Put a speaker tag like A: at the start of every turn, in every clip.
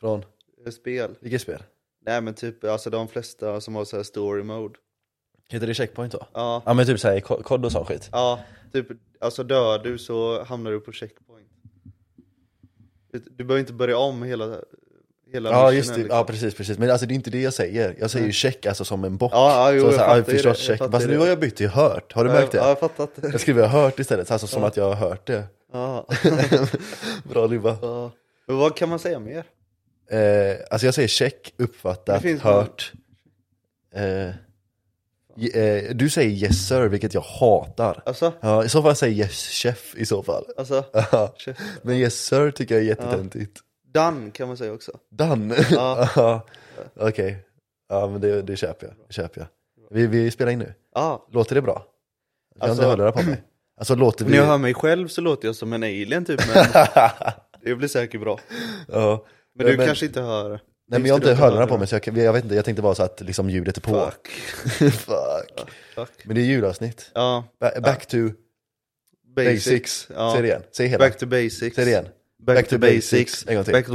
A: Från?
B: Spel.
A: Vilket spel?
B: Nej men typ alltså de flesta som har så här story mode.
A: Heter det checkpoint då?
B: Ja,
A: Ja men typ såhär kod och sån skit.
B: ja typ alltså dör du så hamnar du på checkpoint. Du, du behöver inte börja om hela, hela
A: Ja
B: missionen,
A: just det,
B: liksom.
A: ja precis precis. Men alltså det är inte det jag säger. Jag säger ju check alltså som en bock.
B: Ja, ja, jo,
A: så
B: jag
A: så här,
B: fattar
A: I've
B: ju det,
A: shot
B: jag
A: check.
B: fattar
A: Fast
B: ju
A: nu
B: det.
A: har jag bytt till hört, har du märkt det?
B: liksom. Ja, jag fattar att
A: Jag skriver hört istället, alltså som att jag har hört det.
B: ja,
A: Bra ribba.
B: ja. Men vad kan man säga mer?
A: Eh, alltså jag säger check,
B: Det
A: uppfattat,
B: finns
A: hört. Eh, ge- eh, du säger yes sir, vilket jag hatar.
B: Alltså,
A: Ja, I så fall säger yes chef i så fall.
B: alltså,
A: Ja.
B: shit.
A: Men yes sir tycker jag är jättetöntigt.
B: done kan man säga också.
A: Dan?
B: Ja.
A: Ja. Okej. Ja men det, det köper jag. Det köper jag. Vi, vi spelar in nu.
B: Ja,
A: Låter det bra? Jag har
B: Alltså-
A: inte hörlurar på mig. Alltså låter vi...
B: när jag hör mig själv så låter jag som en alien typ, men det blir säkert bra.
A: ja.
B: Men du
A: Men-
B: kanske inte hör.
A: Nej men jag har inte hörlurar på mig så jag, kan- jag vet inte, jag tänkte bara så att liksom ljudet är på.
B: Fuck.
A: Fuck.
B: Fuck.
A: Men det är julavsnitt.
B: Ja,
A: Ba- Back to
B: basics.
A: basics.
B: Ja.
A: Säg det igen. Säg hela.
B: Back to basics.
A: Säg det igen.
B: Back,
A: Back
B: to,
A: to
B: basics.
A: basics. En gång till.
B: Back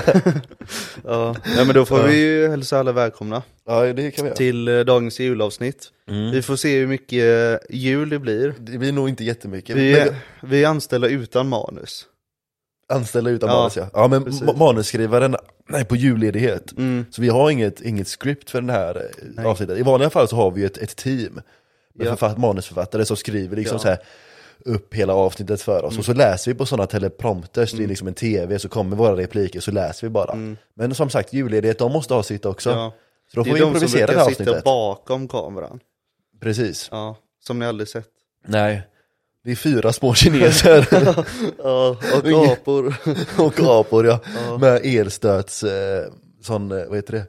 B: ja. Nej, men då får
A: Ja.
B: vi ju hälsa alla välkomna
A: Ja det kan vi göra. Mm.
B: till eh, dagens julavsnitt. Vi får se hur mycket eh, jul det blir.
A: Det blir nog inte jättemycket.
B: Vi
A: Men
B: är, vi är anställda utan manus.
A: anställda utan
B: Ja,
A: manus ja. Ja men
B: precis. Mm.
A: ma- manusskrivaren nej, på julledighet. Så vi har inget, inget script för den här eh, avsnittet. I vanliga fall så har vi ju ett, ett team med
B: Ja.
A: författ- manusförfattare som skriver liksom
B: Ja. Mm.
A: så här upp hela avsnittet för oss. Och så läser vi på sådana teleprompters, det är liksom en tv, så kommer våra repliker, så läser vi bara. Men som sagt, julledighet, de måste ha sitt också.
B: Mm. Ja.
A: Så då
B: Det
A: får vi
B: är de som
A: improvisera det
B: brukar
A: här
B: sitta
A: avsnittet.
B: bakom kameran.
A: Precis.
B: Ja, som ni aldrig sett.
A: Nej. Det är fyra små kineser
B: Ja, och
A: Ingen-
B: apor.
A: och apor ja, med elstöts, eh, sån, eh, vad heter det?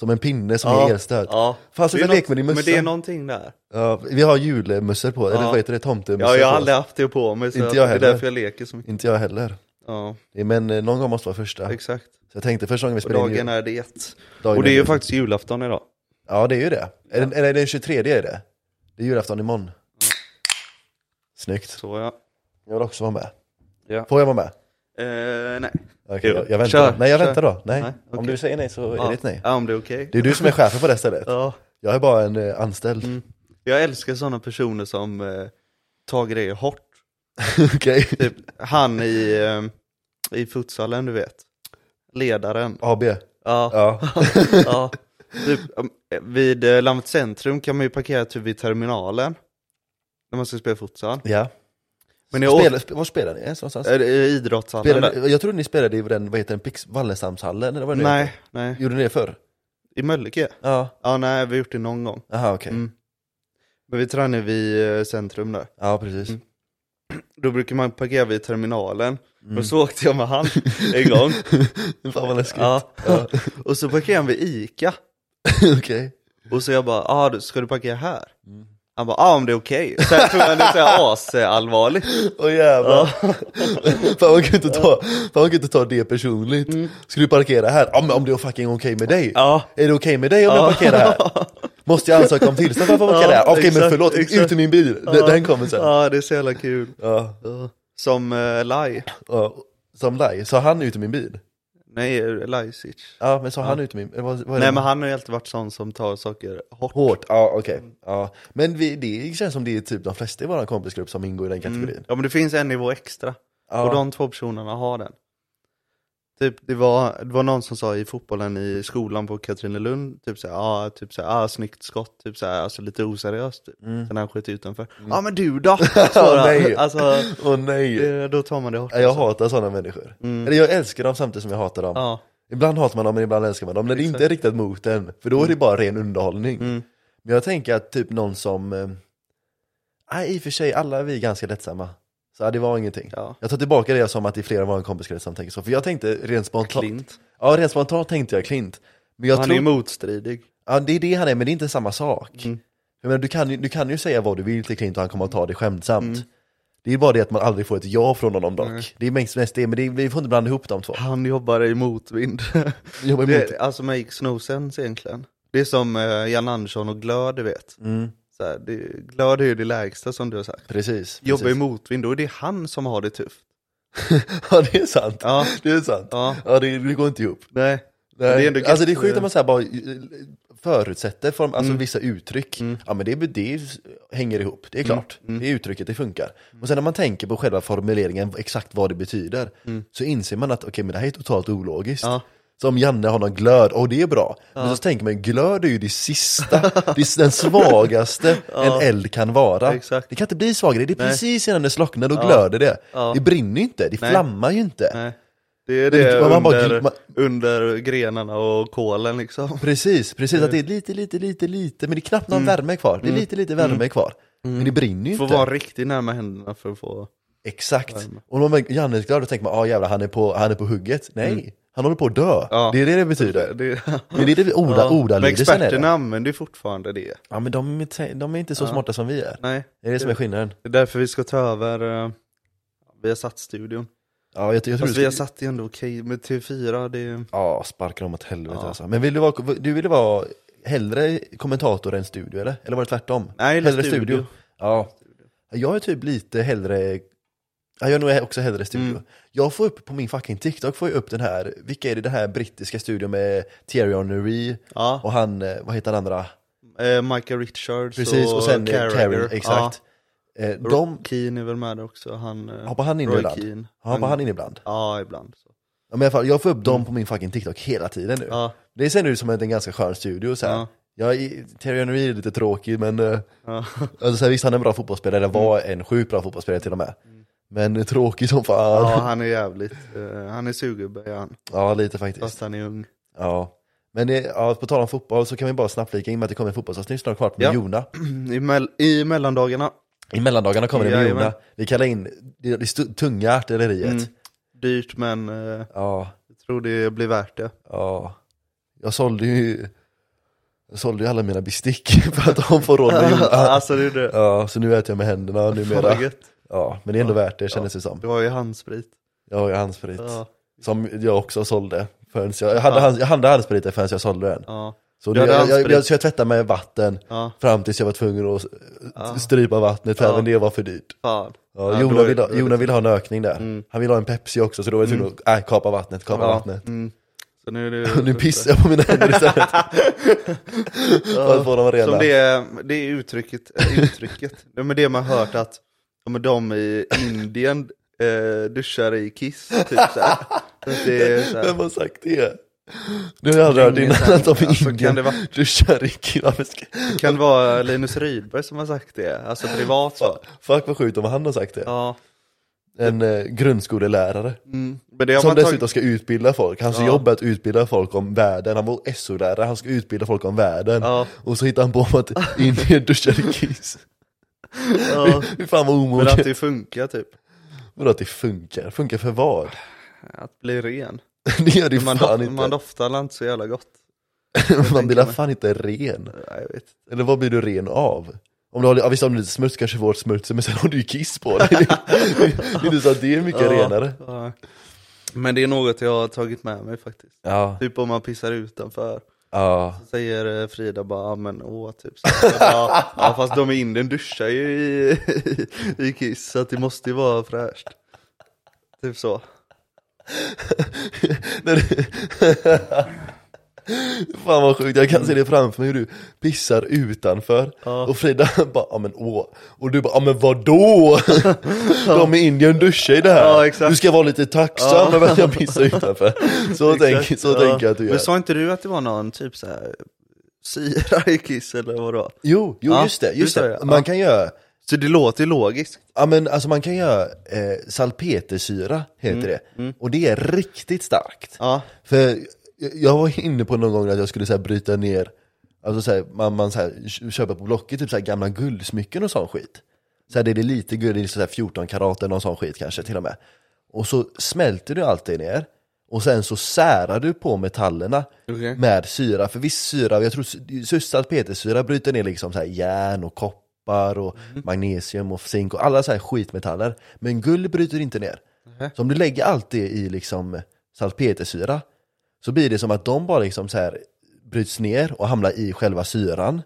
A: Som en pinne som
B: Ja.
A: är elstöt.
B: Ja.
A: Fanns det
B: är
A: en
B: något-
A: lekman i mössan?
B: Men det är någonting där.
A: Ja, vi har julmössor på, eller
B: Ja.
A: vad heter det? Tomtemössor
B: Ja, jag har
A: på.
B: aldrig haft det på mig så
A: Inte jag
B: det är
A: heller.
B: därför jag leker så mycket.
A: Inte jag heller.
B: Ja,
A: Men eh, någon gång måste vara första. Så
B: exakt.
A: jag tänkte första gången vi
B: Och
A: spelade in
B: dagen
A: jul-
B: är det.
A: dagen
B: Och det är ju
A: jul.
B: faktiskt julafton idag.
A: Ja, det är ju det. Eller Eller är det den 23 är det? Det är julafton imorgon. Snyggt.
B: Så ja.
A: Jag vill också vara med.
B: Ja.
A: Får jag vara med?
B: Eh, nej.
A: Okej,
B: Jo.
A: jag väntar.
B: Kör,
A: nej, jag
B: kör.
A: väntar då. Nej.
B: Nej,
A: Om
B: okej.
A: du säger nej så är det ett nej.
B: Ja, om det är okej.
A: Det är du som är chefen på det stället.
B: Ja.
A: Jag är bara en eh, anställd.
B: Jag älskar sådana personer som eh, tar grejer hårt.
A: Okej.
B: Typ han i, eh, i futsalen, du vet. Ledaren.
A: AB.
B: Ja.
A: Ja.
B: ja. Typ, um, vid eh, Lammet Centrum kan man ju parkera typ vid terminalen. När man ska spela futsal.
A: ja.
B: Men jag Eh,
A: Spela, sp- var spelar ni ens någonstans?
B: Är det i idrottshallen
A: Spelade,
B: där?
A: jag trodde ni spelade i den, vad heter den, Pix, Wallenstamshallen eller vad det heter?
B: Nej, nej.
A: Gjorde ni det förr?
B: I Mölnlycke?
A: Ja.
B: Ja, nej, vi har gjort det någon gång.
A: Jaha okej.
B: Mm. Men vi tränar vid eh, centrum där.
A: Ja precis.
B: Mm. Då brukar man parkera vid terminalen.
A: Mm.
B: Men så åkte jag med han en gång.
A: Fan vad läskigt.
B: ja. Och så parkerade han vid Ica.
A: okej.
B: Och så jag bara, ah, du- ska du parkera här?
A: Mm.
B: Han bara, ah, om det är okej. Sen tog han det såhär asallvarligt.
A: Åh jävlar. Fan man kan inte ta, fan, man kan inte ta det personligt. Ska du parkera här? Ja men om det är fucking okej med dig.
B: Mm. Ja.
A: Är det okej med dig om jag parkerar här? Måste jag ansöka om tillstånd för att få parkera
B: Ja,
A: här? Okej men
B: exakt,
A: förlåt,
B: exakt.
A: ut ur min bil. Den, den kommer sen. Ja.
B: Ja, det är så jävla kul.
A: Ja.
B: Som uh, Lai.
A: Som Lai, sa han ut ur min bil?
B: Nej, Lajsic.
A: Ja men sa han ut ur min, eller vad, vad är
B: Nej
A: det?
B: men han har ju alltid varit sån som tar saker hårt.
A: Hårt, ja okej. Ja. Men vi, det känns som det är typ de flesta i vår kompisgrupp som ingår i den kategorin.
B: Mm. Ja men det finns en nivå extra.
A: Mm. Ja.
B: Och de två personerna har den. Typ, det, var, det var någon som sa i fotbollen i skolan på Katrinelund, typ såhär, ja, ah, typ såhär, ah, snyggt skott, typ såhär, alltså lite oseriöst. Typ. Sen han sköt utanför. Ja ah, men du då? Svarar han.
A: Mm. nej.
B: alltså,
A: Åh nej.
B: det, då tar man det hårt.
A: Ja, Mm. Jag hatar sådana människor. Eller jag älskar dem samtidigt som jag hatar dem.
B: Ja,
A: Ibland hatar man dem, men ibland älskar man dem. När det inte är riktat mot en, för då är det bara ren underhållning. Men jag tänker att typ någon som... eh, Nej, i och för sig, alla är vi ganska lättsamma. Så ja, det var ingenting.
B: Ja.
A: Jag tar tillbaka det som att det är flera av våra kompiskrets som tänker så. För jag tänkte rent spontant...
B: Klint.
A: Ja, rent spontant tänkte jag Klint. Men jag
B: han
A: tror...
B: är ju motstridig.
A: Ja, det är det han är, men det är inte samma sak.
B: Mm.
A: Jag menar, du, kan, ju- du kan ju säga vad du vill till Clint och han kommer att ta det skämtsamt.
B: Mm.
A: Det är bara det att man aldrig får ett ja från honom dock. Det är mest, mest det, men det, är- vi får inte blanda ihop de två.
B: Han jobbar i motvind.
A: Vi jobbar emot.
B: det, alltså makes no sense egentligen. Det är som eh, Jan Andersson och Glöd, du vet.
A: Mm.
B: Så här, det, glöd är ju det lägsta som du har sagt.
A: Precis. precis.
B: Jobbar i motvind, då är det han som har det tufft.
A: ja det är sant.
B: Ja,
A: Det är sant.
B: ja,
A: Ja det, det går inte ihop.
B: nej.
A: Nej.
B: Det är ändå
A: alltså
B: gött. eh.
A: det är sjukt att man så här bara förutsätter form, alltså
B: Mm.
A: vissa uttryck.
B: Mm.
A: Ja men det, det hänger ihop, det är klart.
B: Mm.
A: Det är uttrycket, det funkar. Och sen när man tänker på själva formuleringen, exakt vad det betyder,
B: Mm.
A: så inser man att okej men det här är totalt ologiskt.
B: Ja,
A: Så om Janne har någon glöd, och det är bra. Men så tänker man, glöd är ju det sista, det är den svagaste en eld kan vara.
B: Exakt.
A: Det kan inte bli svagare, det är
B: Nej.
A: precis innan det slocknar, då glöder det.
B: Ja.
A: Det brinner ju inte, det
B: Nej.
A: flammar ju inte.
B: nej. Det är
A: Men
B: det
A: man- man bara
B: under,
A: gl- man-
B: under grenarna och kolen liksom.
A: Precis, precis. Att det är
B: Eh.
A: lite, lite, lite, lite, men det är knappt
B: Mm.
A: någon värme kvar. Det är lite, lite värme kvar. Men det brinner ju
B: Får
A: inte.
B: vara riktigt närma händerna för att få...
A: Exakt. Och när man är Jannesglad, då tänker man, ja ah, jävlar, han är, på, han är på hugget. Nej, han håller på att dö.
B: Mm. Ja.
A: Det är det det betyder.
B: Det,
A: Det är det det orda,
B: Ja, Men
A: ordalydelsen är.
B: experterna
A: Det.
B: använder ju fortfarande det.
A: Ja, men de, är te- de är inte så smarta som vi är.
B: Nej,
A: Det är det som är skillnaden.
B: det är därför vi ska ta över uh, Viasat-studion.
A: Ja, jag, jag tror
B: Fast
A: du ska...
B: Viasat är ändå okej, men TV4 det är...
A: Ja, sparka dem åt helvete
B: Ja.
A: alltså. Men vill du vara, du ville vara hellre kommentator än studio eller? Eller var det tvärtom?
B: Nej, eller
A: hellre
B: studio.
A: Ja. Jag är typ lite hellre, ja, jag är nog också hellre studio.
B: Mm.
A: Jag får upp på min fucking TikTok, får jag upp den här, vilka är det den här brittiska studion med Thierry Henry
B: Ja,
A: och han, eh, vad heter han andra?
B: eh, Michael Richards
A: Precis,
B: och,
A: och, sen eh,
B: Carragher.
A: Carrie, exakt. Eh,
B: Ja.
A: de
B: Keane är väl med där också, han... eh,
A: hoppar han in
B: Roy
A: ibland.
B: Keane.
A: Hoppar han in ibland?
B: Ja, ibland. Så.
A: Ja, men i alla fall, jag får upp dem på min fucking TikTok hela tiden nu.
B: Mm. Ja,
A: Det ser ut som en en ganska skön studio så här.
B: Ja.
A: Jag är, Thierry Henry är lite tråkig men eh,
B: ja.
A: alltså, så här, visst han är en bra fotbollsspelare, var
B: Mm.
A: en sjukt bra fotbollsspelare till och med. Men eh, tråkig som fan.
B: ja,
A: Ja,
B: han är jävligt... eh, han är surgubbe är han,
A: lite faktiskt.
B: fast han är ung.
A: Ja. Men eh, ja, på tal om fotboll så kan vi bara snabbt flika in med att det kommer ett fotbollsavsnitt snart klart med
B: Ja.
A: Jona.
B: I, mell- I mellandagarna,
A: I mellandagarna kommer det med
B: Jajamän.
A: Jona. Vi kallar in det, det stu- tunga artilleriet.
B: Mm. dyrt men eh,
A: Ja,
B: jag tror det blir värt det.
A: ja. Jag sålde ju, jag sålde ju alla mina bestick för att de får råd med Jona.
B: alltså det är det.
A: Ja, så nu äter jag med händerna
B: Fan, vad
A: numera.
B: gött.
A: Ja, men det är ändå värt det kändes det som.
B: Du har ju handsprit.
A: Jag har ju handsprit.
B: Ja,
A: Som jag också sålde. Förrän jag, jag, hade, hands- jag hade handspriten förrän jag sålde den.
B: ja,
A: Så,
B: Du
A: det,
B: hade
A: jag, jag,
B: handsprit.
A: jag, så jag tvättade med vatten
B: ja.
A: fram tills jag var tvungen att
B: Ja.
A: ja. strypa vattnet, för
B: Ja.
A: även det var för dyrt.
B: Fan.
A: Ja,
B: Ja, då
A: Jona,
B: är-
A: vill
B: då
A: ha,
B: är det-
A: Jona vill ha en ökning där.
B: Mm.
A: Han vill ha en Pepsi också, så då var jag tvungen att äh, kapa vattnet, kapa
B: Ja,
A: vattnet.
B: Mm. Så nu är
A: Och
B: det...
A: nu pissar jag på mina händer istället. För att få dem rena.
B: Som det, det är uttrycket, eh, uttrycket. ja, men det man har hört att ja, men de i Indien eh, duschar i kiss, typ såhär. Så att det är såhär.
A: Vem har sagt det? Nu har jag aldrig hört
B: Ingen
A: innan
B: sån-
A: att de i
B: alltså, kan
A: Indien
B: det vara-
A: duschar i kvask.
B: Det kan vara Linus Rydberg som har sagt det, alltså privat så.
A: Fuck vad sjukt om han har sagt det.
B: Ja.
A: En eh, grundskolelärare.
B: Mm. Men det har
A: Som
B: man
A: dessutom
B: tagit,
A: ska utbilda folk. Hans
B: Ja.
A: jobb är att utbilda folk om världen. Han var SO-lärare, han ska utbilda folk om världen.
B: Ja.
A: Och så hittar han på att Indien duschar i kiss.
B: ja,
A: Fy fan vad
B: men att
A: omoget.
B: det funkar typ.
A: Vadå att det funkar? Funkar för vad?
B: Att bli ren.
A: Det gör det ju
B: Man,
A: fan
B: doft,
A: inte.
B: man
A: Man,
B: doftar inte så jävla gott.
A: blir
B: tänker
A: väl
B: mig.
A: fan inte ren?
B: Ja, jag vet.
A: Eller vad blir du ren av? Om du har, ja, visst om du har lite smuts kanske vårt smuts, men sen har du ju kiss på dig. det är inte så att det är mycket renare.
B: Ja. Men det är något jag har tagit med mig faktiskt.
A: Ja,
B: Typ om man pissar utanför.
A: ja.
B: Säger eh, Frida bara, ja men åh typ så. här. Ja, ja fast de i Indien duschar ju i, i kiss så att det måste ju vara fräscht. Typ så.
A: När du- Fan vad sjukt, jag kan se det framför mig hur du pissar utanför
B: Mm. Ja.
A: och Frida bara ja men åh och du bara ja men vadå? De i Indien duschar i det här,
B: Ja, exakt.
A: du ska vara lite tacksam över att jag pissar utanför Så, tänk,
B: Exakt,
A: så
B: ja.
A: tänker jag att du gör
B: Men sa inte du att det var någon typ så här syra i kiss eller vadå?
A: Jo, jo
B: Ja,
A: just det,
B: du
A: just
B: sa
A: det.
B: det, ja.
A: Man kan göra,
B: Så det låter ju logiskt.
A: ja men alltså man kan göra eh, salpetersyra heter
B: Mm.
A: det och det är riktigt starkt
B: Ja,
A: För jag- jag var inne på någon gång att jag skulle så här bryta ner, alltså så här, man, man så här, kö- köper på Blocket typ så här gamla guldsmycken och sån skit. Så här, det är det lite guld, det är så här 14 karat eller någon sån skit kanske till och med. Och så smälter du allt det ner och sen så särar du på metallerna
B: Okej.
A: med syra. För viss syra, jag tror sy- sy- salpetersyra bryter ner liksom så här järn och koppar och magnesium och zink och alla så här skitmetaller. Men guld bryter inte ner. Så om du lägger allt det i liksom salpetersyra så blir det som att de bara liksom så här bryts ner och hamnar i själva syran.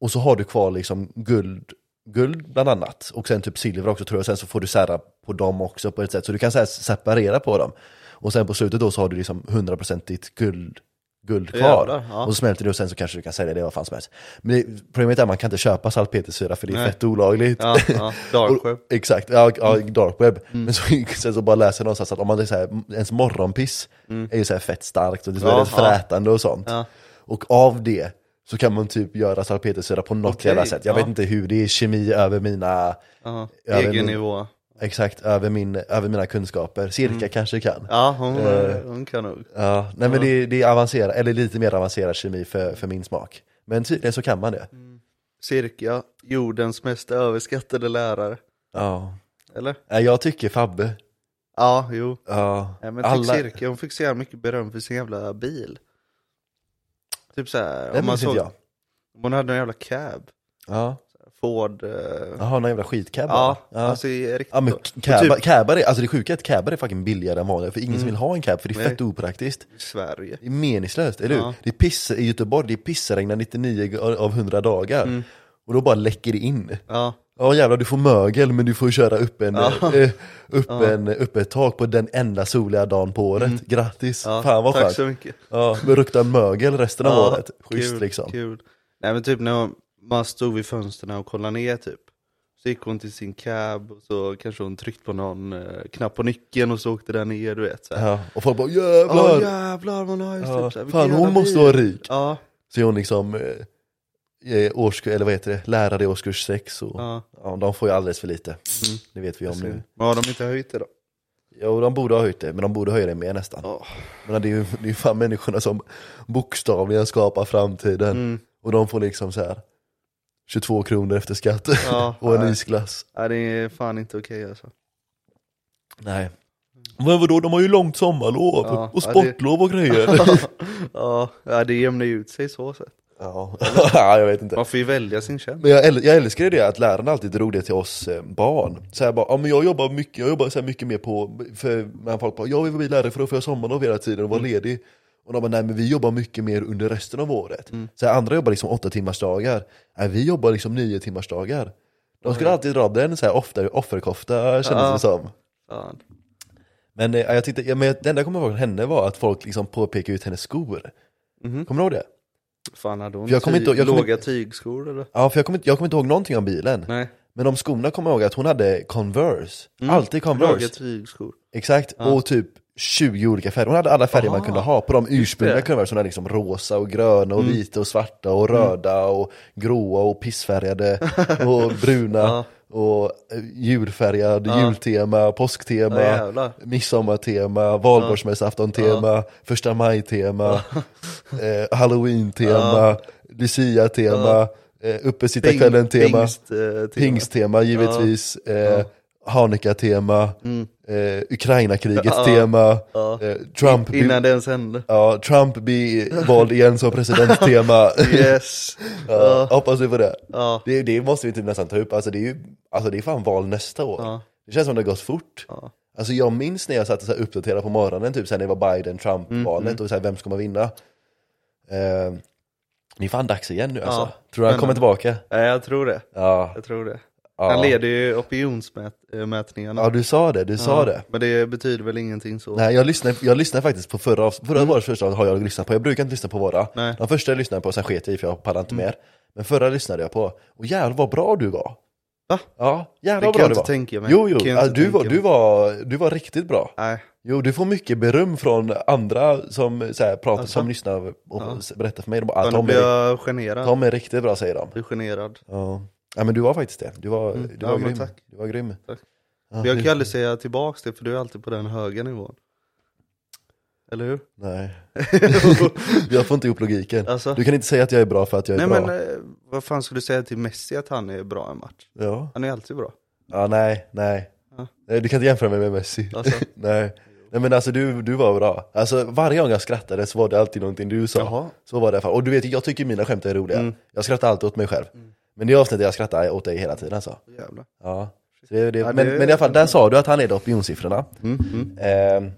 A: Och så har du kvar liksom guld guld bland annat. Och sen typ silver också tror jag. Sen så får du sära på dem också på ett sätt. Så du kan så här, separera på dem. Och sen på slutet då så har du liksom 100% guld, guld kvar.
B: Jävlar, ja.
A: Och så smälter det och sen så kanske du kan sälja det vad fan som helst. Men det, problemet är att man kan inte köpa salpetersyra för det är
B: Nej.
A: fett olagligt.
B: Ja, ja, dark
A: Och-
B: web.
A: Exakt, ja, ja
B: Mm.
A: dark web. Men så, sen så bara läser jag någonstans att om man är så här, ens morgonpiss är ju så här fett starkt och det är så
B: Mm. Ja,
A: väldigt
B: ja.
A: frätande och sånt.
B: Ja.
A: Och av det så kan man typ göra salpetersyra på något
B: Okej,
A: jävla sätt. Jag
B: ja.
A: vet inte hur, det är kemi över mina,
B: Ja.
A: Ja, det är
B: Egen
A: min-
B: nivå.
A: exakt, över, min, över mina kunskaper. Cirka kanske kan. Ja.
B: Mm. Ja, hon, eh, hon kan nog.
A: nej men det, det är avancerad, eller lite mer avancerad kemi för, för min smak. Men tydligen så kan man det.
B: Mm. Cirka, jordens mest överskattade lärare.
A: Ja.
B: Eller?
A: Nej, Jag tycker Fabbe.
B: Ja, jo.
A: Ja.
B: Nej, men Alla... fick cirka, hon fick så jävla mycket beröm för sin jävla bil. Typ såhär,
A: Det
B: om man
A: minns
B: såg,
A: inte jag.
B: hon hade en jävla cab.
A: Ja.
B: Ford. eh,
A: Jaha, någon jävla skitcab
B: ja,
A: bara.
B: alltså i riktigt.
A: Ja men
B: Och
A: cabbar,
B: typ Mm.
A: cabbar är, alltså det sjuka är att cabbar är fucking billigare än vanliga, för ingen som vill ha en cab för det är
B: Nej.
A: fett opraktiskt.
B: i Sverige.
A: Det är meningslöst, eller hur?
B: Ja.
A: Det är piss i Göteborg, det är pissregnar 99 av 100 dagar.
B: Mm.
A: Och då bara läcker det in.
B: Ja,
A: Ja jävlar, du får mögel men du får köra upp, en, eh, upp, en, eh, upp ett tak på den enda soliga dagen på året. Grattis,
B: Mm. ja.
A: fan vad
B: Tack
A: skönt.
B: så mycket.
A: Ja, men rukta mögel resten av året. Schysst
B: kul,
A: liksom.
B: Kul. Nej men typ när man stod vid fönstren och kollade ner typ. Så gick hon till sin cab och så kanske hon tryckte på någon eh, knapp på nyckeln och så åkte den ner du vet. Såhär.
A: Ja, och folk bara
B: Ja
A: jävlar!
B: jävlar man har ju
A: Ja,
B: typ såhär, vilken
A: fan
B: jävla
A: hon måste
B: bil.
A: vara rik.
B: Ja,
A: Så är hon liksom eh, eh, årsk- eller vad heter det? lärare i årskurs 6 och
B: ja. Mm.
A: ja, de får ju alldeles för lite. Det vet vi om nu.
B: Men har de inte höjt det då?
A: Jo, de borde ha höjt det, men de borde höja det mer nästan.
B: Ja.
A: Men det är ju det är ju fan människorna som bokstavligen skapar framtiden.
B: Mm.
A: Och de får liksom så här 22 kronor efter skatt
B: Ja,
A: och en
B: nej.
A: isglass.
B: Nej det är fan inte okej alltså.
A: Nej. Men vadå, de har ju långt sommarlov
B: Ja,
A: och
B: ja, det-
A: sportlov och grejer.
B: ja, ja, det jämnar ju ut sig så sätt.
A: ja, Ja, jag vet inte.
B: Man får ju välja sin tjänst.
A: Men jag, äl- jag älskar ju det att lärarna alltid drog det till oss eh, barn. Så här bara, ja men jag jobbar mycket, jag jobbar så här mycket mer på, för men folk bara, jag vill bli lärare för då får jag sommarlov hela tiden och vara ledig. Och de bara, nej men vi jobbar mycket mer under resten av året. Så här, andra jobbar liksom åtta timmars dagar. Nej, vi jobbar liksom nio timmars dagar. De skulle alltid dra den så här ofta, offerkofta kändes
B: Ja.
A: det som.
B: Fan.
A: Men, eh, jag tyckte, ja, men det enda jag kommer ihåg från henne var att folk liksom påpekade ut hennes skor. Kommer du ihåg det?
B: Fan hade hon
A: För jag kommer
B: ty-
A: inte- jag kommer
B: låga tygskor eller?
A: Ja, för jag kommer inte, jag kommer inte ihåg någonting om bilen.
B: Nej,
A: Men de skorna kommer jag ihåg att hon hade Converse.
B: Mm.
A: Alltid Converse.
B: låga tygskor.
A: Exakt. Och typ 20 olika färger. Hon hade alla färger man kunde ha på de ursprungliga
B: det. Mm.
A: Converse. Hon hade liksom rosa och gröna och vita och svarta och röda och gråa och pissfärgade och bruna. Och eh, julfärgad, jultema, påsktema,
B: Ja, jävlar.
A: midsommartema, valborgsmässoaftontema, första maj-tema, eh, halloween-tema, lucia-tema, eh, uppesittarkvällen-tema.
B: Pingst-tema.
A: Pingsttema givetvis, eh, Hanukka-tema,
B: Mm.
A: eh, Ukraina-krigets tema, eh, Trump, bli,
B: Innan det ens hände.
A: ja, Trump blir vald igen som president-tema.
B: Yes.
A: ja, hoppas vi på det.
B: Ja.
A: det. Det måste vi typ nästan ta upp, alltså det är ju alltså, det är fan val nästa år.
B: Ja.
A: Det känns som det har gått fort.
B: Ja.
A: Alltså jag minns när jag satt och så här uppdaterade på morgonen, typ så här, när det var Biden-Trump-valet
B: Mm,
A: och så här, vem ska man vinna? Eh, det är fan dags igen nu alltså. Tror du han kommer tillbaka?
B: Nej, jag tror det.
A: Ja.
B: Jag tror det.
A: Ja.
B: Han leder ju opinionsmätningarna.
A: Ja du sa det, du sa det.
B: Men det betyder väl ingenting så.
A: Nej jag lyssnade, jag lyssnade faktiskt på förra, avs- förra årets första har jag lyssnat på, jag brukar inte lyssna på våra.
B: Mm. Nej. Mm.
A: De första jag lyssnade på, sen sket jag i för jag pallade inte mer. Men förra lyssnade jag på, och jävlar vad bra du var.
B: Va?
A: Ja, jävlar
B: Det
A: vad
B: kan
A: bra
B: jag
A: du
B: inte
A: var.
B: tänka mig.
A: Jo, jo,
B: Kan jag
A: ja,
B: inte
A: du, var,
B: tänka
A: du, var, du var riktigt bra.
B: Nej.
A: Jo, du får mycket beröm från andra som, så här, pratar,
B: Alltså?
A: som lyssnar och berättar för mig. De bara, ah,
B: Fan, nu
A: Tom,
B: blir
A: är,
B: jag generad.
A: Tom är riktigt bra säger de.
B: Jag blir generad.
A: Ja. ja men du var faktiskt det, du var, du
B: Mm. Ja,
A: var
B: men
A: grym.
B: tack.
A: Du var grym.
B: Tack.
A: Ja,
B: Men jag
A: du-
B: kan ju aldrig säga tillbaks det för du är alltid på den höga nivån. Eller hur?
A: Nej. jag får inte ihop logiken.
B: Alltså.
A: Du kan inte säga att jag är bra för att jag är
B: Nej
A: bra.
B: men eh, vad fan skulle du säga till Messi att han är bra i en match?
A: Ja.
B: Han är alltid bra.
A: ja, nej, nej.
B: Ja.
A: Nej, Du kan inte jämföra mig med Messi.
B: Alltså.
A: nej. nej, men alltså du, du var bra. Alltså varje gång jag skrattade så var det alltid någonting du sa.
B: Jaha. Mm.
A: Så var det i alla fall. Och du vet, jag tycker mina skämt är roliga. Jag skrattar alltid åt mig själv. Men det avsnittet jag skrattar åt dig hela tiden alltså.
B: Jävlar.
A: Ja. Så det, det,
B: Ja, det- Mm,
A: men, men i alla fall, där sa du att han är opinionssiffrorna. Ehm,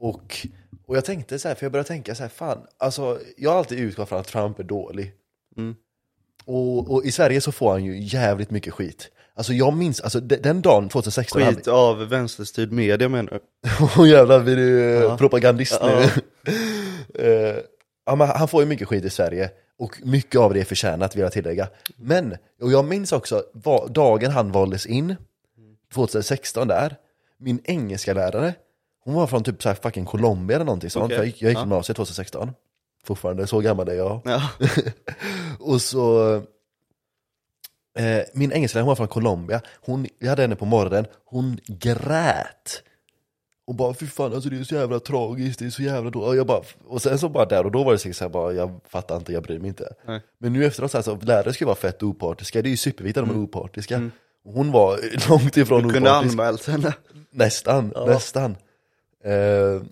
A: och, och jag
B: Mm.
A: tänkte så här, för jag började tänka så här, fan, alltså jag har alltid utgått från att Trump är dålig. Och, och i Sverige så får han ju jävligt mycket skit. Alltså jag minns, alltså de- den dagen 2016,
B: Skit av vänsterstyrd media menar du?
A: han, jävlar blir du eh, propagandist
B: Ja.
A: nu. Eh, ja, men han får ju mycket skit i Sverige och mycket av det är förtjänat vill jag tillägga. Men, och jag minns också va, dagen han valdes in, 2016 där, min engelska lärare hon var från typ så här fucking Colombia eller någonting sånt,
B: Okej.
A: för jag gick, jag gick
B: Ja.
A: gymnasiet 2016. Fortfarande, så gammal är jag.
B: Ja.
A: Och så, eh, min engelsklärare, hon var från Colombia, hon, vi hade henne på morgonen, hon grät. Och bara fy fan alltså det är så jävla tragiskt, det är så jävla dåligt. Och, jag bara, och sen så bara där och då var det säkert så här, bara, jag fattar inte, jag bryr mig inte.
B: Nej.
A: Men nu efteråt så, här, så lärare ska ju vara fett opartiska, det är ju superviktigt att de är opartiska. Och Hon var långt ifrån
B: Mm. Kunde
A: opartisk.
B: anmält henne.
A: Nästan, nästan. Eh,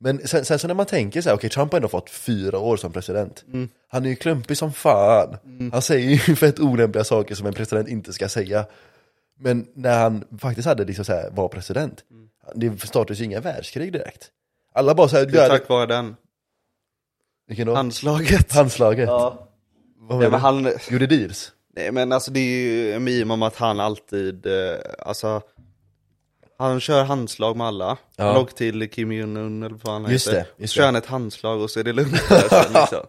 A: men sen, sen så när man tänker så här, okej Trump har ändå fått fyra år som president.
B: Mm.
A: Han är ju klumpig som fan. Han säger ju fett olämpliga saker som en president inte ska säga. Men när han faktiskt hade liksom så här, var president,
B: Mm.
A: det startades ju inga världskrig direkt. Alla bara såhär,
B: Det är
A: du
B: tack vare den.
A: vilken då?
B: Handslaget.
A: Handslaget.
B: Ja.
A: Vad
B: Nej,
A: menar
B: men
A: du?
B: han,
A: Gjorde deals?
B: nej men alltså det är ju en meme om att han alltid, eh, alltså han kör handslag med alla. Han åker till Kim Jong-Un eller vad han
A: Just
B: heter.
A: det, just
B: så kör
A: det.
B: han ett handslag och så är det lugnt. där sen, liksom.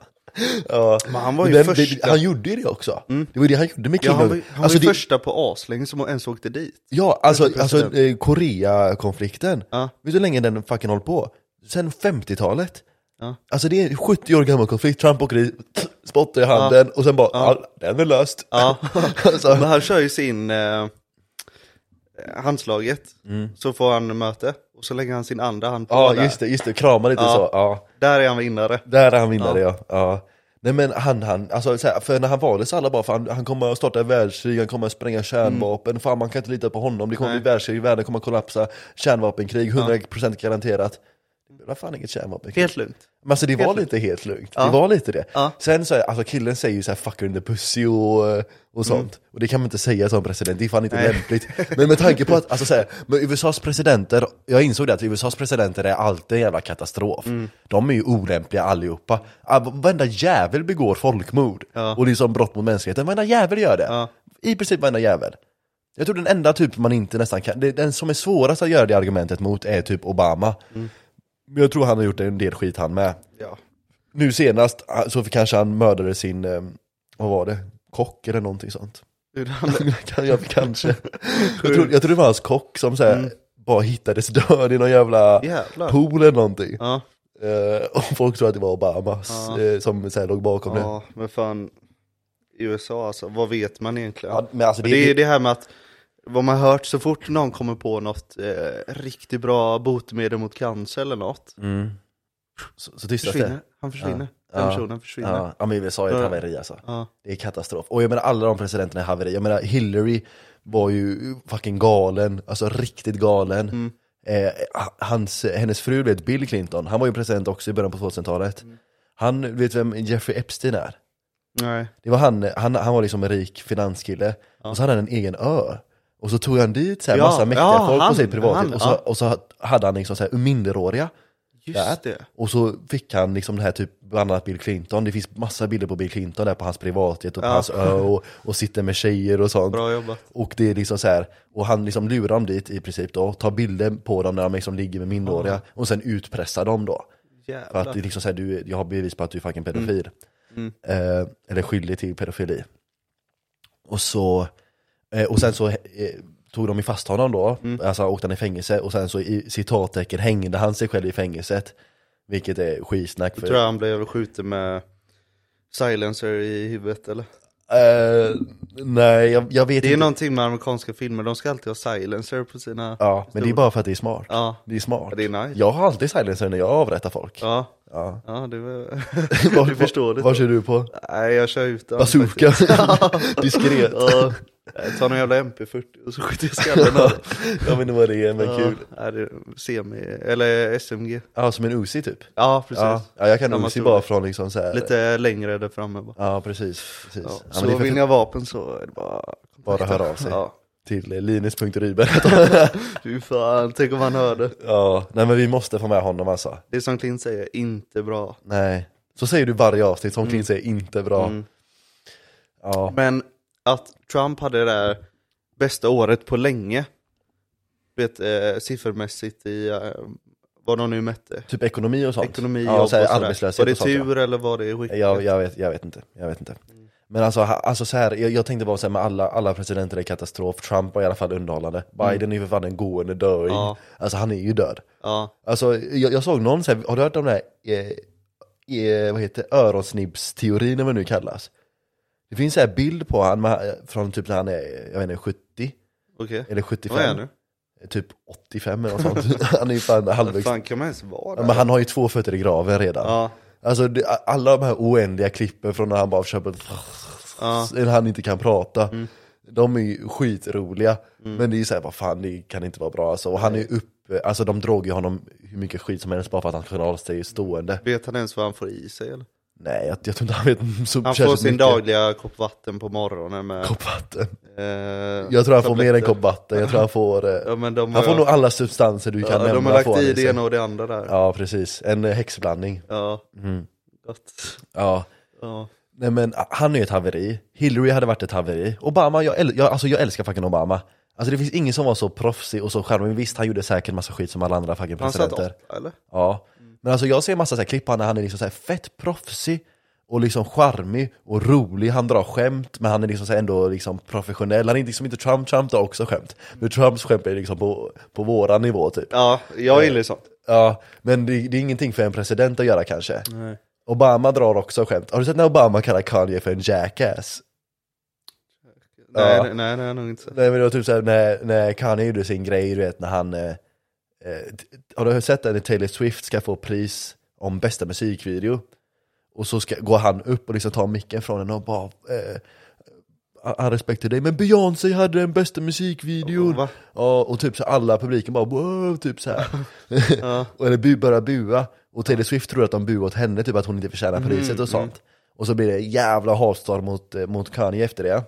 A: Ja.
B: Men han var ju
A: Den-
B: första.
A: det, han gjorde ju det också. Det var ju det han gjorde med
B: Ja,
A: Kim
B: han var,
A: Jong-Un.
B: han var
A: Alltså,
B: ju
A: det-
B: första på aslänge som ens åkte dit.
A: Ja, alltså, alltså
B: president.
A: eh, Koreakonflikten.
B: Ja.
A: Vet du hur länge den fucking hållit på? Sen 50-talet.
B: Ja.
A: Alltså det är en 70 år gammal konflikt, Trump åker dit, spottar i handen och sen bara, ja. den är löst.
B: Ja.
A: alltså,
B: Men han kör ju sin eh, handslaget, så får han möte och så lägger han sin andra hand på
A: ja,
B: där.
A: just det, just det, krama lite
B: Ja.
A: så. Ja.
B: Där är han vinnare.
A: Där är han vinnare ja. ja. Nej men han, han, alltså så här, för när han valdes så alla bara, fan, han kommer att starta världskrig, han kommer att
B: Mm.
A: spränga kärnvapen, fan man kan inte lita på honom, det kommer bli världskrig, världen kommer att kollapsa, kärnvapenkrig, 100% garanterat. Det var fan inget kärnvapenkrig.
B: Helt lugnt.
A: Men alltså det var
B: Helt
A: lite helt lugnt, det var lite det.
B: Ja.
A: Sen så, är- alltså killen säger ju såhär 'fucker in the pussy' och,
B: Mm.
A: och sånt. Och det kan man inte säga som president, det är fan inte lämpligt. Men med tanke på att, alltså såhär, men USAs presidenter, jag insåg det att USAs presidenter är alltid en jävla katastrof.
B: Mm.
A: De är ju olämpliga allihopa. Ah, Varenda jävel begår folkmord.
B: Ja.
A: Och det är som brott mot mänskligheten, varenda jävel gör det.
B: Ja.
A: I princip varenda jävel. Jag tror den enda typ man inte nästan kan, det- den som är svårast att göra det argumentet mot är typ Obama.
B: Mm.
A: Men jag tror han har gjort en del skit han med.
B: Ja.
A: Nu senast ah, så kanske han mördade sin, eh, vad var det, kock eller någonting sånt.
B: Hur han,
A: Kan jag kanske. jag, tror, jag tror det var hans kock som så här, bara hittades död i någon jävla
B: Mm. Jävlar.
A: pool eller någonting.
B: ja.
A: Eh, och folk tror att det var Obamas
B: Ja.
A: eh, som så här, låg bakom det.
B: ja, men fan. I USA alltså, vad vet man egentligen?
A: Ja, men alltså det-
B: det, är det här med att vad man har hört så fort någon kommer på något eh, riktigt bra botemedel mot cancer eller något.
A: Så, så tystas det.
B: Försvinner. Han försvinner.
A: Mm. Ja.
B: Den
A: Ja.
B: personen försvinner.
A: Ja, ja men USA är ett
B: Ja.
A: haveri alltså.
B: Ja.
A: Det är katastrof. Och jag menar alla de presidenterna är haveri. Jag menar Hillary var ju fucking galen, alltså riktigt galen.
B: Mm.
A: Eh, hans, hennes fru blev Bill Clinton, han var ju president också i början på 2000-talet.
B: Mm.
A: Han, vet vem Jeffrey Epstein är?
B: Nej.
A: Det var han, han, han var liksom en rik finanskille, och så hade han en egen ö. Och så tog han dit så här
B: Ja,
A: massa mäktiga
B: ja,
A: folk på
B: han,
A: sitt privatliv,
B: han,
A: och, så,
B: ja.
A: och så hade han liksom så här minderåriga. där.
B: Just det.
A: Och så fick han liksom den här typ, bland annat Bill Clinton, det finns massa bilder på Bill Clinton där på hans privatjet och på
B: Ja.
A: hans ö och, och sitter med tjejer och sånt.
B: Bra jobbat.
A: Och det är liksom så här, och han liksom lurar dem dit i princip då, tar bilder på dem när de liksom ligger med minderåriga och sen utpressar dem då. För
B: Jävlar.
A: att det är liksom så här, du, jag har bevis på att du är fucking pedofil.
B: Mm.
A: Eh, eller skyldig till pedofili. Och så, eh, och sen så eh, tog de ju fast honom då,
B: Mm.
A: alltså åkte han i fängelse och sen så i citattecken hängde han sig själv i fängelset. Vilket är skitsnack för...
B: Tror jag han blev skjuten med silencer i huvudet eller?
A: Eh, nej, jag, jag vet
B: Det är
A: inte.
B: någonting med amerikanska filmer, de ska alltid ha silencer på sina... Ja.
A: Ja, men det är bara för att det är smart.
B: Ja,
A: Det är smart.
B: Ja, det är nice.
A: Jag har alltid silencer när jag avrättar folk.
B: ja,
A: Ja.
B: det var...
A: Vad-
B: du förstår det.
A: Vad kör du på?
B: Nej, jag kör utan.
A: Bazooka? Diskret?
B: Ja, jag tar någon jävla MP40 och så skjuter jag skallen av det.
A: jag vet inte vad det är, men
B: Ja,
A: kul.
B: är det semi, eller SMG.
A: Ja, som en Uzi typ.
B: Ja, precis.
A: Ja, ja jag kan
B: Samma
A: Uzi
B: storlek.
A: bara från liksom så här.
B: Lite längre där framme bara.
A: Ja, precis. precis.
B: Ja,
A: Ja, men
B: så
A: det är för-
B: vill ni ha vapen så är det bara...
A: Bara höra av sig.
B: Ja.
A: Till eh, linus.ryber.
B: Fy fan, tänk om han hörde.
A: ja, nej men vi måste få med honom alltså.
B: Det är som Clint säger, inte bra. Mm.
A: Nej. Så säger du varje avsnitt som Clint säger inte bra. Ja.
B: Men att Trump hade det där bästa året på länge, vet, eh, siffermässigt i eh, vad de nu mätte.
A: Typ ekonomi och sånt.
B: Ekonomi,
A: ja,
B: jobb
A: så här,
B: och sådär.
A: arbetslöshet
B: Var det
A: och sånt, ja.
B: tur Mm. eller var det skickligt?
A: Jag, jag, vet, jag vet inte, jag vet inte. Men alltså, ha- alltså så här, jag, jag tänkte bara säga med alla, alla presidenter är katastrof, Trump var i alla fall underhållande. Biden är ju för fan en gående döing.
B: Mm. Ja.
A: Alltså han är ju död.
B: Ja,
A: Alltså jag, jag såg någon, så här, har du hört om det här, eh, eh, vad heter det? öronsnibbsteorin eller vad det nu kallas? Det finns så här bild på han med, från typ när han är, jag vet inte, 70
B: okej.
A: eller
B: Vad är
A: 75,
B: han nu?
A: typ 85 eller något sånt. han är ju fan
B: Vad
A: halvvägs.
B: fan kan man ens vara
A: Ja,
B: där?
A: Men han har ju två fötter i graven redan.
B: Ja,
A: Alltså det, alla de här oändliga klippen från när han bara försöker,
B: Ja. Mm.
A: eller han inte kan prata. De är ju skitroliga. Men det är ju såhär, vad fan det kan inte vara bra alltså. Och han är ju uppe, alltså de drog ju honom hur mycket skit som helst bara för att han kunde hålla sig stående.
B: vet han ens vad han får i sig eller?
A: Nej, jag, jag tror inte han vet så
B: Han får
A: särskilt
B: sin
A: mycket.
B: dagliga kopp vatten på morgonen med...
A: Kopp vatten.
B: eh,
A: Jag tror han får mer än
B: tabletter.
A: kopp vatten, jag tror han får, eh,
B: Ja, men de
A: han får
B: har,
A: nog alla substanser du kan
B: ja,
A: nämna.
B: de har
A: får
B: lagt
A: han
B: i det
A: sig.
B: ena och det andra där. Ja.
A: Ja, precis. En eh, häxblandning. Mm.
B: Gott.
A: Ja.
B: Ja.
A: Nej men ah, han är ju ett haveri, Hillary hade varit ett haveri, Obama, jag, äl- jag, alltså, jag älskar fucking Obama Alltså det finns ingen som var så proffsig och så charmig, visst han gjorde säkert massa skit som alla andra fucking
B: Han satt
A: presidenter
B: åtta eller?
A: Ja, men alltså jag ser massa så här klipp på honom när han är liksom så här fett proffsig och liksom charmig och rolig, han drar skämt men han är liksom så här ändå liksom professionell Han är liksom inte Trump, Trump drar också skämt Men Trumps skämt är liksom på, på våran nivå typ
B: Ja, jag gillar ju sånt.
A: Ja, men det, det är ingenting för en president att göra kanske Obama drar också skämt, har du sett när Obama kallar Kanye för en jackass?
B: Nej,
A: Ja.
B: nej, nej, nej, nog inte.
A: Nej men det var typ såhär när, när Kanye gjorde sin grej, du vet när han eh, eh, t- Har du sett när Taylor Swift ska få pris om bästa musikvideo? Och så ska, går han upp och liksom tar micken från henne och bara eh, "Ah, han respekterar dig, men Beyoncé hade den bästa musikvideon!
B: Oh, Va?
A: Ja, och typ så alla publiken bara wow, typ så här.
B: Ja.
A: och eller bu, börjar bua, och Taylor Swift tror att de buar åt henne, typ att hon inte förtjänar
B: Mm,
A: priset och sånt. Och så blir det jävla hatstorm mot, eh, mot Kanye efter det.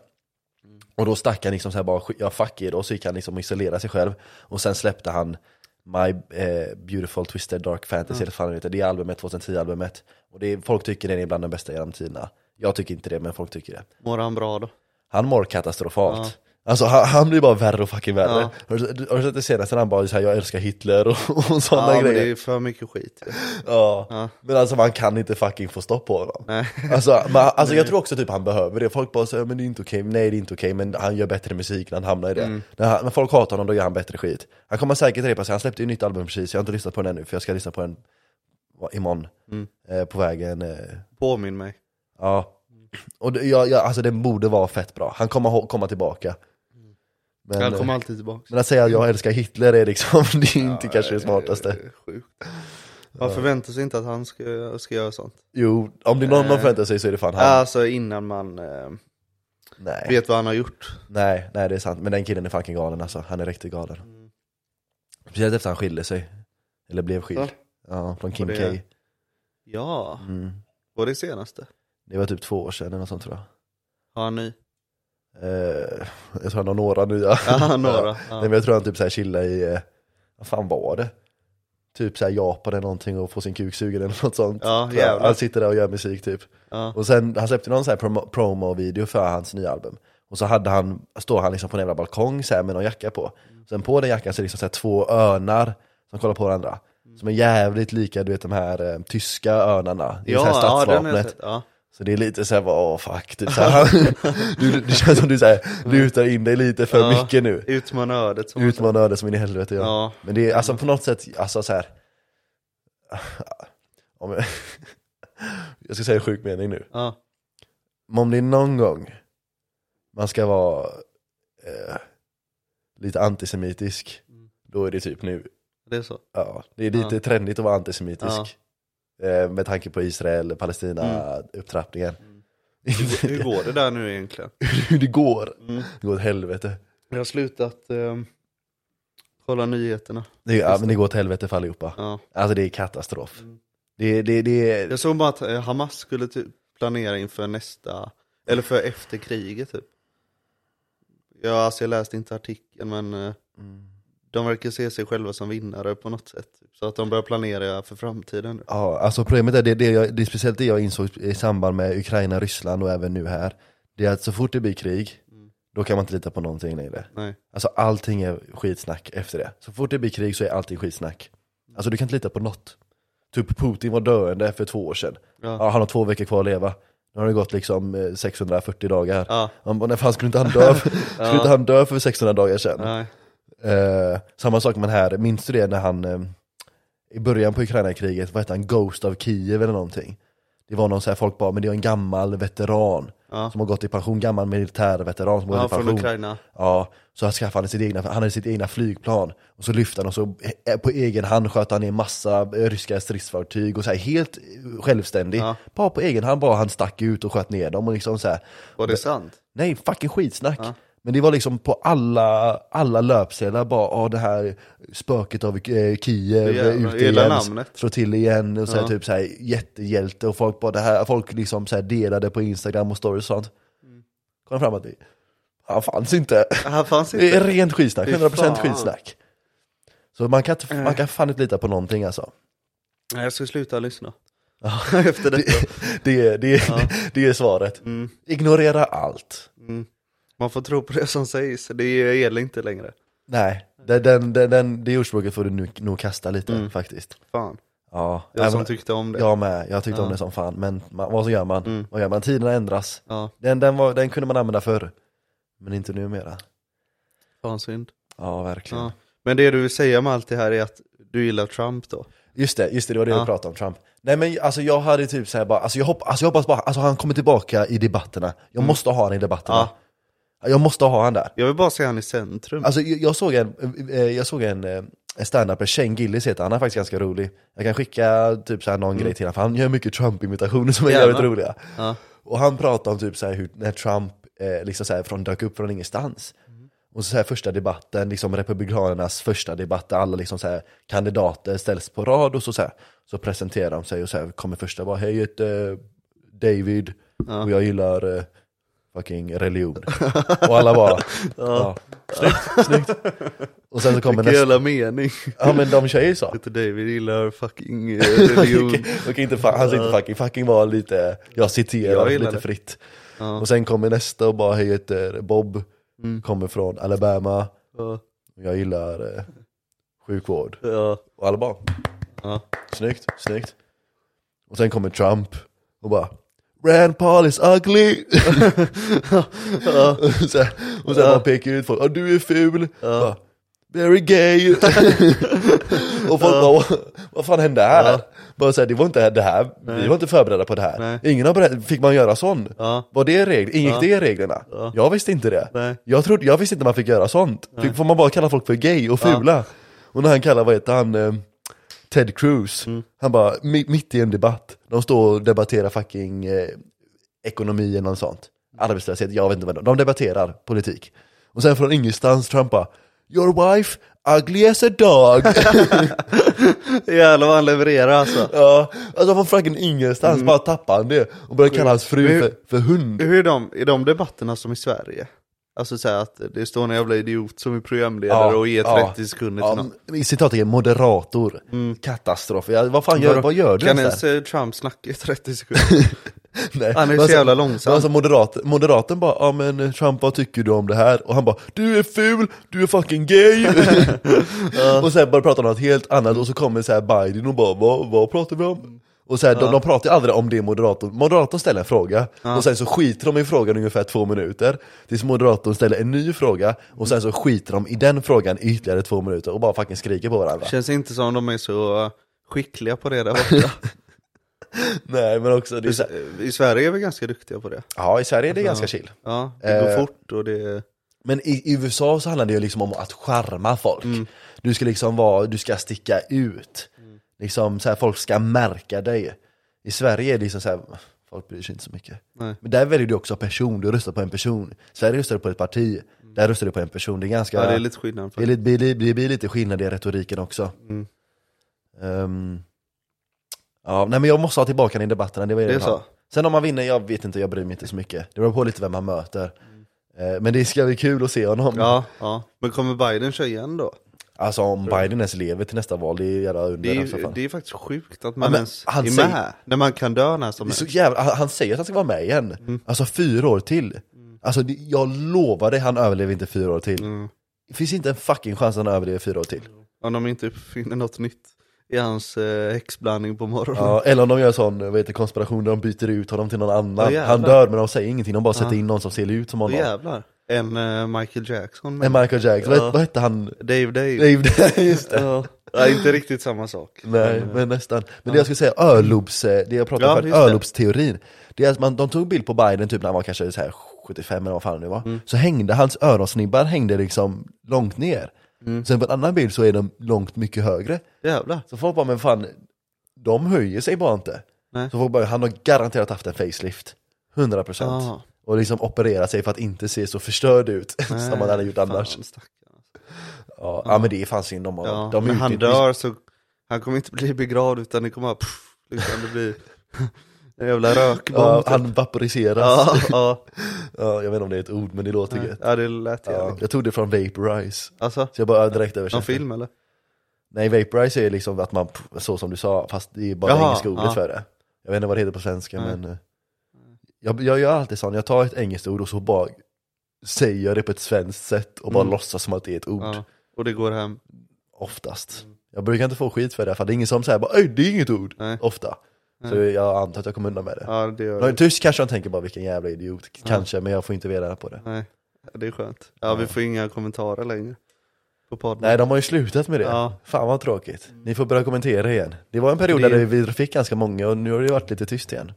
A: Och då stack han liksom så här bara, "Sk- ja fuck it, och så gick han liksom och isolerade sig själv. Och sen släppte han My eh, Beautiful Twisted Dark
B: Mm.
A: Fantasy, eller fan det heter, det är albumet, 2010-albumet. Och det är, folk tycker den är bland de bästa genom tiderna. Jag tycker inte det, men folk tycker det.
B: Mår han bra då?
A: Han mår katastrofalt. Alltså han, han blir bara värre och fucking värre.
B: Ja.
A: Har, du, sett- har du sett det senaste när han bara såhär, jag älskar Hitler och, och
B: Ja,
A: sådana
B: men
A: grejer?
B: det är för mycket skit.
A: Ja.
B: Ja.
A: Men alltså man kan inte fucking få stopp på honom.
B: Nej.
A: Alltså, man, alltså jag tror också typ han behöver det. Folk bara säger men det är inte okej, nej det är inte okej, men han gör bättre musik när han hamnar i det.
B: Mm.
A: När, han, när folk hatar honom då gör han bättre skit. Han kommer säkert repa sig, han släppte ju nytt album precis, jag har inte lyssnat på den ännu för jag ska lyssna på den va, imorgon.
B: Mm.
A: Eh, på vägen. Eh,
B: Påminn mig.
A: Ja. Och det, ja, ja, alltså den borde vara fett bra. Han kommer ho- komma tillbaka. Men,
B: Han kommer
A: eh,
B: alltid tillbaka.
A: men att säga jag älskar Hitler är liksom, det är inte kanske det smartaste.
B: Det är Sjukt. Man förväntar sig inte att han ska, ska göra sånt.
A: Jo, om det är någon man förväntar sig så är det fan han.
B: Alltså innan man eh,
A: nej.
B: vet vad han har gjort.
A: nej, nej det är sant. Men den killen är fucking galen alltså. Han är riktigt galen.
B: Mm.
A: Speciellt efter han skilde sig. Eller blev skild.
B: Va?
A: Ja, från Kim
B: Och
A: K.
B: det- Ja,
A: Mm.
B: var det senaste?
A: Det var typ två år sedan eller något sånt tror jag.
B: Har han ny?
A: Eh, jag tror han har några nya.
B: Ja, några.
A: Nej,
B: Ja.
A: men jag tror han typ såhär chillar i, eh, vad fan var det? Typ såhär Japan eller någonting och får sin kuk sugen eller något sånt.
B: Ja,
A: Tror jag.
B: jävlar.
A: han sitter där och gör musik typ.
B: Ja.
A: Och sen, han släppte någon sån här promo- promo-video för hans nya album. Och så hade han, står han liksom på en jävla balkong så här med någon jacka på. Sen på den jackan så är det liksom så här två örnar som kollar på varandra. Som är jävligt lika du vet de här eh, tyska örnarna. Det är så här
B: den har jag
A: stadsvapnet.
B: sett. Ja.
A: Så det är lite såhär, bara, åh fuck, typ, så här, du, det känns som du så här, lutar in dig lite för
B: Ja.
A: mycket nu.
B: Utmana ödet. Som
A: Utmana ödet som in i helvete ja.
B: Ja.
A: Men det är alltså på något sätt, alltså så här. Om jag, jag ska säga en sjuk mening nu.
B: Ja.
A: Men om det är någon gång man ska vara eh, lite antisemitisk,
B: Mm.
A: då är det typ nu.
B: Det är så.
A: Ja, det är lite trendigt att vara antisemitisk. Eh, med tanke på Israel, Palestina-upptrappningen.
B: Mm. Hur går det där nu egentligen?
A: Hur det går. Det går åt helvete.
B: Mm. Jag har slutat ehm, kolla nyheterna.
A: Det, ja, men det går åt helvete för allihopa.
B: Ja.
A: Alltså det är katastrof.
B: Mm.
A: Det, det, det är
B: Jag såg bara att eh, Hamas skulle typ planera inför nästa, eller för efter kriget typ. Ja, alltså jag läste inte artikeln men eh, de verkar se sig själva som vinnare på något sätt. Typ. Så att de börjar planera för framtiden nu.
A: Ja, alltså problemet är, det, det, jag, det är speciellt det jag insåg i samband med Ukraina, Ryssland och även nu här. Det är att så fort det blir krig,
B: Mm.
A: då kan man inte lita på någonting längre.
B: Nej.
A: Alltså allting är skitsnack efter det. Så fort det blir krig så är allting skitsnack. Alltså du kan inte lita på något. Typ Putin var döende för två år sedan.
B: Ja.
A: Ja, han har två veckor kvar att leva. Nu har det gått liksom eh, 640 dagar.
B: Ja.
A: Han bara, när fan skulle inte han dö? för- skulle inte han dö för 600 dagar sedan?
B: Nej.
A: Eh, samma sak med den här, minns du det när han eh, i början på Ukraina-kriget, vad hette han, Ghost of Kiev eller någonting? Det var någon så här folk bara, men det är en gammal veteran
B: Ja.
A: som har gått i pension, gammal militärveteran som har
B: Ja,
A: gått i
B: från
A: pension.
B: Ukraina.
A: Ja, så han skaffade han sitt egna, han hade sitt egna flygplan och så lyfte han och så eh, på egen hand sköt han ner massa eh, ryska stridsfartyg och så här helt eh, självständig.
B: Ja.
A: Bara på egen hand bara han stack ut och sköt ner dem och liksom så här,
B: Var det sant?
A: Nej, fucking skitsnack.
B: Ja.
A: Men det var liksom på alla, alla löpsedlar bara, ah, det här spöket av eh, Kiev
B: Det
A: är
B: är-
A: ute
B: gillar
A: igen,
B: namnet.
A: slår till igen och så här,
B: Ja.
A: typ så här, jättehjälte och folk bara det här, folk liksom så här, delade på Instagram och stories och sånt.
B: Mm.
A: Kom fram att det, han fanns inte.
B: Det här fanns
A: Det är
B: inte.
A: rent skitsnack,
B: Fy
A: 100%
B: fan.
A: skitsnack. Så man kan, inte- man kan fan inte lita på någonting alltså.
B: Nej, jag ska sluta lyssna.
A: Ja.
B: Efter
A: Det,
B: detta.
A: det, är- det, är-
B: Ja.
A: det är svaret.
B: Mm.
A: Ignorera allt.
B: Mm. Man får tro på det som sägs, det gäller inte längre.
A: Nej, den, den, den, den, det ordspråket får du nu, nog kasta lite
B: Mm.
A: faktiskt.
B: Fan,
A: Ja,
B: jag som
A: även-
B: tyckte om det.
A: jag med, jag tyckte om
B: Ja.
A: det som fan. Men man, vad så gör man?
B: Mm.
A: Vad gör man? Tiderna ändras.
B: Ja,
A: Den, den, var, den kunde man använda förr, men inte numera.
B: fan synd.
A: Ja, verkligen.
B: Ja. Men det du vill säga med allt det här är att du gillar Trump då?
A: Just det, just det, det var det vi
B: Ja.
A: pratade om, Trump. Nej men alltså jag hade typ såhär bara, alltså jag, hopp, alltså, jag hoppas bara, alltså han kommer tillbaka i debatterna. Jag
B: Mm.
A: måste ha han i debatterna. Jag måste ha han där.
B: Jag vill bara se han i centrum.
A: Alltså jag, jag såg en, eh, jag såg en, eh, en standup, Shane Gillis heter han, han är faktiskt ganska rolig. Jag kan skicka typ så här någon grej till honom, för han gör mycket Trump-imitationer som är
B: Gärna.
A: jävligt roliga.
B: Mm. Ja.
A: Och han pratar om typ så här hur när Trump eh, liksom så här från, dök upp från ingenstans.
B: Mm.
A: Och så, så här första debatten, liksom republikanernas första debatt, där alla liksom så här kandidater ställs på rad och så, så, här, så presenterar de sig och så här kommer första bara, hej jag heter eh, David
B: Ja.
A: och jag gillar eh, fucking religion. och alla bara, ja, snyggt, snyggt. Och sen så kommer
B: Vilken
A: nästa,
B: jävla mening.
A: ja men de tjejer så.
B: Peter David gillar fucking eh, religion.
A: Okej, inte fa- han sa inte fucking, fucking var lite, jag citerar
B: Jag gillar
A: lite
B: det.
A: fritt.
B: Ja. Mm.
A: Och sen kommer nästa och bara, hej jag heter Bob, kommer från Alabama,
B: ja,
A: jag gillar eh, sjukvård.
B: ja,
A: Och alla bara,
B: ja.
A: snyggt, snyggt. Och sen kommer Trump och bara, Rand Paul is ugly! och sen, och sen
B: Ja.
A: bara pekar ut folk, "Ah, du är ful, Bara, very gay! och folk bara, "Vad- vad fan hände här?
B: Ja.
A: Bara så här, det var inte det här, vi
B: Nej.
A: var inte förberedda på det här.
B: Nej.
A: Ingen har berättat, fick man göra sån?
B: ja.
A: Var det regler? Ingick
B: Ja.
A: det i reglerna?
B: Ja.
A: Jag visste inte det.
B: Nej.
A: Jag, trodde, jag visste inte man fick göra sånt. Fick, får man bara kalla folk för gay och fula? Och när han kallar, vad heter han, eh, Ted Cruz,
B: Mm.
A: han bara, mi- mitt i en debatt, de står och debatterar fucking eh, ekonomi eller något sånt. Arbetslöshet, jag vet inte vad de, de debatterar politik. Och sen från ingenstans, Trump bara, Your wife, ugly as a dog.
B: Jävlar vad han levererar alltså.
A: ja, alltså från fucking ingenstans bara tappar han det och börjar kalla hans fru
B: Mm. Hur-
A: för, för hund.
B: Hur är de, är de debatterna som i Sverige? Alltså så här att det står en jävla idiot som är programledare
A: Ja,
B: och ger
A: ja,
B: 30 sekunder till
A: Ja,
B: någon.
A: men citattecken moderator, katastrof. Ja, vad fan gör, vad gör du
B: Mm. Kan
A: ens
B: ens
A: där?
B: eh, Trump snacka i 30 sekunder?
A: Nej.
B: han är
A: men
B: så
A: alltså-
B: jävla
A: men
B: långsam.
A: Alltså moderat, moderaten bara, ja men eh, Trump vad tycker du om det här? Och han bara, du är ful, du är fucking gay! och sen börjar prata om något helt annat och så kommer så här Biden och bara, vad, vad pratar vi om? Och så här, de, de pratar ju aldrig om det moderatorn, moderatorn ställer en fråga och sen så skiter de i frågan i ungefär två minuter Tills moderatorn ställer en ny fråga och sen så skiter de i den frågan i ytterligare två minuter och bara fucking skriker på varandra
B: Känns inte som de är så eh, skickliga på det där borta.
A: Nej men också, det är
B: I,
A: så här,
B: S- I Sverige är vi ganska duktiga på det.
A: ja i Sverige är det ganska chill.
B: Ja, det går
A: Eh.
B: fort och det...
A: Men i, i USA så handlar det ju liksom om att charma folk. Du ska liksom vara, du ska sticka ut. Liksom så här, folk ska märka dig. I Sverige är det liksom så här, folk bryr sig inte så mycket.
B: Nej.
A: Men där väljer du också person, du röstar på en person. I Sverige röstar du på ett parti, där röstar du på en person. Mm. Det är ganska,
B: Ja, det är lite skillnad.
A: det, är
B: För.
A: lite, blir- blir- blir lite skillnad i retoriken också.
B: Mm.
A: Ehm, ja, nej men jag måste ha tillbaka den i debatterna, det var ju
B: Det är
A: den här.
B: så.
A: Sen om man vinner, jag vet inte, jag bryr mig inte så mycket. Det beror på lite vem man Ehm, möter. Eh, Men det ska bli kul att se honom.
B: Ja, ja. Men kommer Biden köra igen då?
A: Alltså om Biden ens lever till nästa val, det är jävla under
B: Det är,
A: för
B: ju,
A: fan.
B: det är faktiskt sjukt att
A: Ja,
B: man
A: men
B: ens
A: han
B: är
A: säger-
B: med. När man kan dö när som
A: Det är så
B: helst.
A: jävla, han, han säger att han ska vara med igen.
B: Mm.
A: Alltså fyra år till. Alltså det, jag lovar dig, han överlever inte fyra år
B: Mm.
A: till. Det finns inte en fucking chans att han överlever fyra år till.
B: Om de inte finner något nytt i hans eh, häxblandning på morgonen.
A: Ja, eller om de gör sån vad heter, det, konspiration där de byter ut honom till någon annan.
B: Åh, jävlar.
A: han dör men de säger ingenting, de bara sätter in någon som ser ut som
B: Åh,
A: honom.
B: jävlar. En eh, Michael Jackson.
A: Men
B: Men...
A: Michael Jackson,
B: Ja.
A: vad, vad hette han?
B: Dave Dave.
A: Dave, just det.
B: Ja. Ja, inte riktigt samma sak.
A: Nej, men nästan. Men det jag skulle säga, örlops, eh, det jag pratade
B: Ja,
A: om förut,
B: just det.
A: örlopsteorin. Det är att man, de tog bild på Biden typ när han var kanske så här 75 eller vad fan det nu var.
B: Mm.
A: Så hängde hans öronsnibbar hängde liksom långt ner.
B: Mm.
A: Sen på en annan bild så är de långt mycket högre.
B: Jävlar.
A: Så folk bara, men fan, de höjer sig bara inte.
B: Nej.
A: Så folk bara, han har garanterat haft en facelift. 100%
B: Ja.
A: Och liksom opererat sig för att inte se så förstörd ut som han hade gjort
B: Fan,
A: annars.
B: stackarn.
A: Ja, ja men det är fan synd om honom.
B: Ja,
A: De
B: när han
A: utnyttjar-
B: dör så, han kommer inte bli begravd utan det kommer bara, pff, liksom det blir en jävla rökbomb.
A: Ja,
B: typ.
A: han vaporiseras.
B: ja, ja,
A: Ja, jag vet inte om det är ett ord, men det låter gött.
B: ja, det lät
A: Ja,
B: jävligt.
A: jag tog det från Vaporize.
B: Alltså,
A: Så jag bara direkt
B: någon
A: översatte.
B: film eller?
A: Nej, Vaporize är liksom att man, så som du sa, fast det är bara
B: Jaha,
A: engelska ordet
B: ja.
A: för det. Jag vet inte vad det heter på svenska,
B: Nej.
A: men eh, jag, jag gör alltid sånt. Jag tar ett engelskt ord och så bara säger jag det på ett svenskt sätt och bara
B: Mm.
A: låtsas som att det är ett ord,
B: Ja. Och det går hem.
A: oftast. Jag brukar inte få skit för det, för det är ingen som säger bara "Oj, det är inget ord,
B: Nej.
A: ofta. Så jag antar att jag kommer undan med det.
B: Ja, det gör
A: Men
B: det.
A: tyst kanske de tänker bara vilken jävla idiot, kanske, men jag får inte veta på det.
B: Nej, ja, det är skönt. Ja, vi får inga kommentarer längre. På podden.
A: Nej, de har ju slutat med det.
B: Ja.
A: Fan vad tråkigt. Ni får börja kommentera igen. Det var en period
B: Det-
A: där vi fick ganska många och nu har det ju varit lite tyst igen.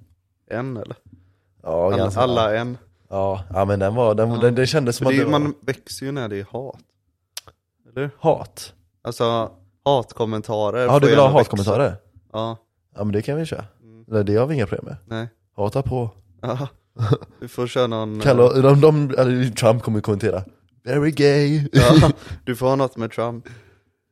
B: En eller?
A: Ja,
B: Alla,
A: ganska.
B: alla en.
A: Ja, ja men den var, den, den, det kändes som
B: För
A: att
B: det
A: det
B: är,
A: var
B: man växer ju när det är hat. Eller?
A: hat.
B: Alltså, hatkommentarer.
A: Ja,
B: får
A: du vill ha
B: gärna växa. Mm.
A: hatkommentarer?
B: Ja,
A: Ja men det kan vi köra. Nej, det har vi inga problem med.
B: nej.
A: Hata på.
B: Ja. Vi får köra någon...
A: Kalla, de, de, eller Trump kommer ju kommentera. Very gay.
B: Ja, du får ha något med Trump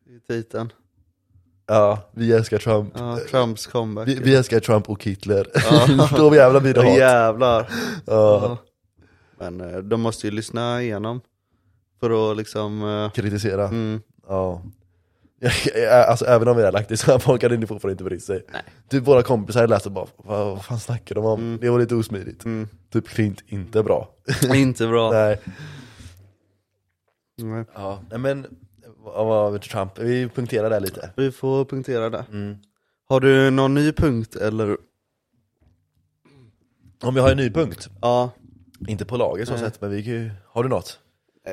B: i titeln.
A: Ja, vi älskar Trump.
B: Ja, Trumps comeback.
A: Vi, vi älskar Trump och Hitler.
B: Ja.
A: Då jävlar blir det
B: Ja,
A: hat.
B: jävlar.
A: Ja,
B: Ja. Men eh, de måste ju lyssna igenom för att liksom... eh,
A: kritisera.
B: Mm,
A: Ja. alltså även om vi har lagt det så här, folk hade inte fortfarande inte brytt sig. Typ våra kompisar läste bara, vad, vad fan snackar de om? Det var lite osmidigt.
B: mm.
A: Typ Klint, inte bra.
B: Inte bra.
A: Nej.
B: Nej.
A: Ja. Nej men, vad vad var Trump? Vi punkterar där lite.
B: Vi får punktera det.
A: Mm.
B: Har du någon ny punkt eller?
A: Om vi har en ny punkt,
B: Ja.
A: inte på lager så sett, men vi kan ju, har du något?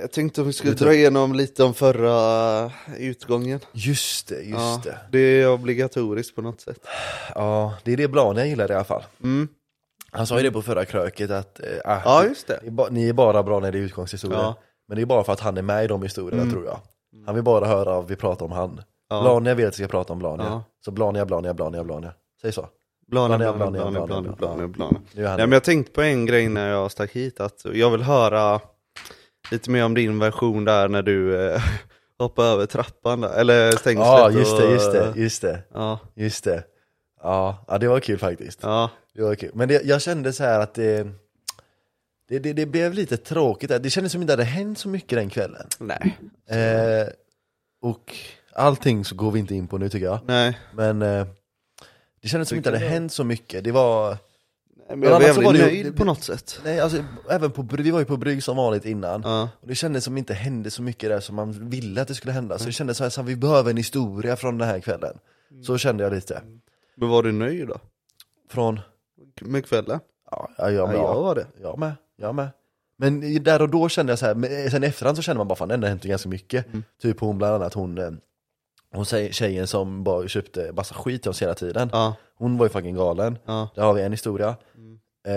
B: Jag tänkte att vi skulle dra igenom lite om förra eh, utgången.
A: Just det, just
B: ja,
A: det.
B: det är obligatoriskt på något sätt.
A: Ja, det är det Blania gillar i alla fall.
B: Mm.
A: Han sa ju det på förra kröket att, eh, ah,
B: Ja, just det.
A: Det är ba- Ni är bara bra när det är utgångshistorier.
B: Ja. Mm.
A: Men det är bara för att han är med i de historierna tror jag. Han vill bara höra av vi pratar om han.
B: Ja.
A: Blania vill att vi ska prata om Blania.
B: Ja.
A: Så Blania, Blania, Blania, Blania. Säg så.
B: Blana,
A: Blana,
B: blana,
A: blana,
B: blana,
A: blana,
B: blana,
A: blana.
B: blana, blana.
A: Nu är han
B: Nej, men jag tänkte på en grej när jag stack hit, att jag vill höra lite mer om din version där när du eh, hoppade över trappan där, eller stängslet.
A: Ja, just det,
B: och-
A: just det, just det,
B: Ja,
A: just det. Ja, ja det var kul faktiskt.
B: ja,
A: Det var kul. Men det, jag kände så här att det, det, det, det blev lite tråkigt. där. Det kändes som att det inte hade hänt så mycket den kvällen.
B: nej.
A: Eh, och allting så går vi inte in på nu tycker jag.
B: Nej,
A: Men eh, det kändes som att det inte hade hänt så mycket. Det var...
B: men
A: Men
B: jag var
A: annars
B: jävligt
A: var det ju-
B: nöjd på något sätt.
A: Nej, alltså, även på, Bry- vi var ju på Brygg som vanligt innan.
B: Ja.
A: Och det kändes som inte hände så mycket där som man ville att det skulle hända. Så det kändes som att vi behöver en historia från den här kvällen. Så kände jag lite.
B: Men var du nöjd då?
A: Från,
B: Med kvällen?
A: ja, ja, jag,
B: Ja,
A: med,
B: jag
A: ja,
B: var det.
A: jag med, jag med. Men i- där och då kände jag så här, men eh, sen i efterhand så kände man bara fan det hände hänt ganska mycket.
B: Mm.
A: Typ hon bland annat, hon, eh, hon säger- tjejen som bara köpte massa skit till oss hela tiden.
B: Ja,
A: Hon var ju fucking galen.
B: ja,
A: Där har vi en historia.
B: Mm.
A: Eh,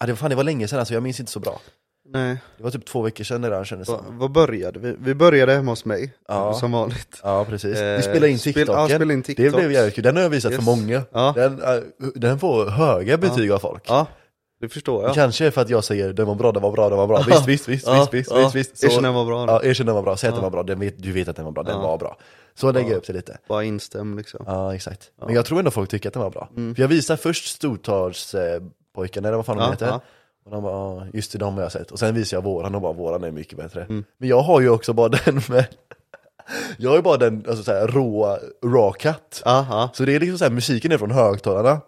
A: ja, det, var fan, det var länge sedan alltså, jag minns inte så bra.
B: nej.
A: Det var typ två veckor sedan det där kändes
B: Va-
A: som.
B: Vad började vi? Vi började hemma hos mig,
A: Ja.
B: som vanligt.
A: Ja precis, vi
B: Eh,
A: spelade in
B: spel-
A: TikToken.
B: ja, spela in
A: Det blev
B: TikToks.
A: jävligt kul, den har jag visat för
B: Yes.
A: många.
B: Ja.
A: Den, eh, den får höga betyg av folk.
B: Ja, det förstår jag.
A: Kanske för att jag säger den var bra, den var bra, den var bra. Visst, visst, visst,
B: Ja,
A: visst, visst,
B: ja.
A: visst, visst.
B: Erkänn den var bra nu.
A: Ja, erkänn den var bra, säg att den var bra, den vet, du vet att den var bra, den var bra. Så lägger jag upp det lite.
B: Bara instäm liksom.
A: Ja, exakt. Men jag tror ändå folk tycker att den var bra. För jag visar först stortagspojkarna, eller vad fan de
B: Ja,
A: heter.
B: ja.
A: Och de bara, "Ja, just det, de har jag sett. Och sen visar jag våran och bara, våran är mycket bättre. Men jag har ju också bara den med Jag är bara den alltså, så här, råa, raw cut.
B: Ja, ja.
A: Så det är liksom så här, musiken är från högtalarna.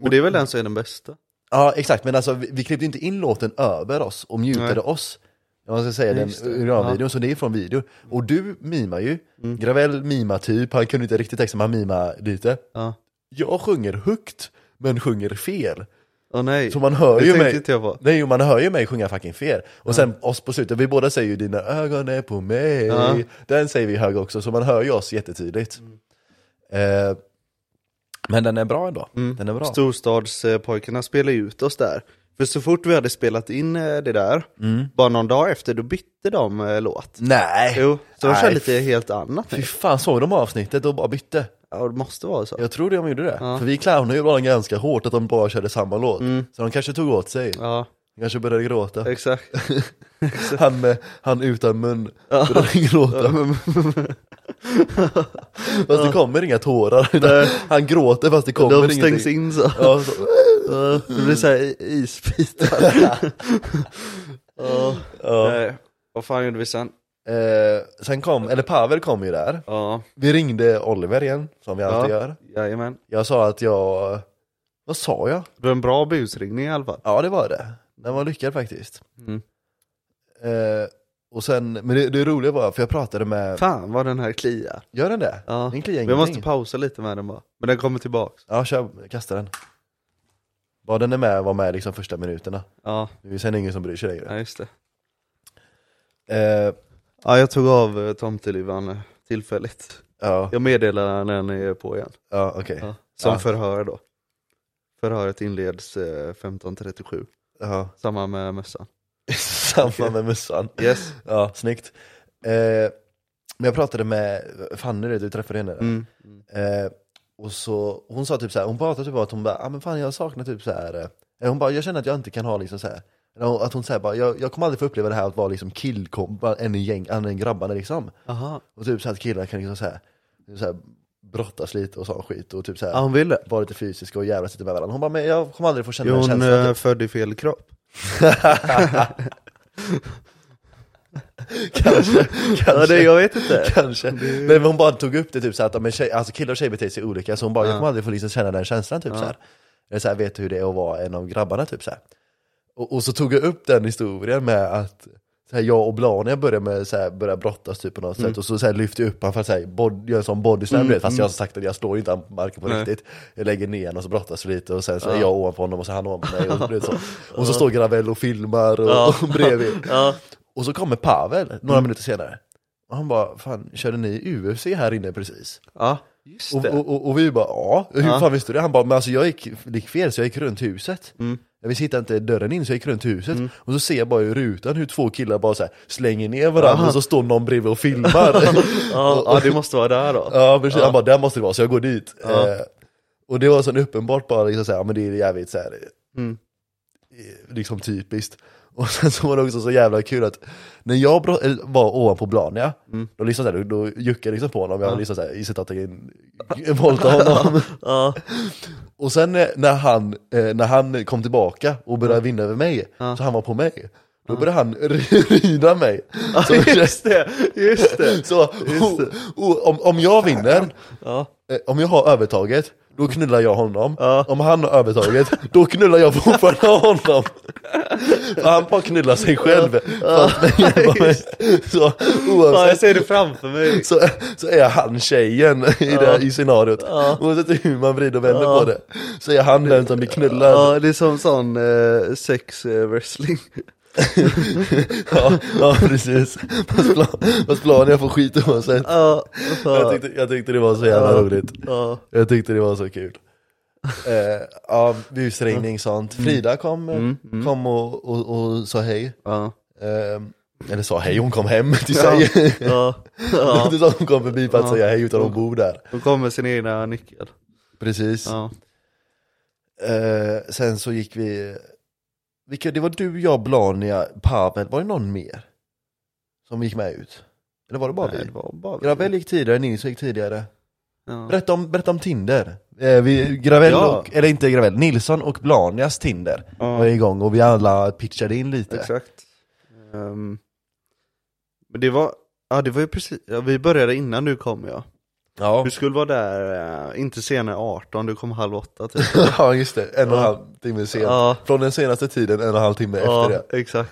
B: Men det är väl den som är den bästa.
A: Ja, exakt. Men alltså, vi, vi klippte inte in låten över oss och mutade
B: Nej.
A: oss. Jag ska säga den
B: Just det.
A: originalvideon, så det är från video. Och du mimar ju.
B: Mm.
A: Gravel mimar typ, han kunde inte riktigt texten, men han mimar lite.
B: Ja.
A: Jag sjunger högt, men sjunger fel.
B: Åh nej,
A: Så man hör
B: det
A: ju
B: tänkte
A: mig.
B: inte jag på.
A: Nej, jo, man hör ju mig sjunga fucking fel. Och sen oss på slutet, vi båda säger ju dina ögon är på mig.
B: Ja. Mm.
A: Den säger vi hög också, så man hör ju oss jättetydligt. Eh, men den är bra ändå.
B: Mm.
A: Den är bra.
B: Storstadspojkarna spelade ut oss där. För så fort vi hade spelat in eh, det där,
A: Mm.
B: bara någon dag efter, då bytte de eh, låt.
A: Nej!
B: Jo, så de
A: Nej,
B: kör lite helt annat nu.
A: Fy fan, såg de avsnittet och bara bytte?
B: Ja, det måste vara så.
A: Jag tror de gjorde det. För vi clownade ju bara ganska hårt att de bara körde samma låt.
B: Mm.
A: Så de kanske tog åt sig.
B: Ja,
A: De kanske började gråta.
B: exakt.
A: Han, med, han utan mun började gråta. fast det kommer inga tårar. Han gråter fast det kommer
B: De
A: ingenting.
B: stängs in så.
A: Ja, så.
B: Ja, Det blir såhär isbitar. Ja. Nej, Vad fan gjorde vi sen?
A: Eh, sen kom, eller Pavel kom ju där.
B: Ja,
A: Vi ringde Oliver igen, som vi alltid gör.
B: jajamän.
A: Jag sa att jag, vad sa jag?
B: Det var en bra busringning i alla fall.
A: Ja det var det. Den var lyckad faktiskt.
B: Mm.
A: Eh, och sen, men det, det roliga var, för jag pratade med,
B: Fan vad den här kliar.
A: gör den det?
B: Ja.
A: Den kliar
B: Jag måste
A: ingenting.
B: pausa lite med den bara. Men den kommer tillbaks.
A: Ja kör, kasta den. Bara den är med, var med liksom första minuterna.
B: Ja,
A: Det är sen ingen som bryr sig längre.
B: ja just det.
A: Eh,
B: Ja, jag tog av eh, tomteluvan eh, tillfälligt.
A: ja,
B: Jag meddelar när ni är på igen.
A: ja okej.
B: Eh, Ja. Som
A: Ja.
B: förhör då. Förhöret inleds eh, 15.37.
A: Ja.
B: Samma med mössan.
A: Samma med mössan.
B: Yes.
A: Ja, snyggt. Eh, men jag pratade med Fanny, du träffade henne.
B: Mm.
A: Eh, och så, hon sa typ så här, hon pratade typ om att hon bara, ah, men fan jag saknar typ så här. Eh, hon bara, jag känner att jag inte kan ha liksom så här. Eller hon- Att hon säger bara, jag, jag kommer aldrig få uppleva det här att vara liksom killkompa, en i gäng, en i grabbarna liksom.
B: Aha.
A: Och typ så här att killar kan liksom så här, så här brottas lite och sån skit och typ så här,
B: Ja, hon ville.
A: vara lite fysiska och jävlas lite med varandra. Hon bara, men jag kommer aldrig få känna
B: Jo,
A: den
B: hon
A: känslan.
B: eh, född i fel kropp.
A: kanske,
B: Ja,
A: kanske.
B: det, jag vet inte.
A: Kanske. Nej, men hon bara tog upp det typ så här att ja, men tjej, alltså killar och tjejer beter sig olika, så hon bara, jag kommer aldrig få liksom känna den känslan typ så här. Eller så här, vet du hur det är att vara en av grabbarna typ så här. Och, och så tog jag upp den historien med att så här, jag och Blania började, med, så här, började brottas typ på något
B: Mm.
A: sätt, och så, så här, lyfte jag upp honom för att så här, bod, göra en sån body slam, du vet, fast jag har sagt att jag slår inte honom på marken på
B: Nej.
A: riktigt. Jag lägger ner honom och så brottas vi lite, och sen så är jag ovanpå honom och så är han ovanpå mig. Och, du vet, så. och så står Gravel och filmar och,
B: Ja.
A: och bredvid.
B: Ja.
A: Och så kommer Pavel några minuter senare. Och han bara, fan körde ni UFC här inne precis?
B: ja, just
A: Och,
B: det.
A: och, och, och vi bara, ja, hur
B: Ja.
A: fan visste du det? Han bara, men alltså jag gick, det gick fel så jag gick runt huset. Jag visste hittade inte dörren in så jag gick runt huset. Och så ser jag bara i rutan hur två killar bara så här, slänger ner varandra och så står någon bredvid och filmar.
B: ja, ja, det måste vara där då.
A: ja precis, han bara, där måste det vara så jag går dit. Eh, och det var så uppenbart bara, liksom, så här, ja, men det är jävligt så här,
B: Mm.
A: liksom typiskt. Och sen så var det också så jävla kul att när jag bro- eller var ovanpå Blania,
B: Mm.
A: då, liksom så här, då, då juckade jag liksom på honom, jag ja. liksom så här, gissat att jag in- våldtog honom.
B: Ja,
A: Och sen eh, när han, eh, när han kom tillbaka och började vinna över mig, så han var på mig, då började han rida mig. Så,
B: just det, just det.
A: så o- o- om, om jag vinner,
B: Ja.
A: eh, om jag har övertaget, då knullar jag honom.
B: Ja.
A: Om han har övertaget, då knullar jag fortfarande honom. För han bara knullar sig själv. Fast med hjälp av mig. Så
B: Fan, jag
A: oavsett.
B: ser det framför mig.
A: Så, så är han tjejen i, det, i scenariot. Oavsett hur man vrider och vänder på det. Så är han den som blir knullad.
B: Ja, det är som sån eh, sex eh, wrestling.
A: Ja, ja precis. Fast plan- Fast planen jag får skit oavsett.
B: Ja,
A: Jag
B: fan.
A: tyckte, jag tyckte det var så jävla roligt.
B: Ja,
A: Jag tyckte det var så kul. Eh, ja, busringning sånt.
B: Mm.
A: Frida kom, eh, kom och, och, och sa hej.
B: ja,
A: Eh, eller sa hej, hon kom hem till sig.
B: ja.
A: Det
B: ja.
A: är inte så att hon kom förbi för att säga hej utan hon bor där.
B: Då kommer sin egna nyckel.
A: Precis.
B: Ja,
A: Eh, sen så gick vi, vilka, det var du, jag, Blania, Pavel, var det någon mer? Som gick med ut? Eller var det bara
B: Nej,
A: vi?
B: det var bara vi.
A: Gravel gick tidigare, Nilsson gick tidigare.
B: Ja.
A: Berätta om, berätta om Tinder. Eh, vi, Gravel
B: Ja.
A: och, eller inte Gravel, Nilsson och Blanias Tinder
B: Ja.
A: var igång och vi alla pitchade in lite.
B: Exakt. Ehm, men det var, Ja det var ju precis, ja, vi började innan du kom ja.
A: Ja,
B: Du skulle vara där, eh, inte senare 18, du kom halv åtta typ.
A: ja just det. En och en halv timme sen.
B: Ja.
A: Från den senaste tiden, en och en halv timme efter det.
B: ja, exakt.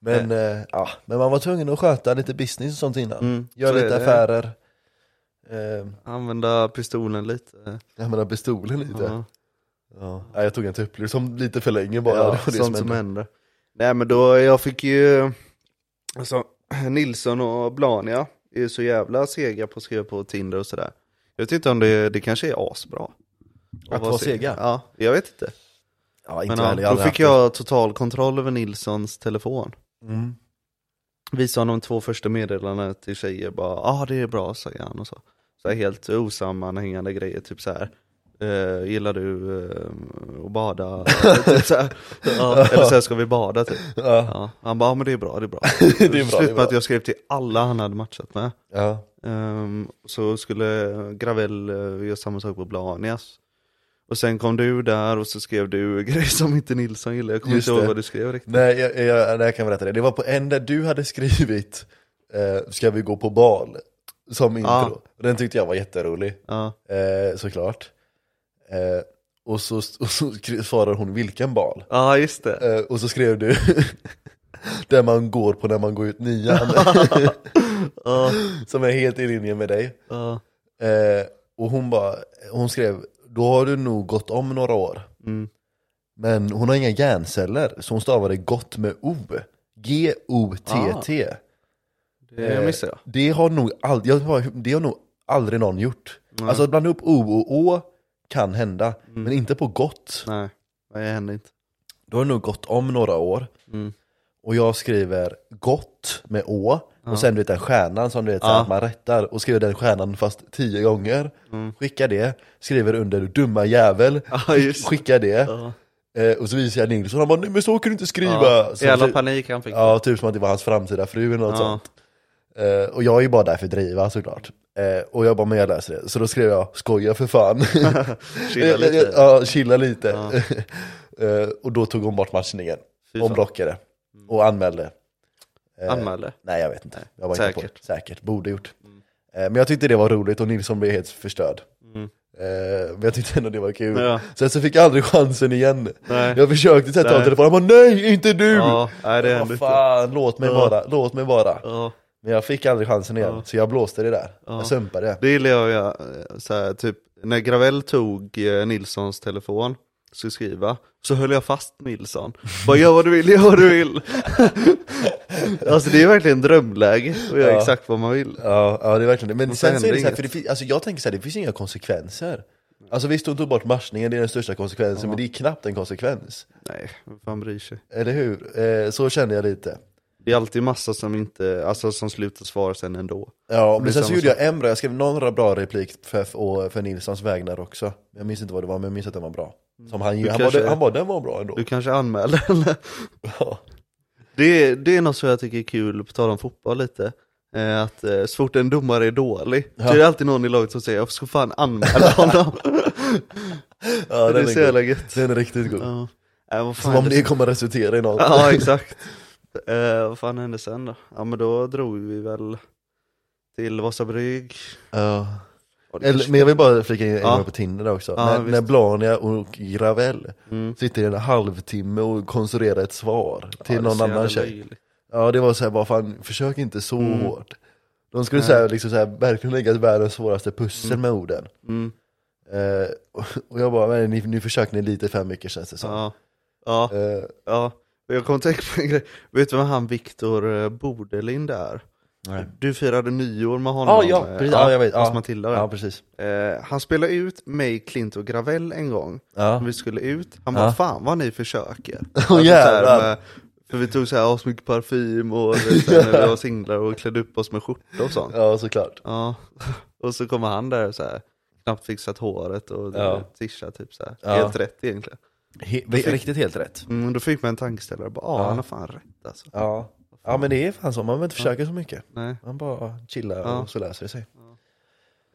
A: Men, eh, ja, men man var tvungen att sköta lite business och sånt innan.
B: Mm,
A: Göra
B: så är
A: lite
B: det.
A: affärer. Eh,
B: Använda pistolen lite.
A: jag menar pistolen lite.
B: Ja.
A: Ja. Nej, jag tog en tupplur som lite för länge bara.
B: Ja,
A: det var det
B: sånt
A: som
B: som
A: hände.
B: händer. Nej men då, jag fick ju, alltså Nilsson och Blania är ju så jävla sega på att skriva på Tinder och sådär. Jag vet inte om det, det kanske är asbra.
A: Att vara sega?
B: Ja, jag vet inte.
A: Ja, inte
B: Men
A: jag heller, jag
B: ja, då
A: hade
B: fick
A: haft
B: jag total kontroll över Nilssons telefon.
A: det. Mm.
B: Visade honom två första meddelandena till tjejer, bara ja ah, det är bra sa han och så. Så här helt osammanhängande grejer, typ så här. eh, gillar du eh, att bada? typ så här. Ja, eller så här, ska vi bada typ?
A: Ja,
B: Ja. Han bara, ja men det är bra, det är bra.
A: det är bra.
B: Slut
A: Det är
B: med
A: bra.
B: att jag skrev till alla han hade matchat med.
A: Ja.
B: Ehm, så skulle Gravel uh, göra samma sak på Blanias. Och sen kom du där och så skrev du grejer som inte Nilsson gillade. Jag kommer
A: Just
B: inte ihåg
A: det.
B: vad du skrev riktigt.
A: Nej, jag, jag, nej, jag kan berätta det. Det var på en där du hade skrivit eh, Ska vi gå på bal? Som intro.
B: Ja.
A: Den tyckte jag var jätterolig.
B: Ja,
A: Eh, såklart. Eh, och så, och så skri- svarar hon vilken bal?
B: ja just det.
A: Eh, och så skrev du Där man går på när man går ut nian.
B: Ja,
A: som är helt i linje med dig.
B: ja.
A: Eh, och hon, bara, hon skrev, då har du nog gått om några år.
B: Mm.
A: Men hon har inga hjärnceller, så hon stavade gott med O. G-O-T-T.
B: det
A: Eh,
B: missade Ah. jag.
A: Det har nog, ald- jag, har- det har nog aldrig någon gjort. Alltså att blanda upp O och Å kan hända,
B: Mm.
A: men inte på gott.
B: Nej, det hände inte.
A: Då har det nog gått om några år.
B: Mm.
A: Och jag skriver gott med Å och sen du vet den stjärnan som du vet så
B: Ja.
A: att man rättar och skriver den stjärnan fast tio gånger.
B: Mm.
A: Skickar det, skriver under dumma jävel,
B: Ja, just det.
A: skickar det.
B: Ja.
A: Eh, och så visar jag Nilsson, han bara nej men så kan du inte skriva.
B: Ja,
A: Så
B: jävla
A: typ-
B: panik han fick.
A: ja, typ som att det var hans framtida fru eller något
B: Ja.
A: sånt. Eh, och jag är ju bara där för att driva såklart. Eh, och jag bara, men jag läser det. Så då skrev jag, skoja för fan.
B: Chilla lite.
A: Eh, Ja, chilla lite. Eh, och då tog hon bort matchningen.
B: Fy
A: Hon
B: fan. Mm.
A: blockade. Och anmälde. Eh,
B: Anmälde.
A: Nej jag vet inte. Jag var inte på
B: Säkert. Mm.
A: det. Säkert, borde gjort. Eh, Men jag tyckte det var roligt och Nilsson blev helt förstörd. Eh, Men jag tyckte ändå det var kul.
B: Mm. Ja.
A: Sen så fick jag aldrig chansen igen.
B: Nej.
A: Jag försökte sätta av
B: Nej.
A: telefonen, han bara nej, inte du!
B: Ja, nej det hände
A: Vad
B: inte.
A: fan, låt mig bara, låt mig bara.
B: Ja.
A: Men jag fick aldrig chansen igen, så jag blåste det där. Jag sumpade det.
B: Det gillar jag, att göra, eh, så här, typ när Gravel tog eh, Nilssons telefon, skulle skriva, så höll jag fast Nilsson. Bara gör vad du vill, gör vad du vill. alltså det är verkligen drömläge, och göra
A: Ja.
B: exakt vad man vill.
A: Ja, ja det är verkligen det. Men
B: så
A: sen så är
B: händer
A: det så här,
B: inget.
A: för det fin- alltså jag tänker så här, det finns inga konsekvenser. Alltså visst, hon tog bort matchningen, det är den största konsekvensen, men det är knappt en konsekvens.
B: Nej, vem fan bryr sig?
A: Eller hur? Eh, så kände jag lite.
B: Det är alltid massa som inte, alltså som slutar svara sen ändå.
A: Ja, men
B: blir
A: sen så
B: samma
A: gjorde jag en bra, jag skrev några bra replik för, för, för Nilssons vägnar också. Jag minns inte vad det var, men jag minns att den var bra. Som han, han,
B: kanske-
A: bara, han bara, den var bra ändå.
B: Du kanske anmäler eller?
A: Ja.
B: Det, är- det är något som jag tycker är kul, på tal om fotboll lite. eh, Att eh, så fort en domare är dålig, så är det alltid någon i laget som säger jag ska fan anmäla honom.
A: Ja,
B: det är
A: den
B: så
A: är god.
B: jävla gött.
A: Den är riktigt god.
B: Ja. Äh, vad fan
A: Som om
B: hände
A: det kommer resultera i något.
B: sen? Ja exakt. Eh, vad fan hände sen då? Ja men då drog vi väl till Vasa Brygg.
A: Ja.
B: Och det
A: Eller,
B: kanske-
A: men jag vill bara flika in en
B: Ja.
A: grej på Tinder där också.
B: Ja,
A: när,
B: visst.
A: när Blania och Gravel
B: Mm.
A: sitter i en halvtimme och konstruerar ett svar till
B: Ja, det är
A: någon
B: så jävla
A: annan tjej.
B: löjligt. Mm.
A: Ja det var såhär, bara fan försök inte så hårt. De skulle såhär, liksom såhär, verkligen lägga världens svåraste pussel med orden.
B: Mm.
A: Eh, och, och jag bara, men ni, nu försöker ni lite för mycket känns det som.
B: Ja. Ja.
A: Eh,
B: ja. Jag kom att tänka på en grej. Vet du vad han Viktor eh, Bordelin där?
A: Nej.
B: Du firade nyår med
A: Ja,
B: honom.
A: ja,
B: eh,
A: precis. Ja, jag vet.
B: Hos
A: Ja.
B: Matilda.
A: ja
B: där.
A: precis.
B: Eh, han spelade ut mig, Klint och Gravel en gång.
A: Ja.
B: När vi skulle ut. Han bara,
A: Ja.
B: fan vad ni försöker.
A: Åh,
B: Alltså, så här
A: jävlar.
B: med- för vi tog så här asmycket parfym och du vet, så här, när vi var singlar och klädde upp oss med skjorta och sånt.
A: Ja såklart.
B: Ja. Och så kommer han där och så här, knappt fixat håret och
A: Ja.
B: tischa typ så här.
A: Ja.
B: Helt rätt egentligen.
A: He- riktigt helt rätt.
B: Mm, då fick man en tankeställare, bara, ah, han har fan rätt alltså.
A: Ja. ja men det är fan så, man behöver inte försöka så mycket.
B: Nej.
A: Man bara chillar
B: Ja.
A: och så löser det sig.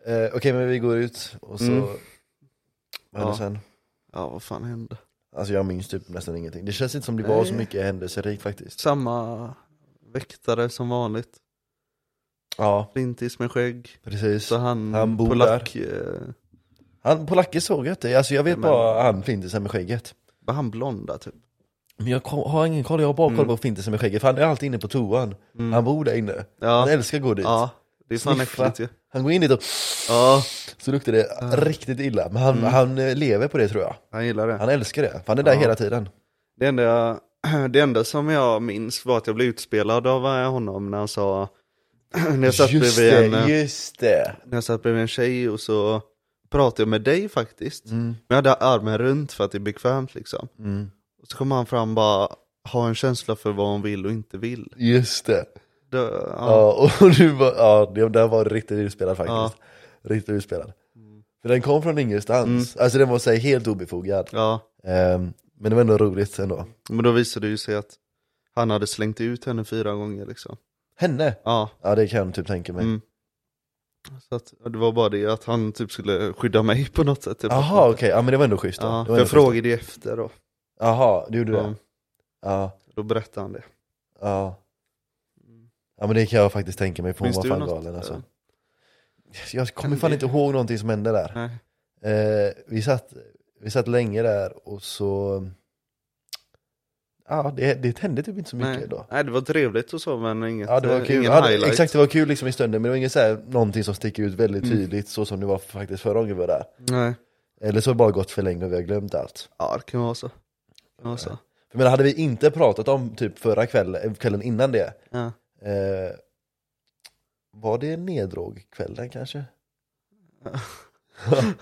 A: Eh, Okej men vi går ut och så,
B: Mm.
A: vad hände
B: Ja.
A: sen?
B: Ja, vad fan hände?
A: Alltså jag minns typ nästan ingenting. Det känns inte som det var
B: Nej.
A: så mycket händelserikt faktiskt.
B: Samma väktare som vanligt.
A: Ja,
B: Flintis med skägg.
A: precis.
B: Så han,
A: Han bor
B: polack, eh,
A: Han, polacken såg jag inte, alltså jag vet
B: Men-
A: bara han flintisen med skägget.
B: var han blonda typ?
A: Men jag ko- har ingen koll, jag har bara koll
B: Mm.
A: på flintisen med skägget, för han är alltid inne på toan. Han bor där inne. Han
B: Ja,
A: älskar att gå dit.
B: ja det är fan
A: Sniffa.
B: äckligt ju.
A: Han går in dit och
B: Ja,
A: så luktar det riktigt illa. Men han, han eh, lever på det tror jag.
B: han gillar det.
A: Han älskar det, för han är där
B: Mm. Ja.
A: hela tiden.
B: Det enda, det enda som jag minns var att jag blev utspelad av eh, honom när han sa, när jag satt
A: Just
B: bredvid
A: det,
B: en, eh,
A: just det.
B: när jag satt bredvid en tjej och så pratade jag med dig faktiskt. Men jag hade armen runt för att det är bekvämt liksom.
A: Mm.
B: Och så kom han fram bara, ha en känsla för vad hon vill och inte vill.
A: Just det.
B: Det, ja.
A: Ja, och du var, ja, det där var riktigt utspelad faktiskt. Riktigt utspelad. För den kom från ingenstans.
B: Mm.
A: Alltså den var så här, helt obefogad.
B: ja,
A: Ehm, men det var ändå roligt ändå.
B: men då visade det ju sig att han hade slängt ut henne fyra gånger liksom.
A: Henne?
B: Ja,
A: Ja det kan jag typ tänka mig.
B: Mm. så att, och det var bara det att han typ skulle skydda mig på något sätt. Typ.
A: Jaha okej, ja men det var ändå schysst då.
B: Ja,
A: Det
B: för
A: var
B: jag Mm.
A: ändå schysst.
B: frågade ju efter då.
A: Jaha, du gjorde
B: Ja.
A: det? Ja,
B: Då berättade han det.
A: ja. Ja men det kan jag faktiskt tänka mig, för hon
B: Minns
A: var
B: du
A: fan
B: något,
A: galen
B: eh,
A: alltså. Jag kommer
B: hände?
A: fan inte ihåg någonting som hände där.
B: Nej.
A: Eh, vi, satt, vi satt länge där och så... Ja, det, det hände typ inte så mycket
B: Nej.
A: då.
B: Nej, det var trevligt och så men inget, eh,
A: Ja, det var kul.
B: ingen
A: Ja, det-
B: highlight.
A: exakt, det var kul liksom i stunden, men det var inget så här, någonting som sticker ut väldigt
B: Mm.
A: tydligt så som det var faktiskt förra gången vi var där.
B: Nej.
A: Eller så har det bara gått för länge och vi har glömt allt.
B: Ja, det kan vara så. Det kan vara så.
A: För men hade vi inte pratat om typ förra kvällen, kvällen innan det,
B: Ja.
A: eh, var det nedrogkvällen kanske?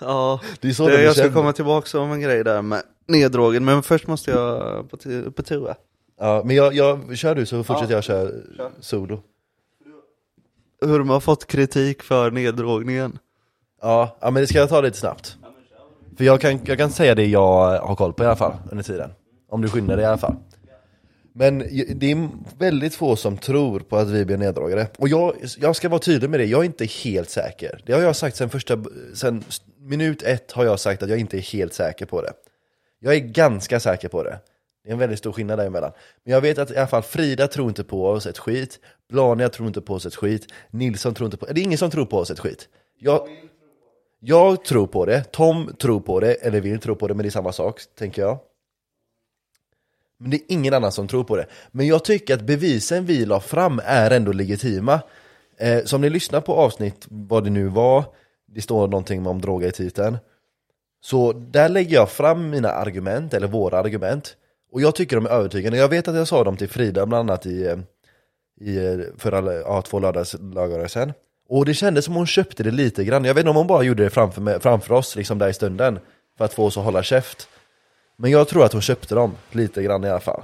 B: ja.
A: Det är så
B: Det,
A: den är
B: jag ska
A: känd.
B: komma tillbaka om en grej där med neddrogen, men först måste jag på, t- på toa.
A: Ja, men jag, jag, kör du så fortsätter
B: Ja,
A: jag köra
B: kör.
A: solo.
B: Hur de har fått kritik för neddrogningen.
A: Ja, ja, men det ska jag ta lite snabbt. För jag kan, jag kan säga det jag har koll på i alla fall under tiden. Om du skyndar dig i alla fall. Men j- det är väldigt få som tror på att vi blir neddragare. Och jag, jag ska vara tydlig med det, jag är inte helt säker. Det har jag sagt sen första, sen s- minut ett har jag sagt att jag inte är helt säker på det. Jag är ganska säker på det. Det är en väldigt stor skillnad däremellan. Men jag vet att i alla fall Frida tror inte på oss ett skit, Blania tror inte på oss ett skit, Nilsson tror inte på... Det är ingen som tror på oss ett skit. Jag, jag tror på det, Tom tror på det, eller vill tro på det, men det är samma sak, tänker jag. Men det är ingen annan som tror på det. Men jag tycker att bevisen vi la fram är ändå legitima. Eh, så om ni lyssnar på avsnitt, vad det nu var, det står någonting om droger i titeln. Så där lägger jag fram mina argument, eller våra argument. Och jag tycker de är övertygande. Jag vet att jag sa dem till Frida bland annat i, eh, i eh, förra, ja, två lördags, lördagar sedan. Och det kändes som hon köpte det lite grann. Jag vet inte om hon bara gjorde det framför, mig, framför oss, liksom där i stunden. För att få oss att hålla käft. Men jag tror att hon köpte dem, lite grann i alla fall.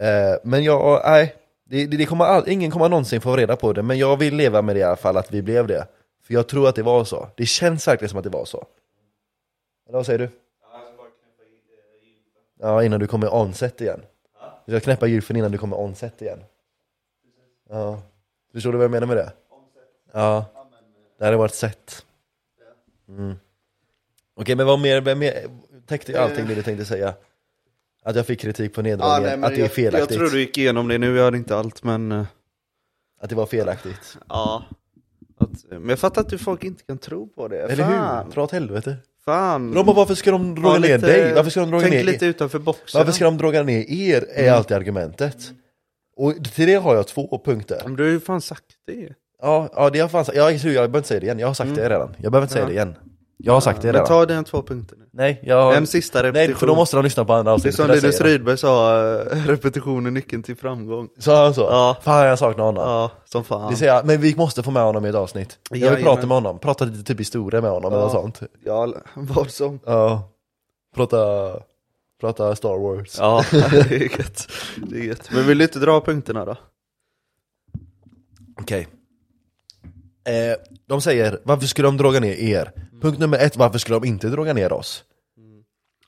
A: Eh, men jag, nej. Det, det det kommer all, ingen kommer någonsin få reda på det, men jag vill leva med det i alla fall, att vi blev det. För jag tror att det var så. Det känns verkligen som att det var så. Eller vad säger du?
B: eh,
A: Ja, innan du kommer onset igen. Du ska knäppa gylfen innan du kommer onset igen. Ja. Förstår du vad jag menar med det? Ja.
B: eh,
A: Det här var ett sätt. Mm. Okej, men vad mer, vad mer? Täckte jag allting
B: Eh.
A: det du tänkte säga? Att jag fick kritik på neddragningen, att det är felaktigt.
B: Jag, jag tror du gick igenom det nu, jag hade inte allt men... eh,
A: Att det var felaktigt.
B: Ja. Att, eh, men jag fattar att du folk inte kan tro på det.
A: Eller
B: fan.
A: hur? Dra åt helvete.
B: Fan.
A: De bara, varför ska de droga
B: Ja,
A: ner
B: lite-
A: dig? Varför ska de droga
B: Tänk
A: ner
B: lite utanför boxen.
A: Varför ska de droga ner er? Är
B: Mm.
A: alltid argumentet. Och till det har jag två punkter.
B: Men du har ju fan sagt det.
A: Ja, ja det har fan, jag, jag behöver inte säga det igen. Jag har sagt det redan. Jag behöver inte säga
B: Mm. Ja.
A: det igen. Jag har sagt det
B: Men
A: redan.
B: ta dina två punkter nu.
A: Nej, jag...
B: En sista repetition.
A: Nej, för då måste de lyssna på andra
B: Det är
A: avsnitt.
B: som
A: för där
B: Linus
A: säger de.
B: Rydberg sa, eh, repetition är nyckeln till framgång.
A: Sa han så?
B: Ja.
A: Fan, jag saknar honom.
B: Ja, som fan.
A: Det säger jag, men vi måste få med honom i ett avsnitt. Jag vill prata
B: Jajamän.
A: med honom, prata lite typ historia med honom
B: Ja.
A: eller något sånt.
B: Ja, vad som.
A: Ja. Prata, prata Star Wars.
B: Ja, det är gött. Det är gött. Men vill du inte dra punkterna då?
A: Okej. Eh, de säger, varför skulle de droga ner er? Punkt nummer ett, varför skulle de inte droga ner oss?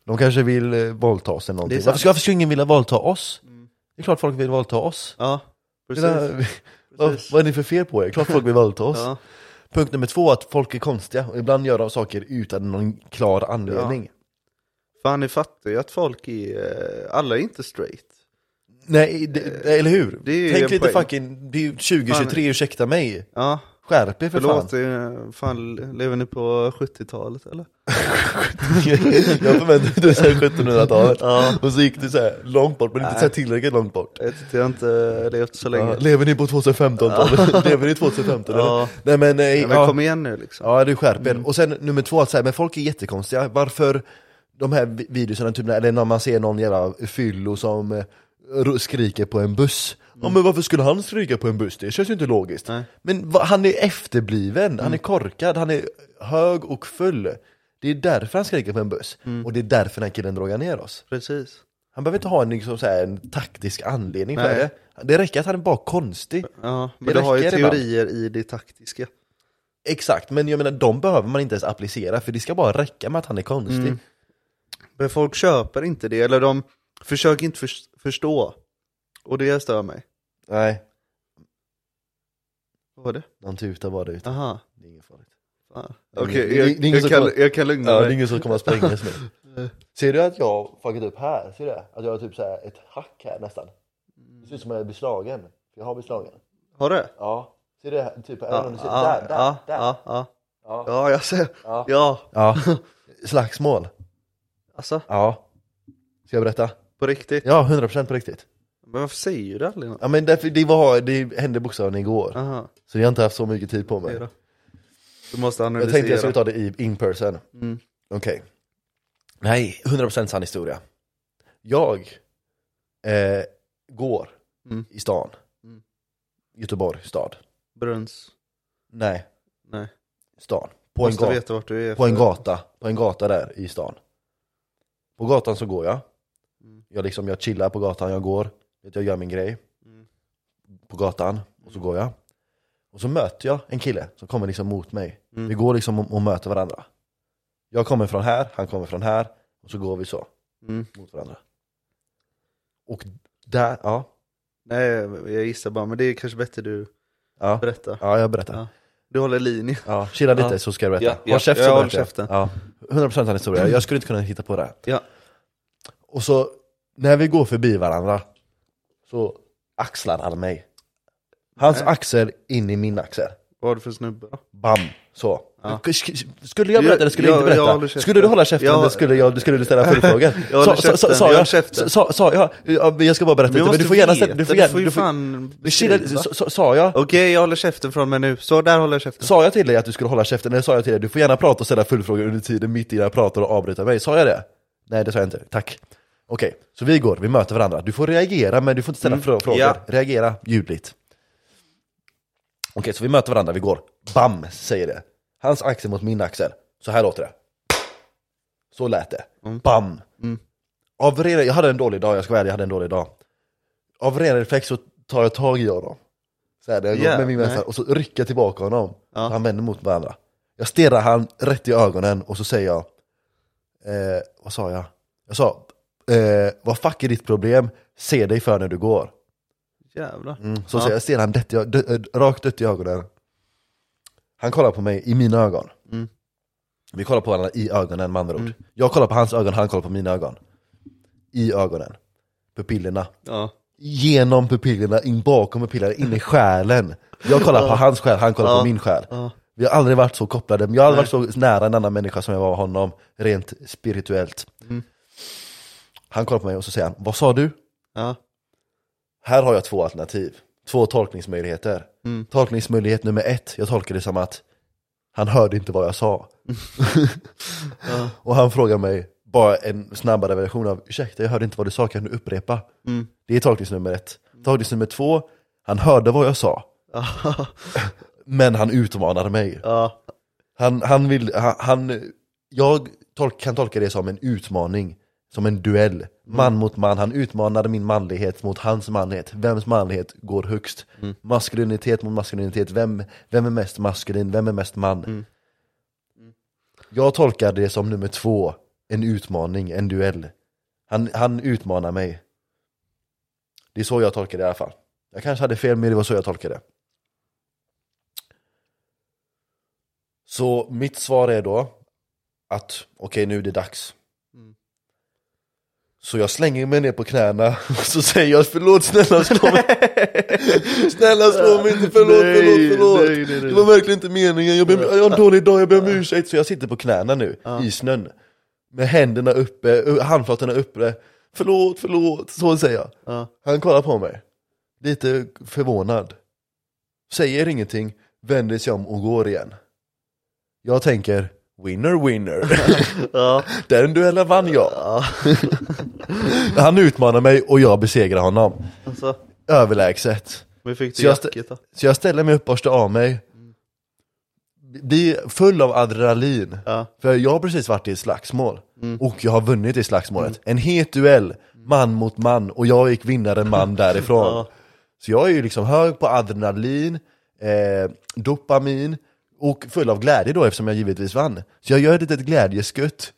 A: De kanske vill eh, våldta oss eller
B: Det är
A: någonting.
B: sant.
A: Varför, skulle- varför skulle ingen vilja våldta oss? Det är klart folk vill våldta oss.
B: Ja, precis.
A: Menar, vad,
B: Precis.
A: vad är ni för fel på er? Klart folk vill våldta oss.
B: Ja,
A: Punkt nummer två, att folk är konstiga. Och ibland gör de saker utan någon klar anledning.
B: Fan, ni fattar ju att folk är, eh, alla är inte straight.
A: Nej, det, eller hur?
B: det är ju
A: Tänk
B: en
A: lite
B: poäng.
A: fucking, det är ju 2023, ursäkta mig.
B: Ja,
A: Skärp er för
B: förlåt.
A: fan.
B: det är- eh, Fan, lever ni på 70-talet eller?
A: jag förväntade mig såhär 1700-talet. Och så gick det så här långt bort, men inte så här tillräckligt långt bort.
B: Jag tyckte jag inte levt så länge.
A: Ja, lever ni på 2015-talet? lever ni 2015 eller?
B: Ja.
A: Nej men, nej,
B: Men
A: ja.
B: kom igen nu liksom.
A: Ja, du skärper. Och sen nummer två, att säga, men folk är jättekonstiga. Varför de här vi- videorna, typ, när- eller när man ser någon jävla fyllo som eh, ro- skriker på en buss. Ja men varför skulle han skrika på en buss? Det känns ju inte logiskt.
B: Mm. Nej. Mm.
A: Men va, han är efterbliven, han är korkad, han är hög och full. Det är därför han skriker på en buss.
B: Mm.
A: Och det är därför den här killen drogar ner oss.
B: Precis.
A: Han behöver inte ha en, liksom, så här, en taktisk anledning för
B: Nej.
A: det. Det räcker att han är bara konstig.
B: Ja, men
A: Det
B: du har ju
A: räcker ibland.
B: teorier i det taktiska.
A: Exakt, men jag menar de behöver man inte ens applicera för det ska bara räcka med att han är konstig.
B: Men folk köper inte det, eller de försöker inte förs- förstå. Och det stör mig.
A: Nej,
B: Vad var det?
A: de tutar bara ut.
B: Aha.
A: Det är inget farligt.
B: fan.
A: Det är
B: Okej,
A: ingen- det är
B: jag,
A: ingen som
B: jag, kan,
A: kollar.
B: jag kan lugna
A: Ja, det är
B: mig.
A: ingen som kommer att sprängas nu. Ser du att jag har fuckat upp här? Ser du det? Att jag har typ så här ett hack här nästan. Det ser ut som att jag blir slagen. Jag har blivit slagen.
B: Har du?
A: Ja. Ser du det? här? Typ, även
B: Ja,
A: om du ser,
B: ja,
A: där, där,
B: ja,
A: där.
B: ja, ja.
A: Ja.
B: Ja, jag ser.
A: Ja.
B: Ja,
A: Ja. Slagsmål.
B: alltså
A: Ja. Ska jag berätta?
B: på riktigt.
A: Ja, 100% på riktigt.
B: Men varför säger du aldrig något?
A: Ja men därför, det, var, det hände bokstavligen igår.
B: Aha,
A: Så jag har inte haft så mycket tid på mig.
B: säger du. Du måste
A: Jag
B: analysera.
A: tänkte jag skulle ta det i in person.
B: Mm.
A: Okej. Nej, 100% sann historia. Jag eh, går
B: Mm.
A: i stan.
B: Mm.
A: Göteborg stad.
B: Bruns.
A: Nej,
B: Nej.
A: stan. På en,
B: Måste
A: gata,
B: veta vart du är.
A: på en
B: för-
A: gata. På en gata där i stan. På gatan så går jag.
B: Mm.
A: Jag, liksom, jag chillar på gatan, jag går. Vet, Jag gör min grej.
B: Mm.
A: På gatan. Och så går jag. Och så möter jag en kille som kommer liksom mot mig.
B: Mm.
A: Vi går liksom och, och möter varandra. Jag kommer från här, han kommer från här. Och så går vi så.
B: Mm.
A: mot varandra. Och där, ja,
B: Nej, jag gissar bara, men det är kanske bättre du
A: ja,
B: berättar.
A: ja jag berättar.
B: Ja. Du håller linje.
A: Ja, chilla lite
B: Ja.
A: så ska jag berätta.
B: Ja, ja,
A: Håll käft
B: jag
A: så
B: håller
A: berättar jag.
B: käften.
A: Ja, 100% av historia, jag skulle inte kunna hitta på det. här.
B: Ja.
A: Och så, när vi går förbi varandra, så axlar han mig. Hans
B: Nej.
A: axel in i min axel.
B: Vad har du för snubbe då?
A: Bam! Så.
B: Ja.
A: Sk- sk- Skulle jag berätta eller skulle jag,
B: Jag-
A: inte
B: jag håller
A: berätta?
B: käften.
A: skulle du hålla käften
B: Jag-
A: eller skulle, jag, skulle du ställa följdfrågor?
B: Jag håller
A: Sa- sa- sa-
B: käften,
A: sa
B: jag
A: jag-
B: håller käften.
A: sa- sa jag- ja, men Jag ska bara berätta lite, men du får gärna... stä- Du får gärna...
B: gärna... Du får ju
A: du får-
B: fan
A: Men Shilla,
B: beskriva.
A: sa- sa- sa jag,
B: Okej, jag håller käften från mig nu. Så, där håller jag käften.
A: sa jag till dig att du skulle hålla käften? Eller sa jag till dig du får gärna prata och ställa följdfrågor under tiden mitt innan jag pratar och avbryta mig? Sa jag det? Nej, det sa jag inte. Tack. Okej, så vi går, vi möter varandra. Du får reagera, men du får inte ställa frå- frågor.
B: Mm, Ja.
A: Reagera ljudligt. Okej, så vi möter varandra, vi går. Bam, säger det. Hans axel mot min axel. Så här låter det. Så lät det. Bam.
B: Mm.
A: Av ren, jag hade en dålig dag, jag ska vara ärlig, jag hade en dålig dag. Av ren reflex så tar jag tag i honom. Så här, där jag går
B: Yeah,
A: med min vänster
B: nej.
A: och så rycker jag tillbaka honom.
B: Ja.
A: Han vänder mot varandra. Jag stirrar han rätt i ögonen och så säger jag, eh, vad sa jag? Jag sa, eh, vad fuck är ditt problem? Se dig för när du går.
B: Jävlar.
A: Mm, så
B: Ja.
A: säger jag, stirrar han dött i, ö- dö, ö- rakt dött i ögonen. Han kollar på mig i mina ögon.
B: Mm.
A: Vi kollar på varandra i ögonen med andra ord. Jag kollar på hans ögon, han kollar på mina ögon. I ögonen. Pupillerna.
B: Ja.
A: Genom pupillerna, in bakom pupillerna, in i själen. Jag kollar på hans själ, han kollar
B: Ja.
A: på min själ.
B: Ja.
A: Vi har aldrig varit så kopplade, men jag har aldrig varit så nära en annan människa som jag var honom, rent spirituellt.
B: Mm.
A: Han kollar på mig och så säger han, vad sa du?
B: Ja.
A: Här har jag två alternativ, två tolkningsmöjligheter.
B: Mm.
A: Tolkningsmöjlighet nummer ett, jag tolkar det som att han hörde inte vad jag sa.
B: Ja.
A: Och han frågar mig, bara en snabbare version av, ursäkta jag hörde inte vad du sa, kan du upprepa?
B: Mm.
A: Det är tolkningsnummer ett. Tolkningsnummer två, han hörde vad jag sa,
B: Ja.
A: men han utmanade mig.
B: Ja.
A: Han, han vill, han, han jag tolk, kan tolka det som en utmaning, som en duell. Man mot man, han utmanade min manlighet mot hans manlighet. Vems manlighet går högst? Maskulinitet mot maskulinitet, vem, vem är mest maskulin, vem är mest man? Jag tolkar det som nummer två, en utmaning, en duell. Han, han utmanar mig. Det är så jag tolkar det i alla fall. Jag kanske hade fel, men det var så jag tolkade det. Så mitt svar är då att okej, nu är det dags.
B: Mm.
A: Så jag slänger mig ner på knäna och så säger jag förlåt snälla slå mig Snälla slå mig inte, förlåt,
B: Nej,
A: förlåt, förlåt
B: nej, nej, nej.
A: Det var verkligen inte meningen, jag, ber, jag har en dålig dag, jag ber om ursäkt Så jag sitter på knäna nu, i snön Med händerna uppe, ö, handflatorna uppe Förlåt, förlåt, så säger jag
B: Ja.
A: Han kollar på mig, lite förvånad Säger ingenting, vänder sig om och går igen Jag tänker, winner winner
B: Ja.
A: Den duellen vann jag
B: ja.
A: Han utmanar mig och jag besegrar honom.
B: Alltså,
A: Överlägset.
B: vi fick
A: Så
B: det
A: jag stä-
B: jacket då.
A: Så jag ställer mig upp, borstar av mig. Blir full av adrenalin.
B: Ja.
A: För jag har precis varit i ett slagsmål. Och jag har vunnit i slagsmålet. En het duell, man mot man. Och jag gick vinnare man därifrån.
B: Ja.
A: Så jag är ju liksom hög på adrenalin, eh, dopamin och full av glädje då eftersom jag givetvis vann. Så jag gör ett litet glädjeskutt.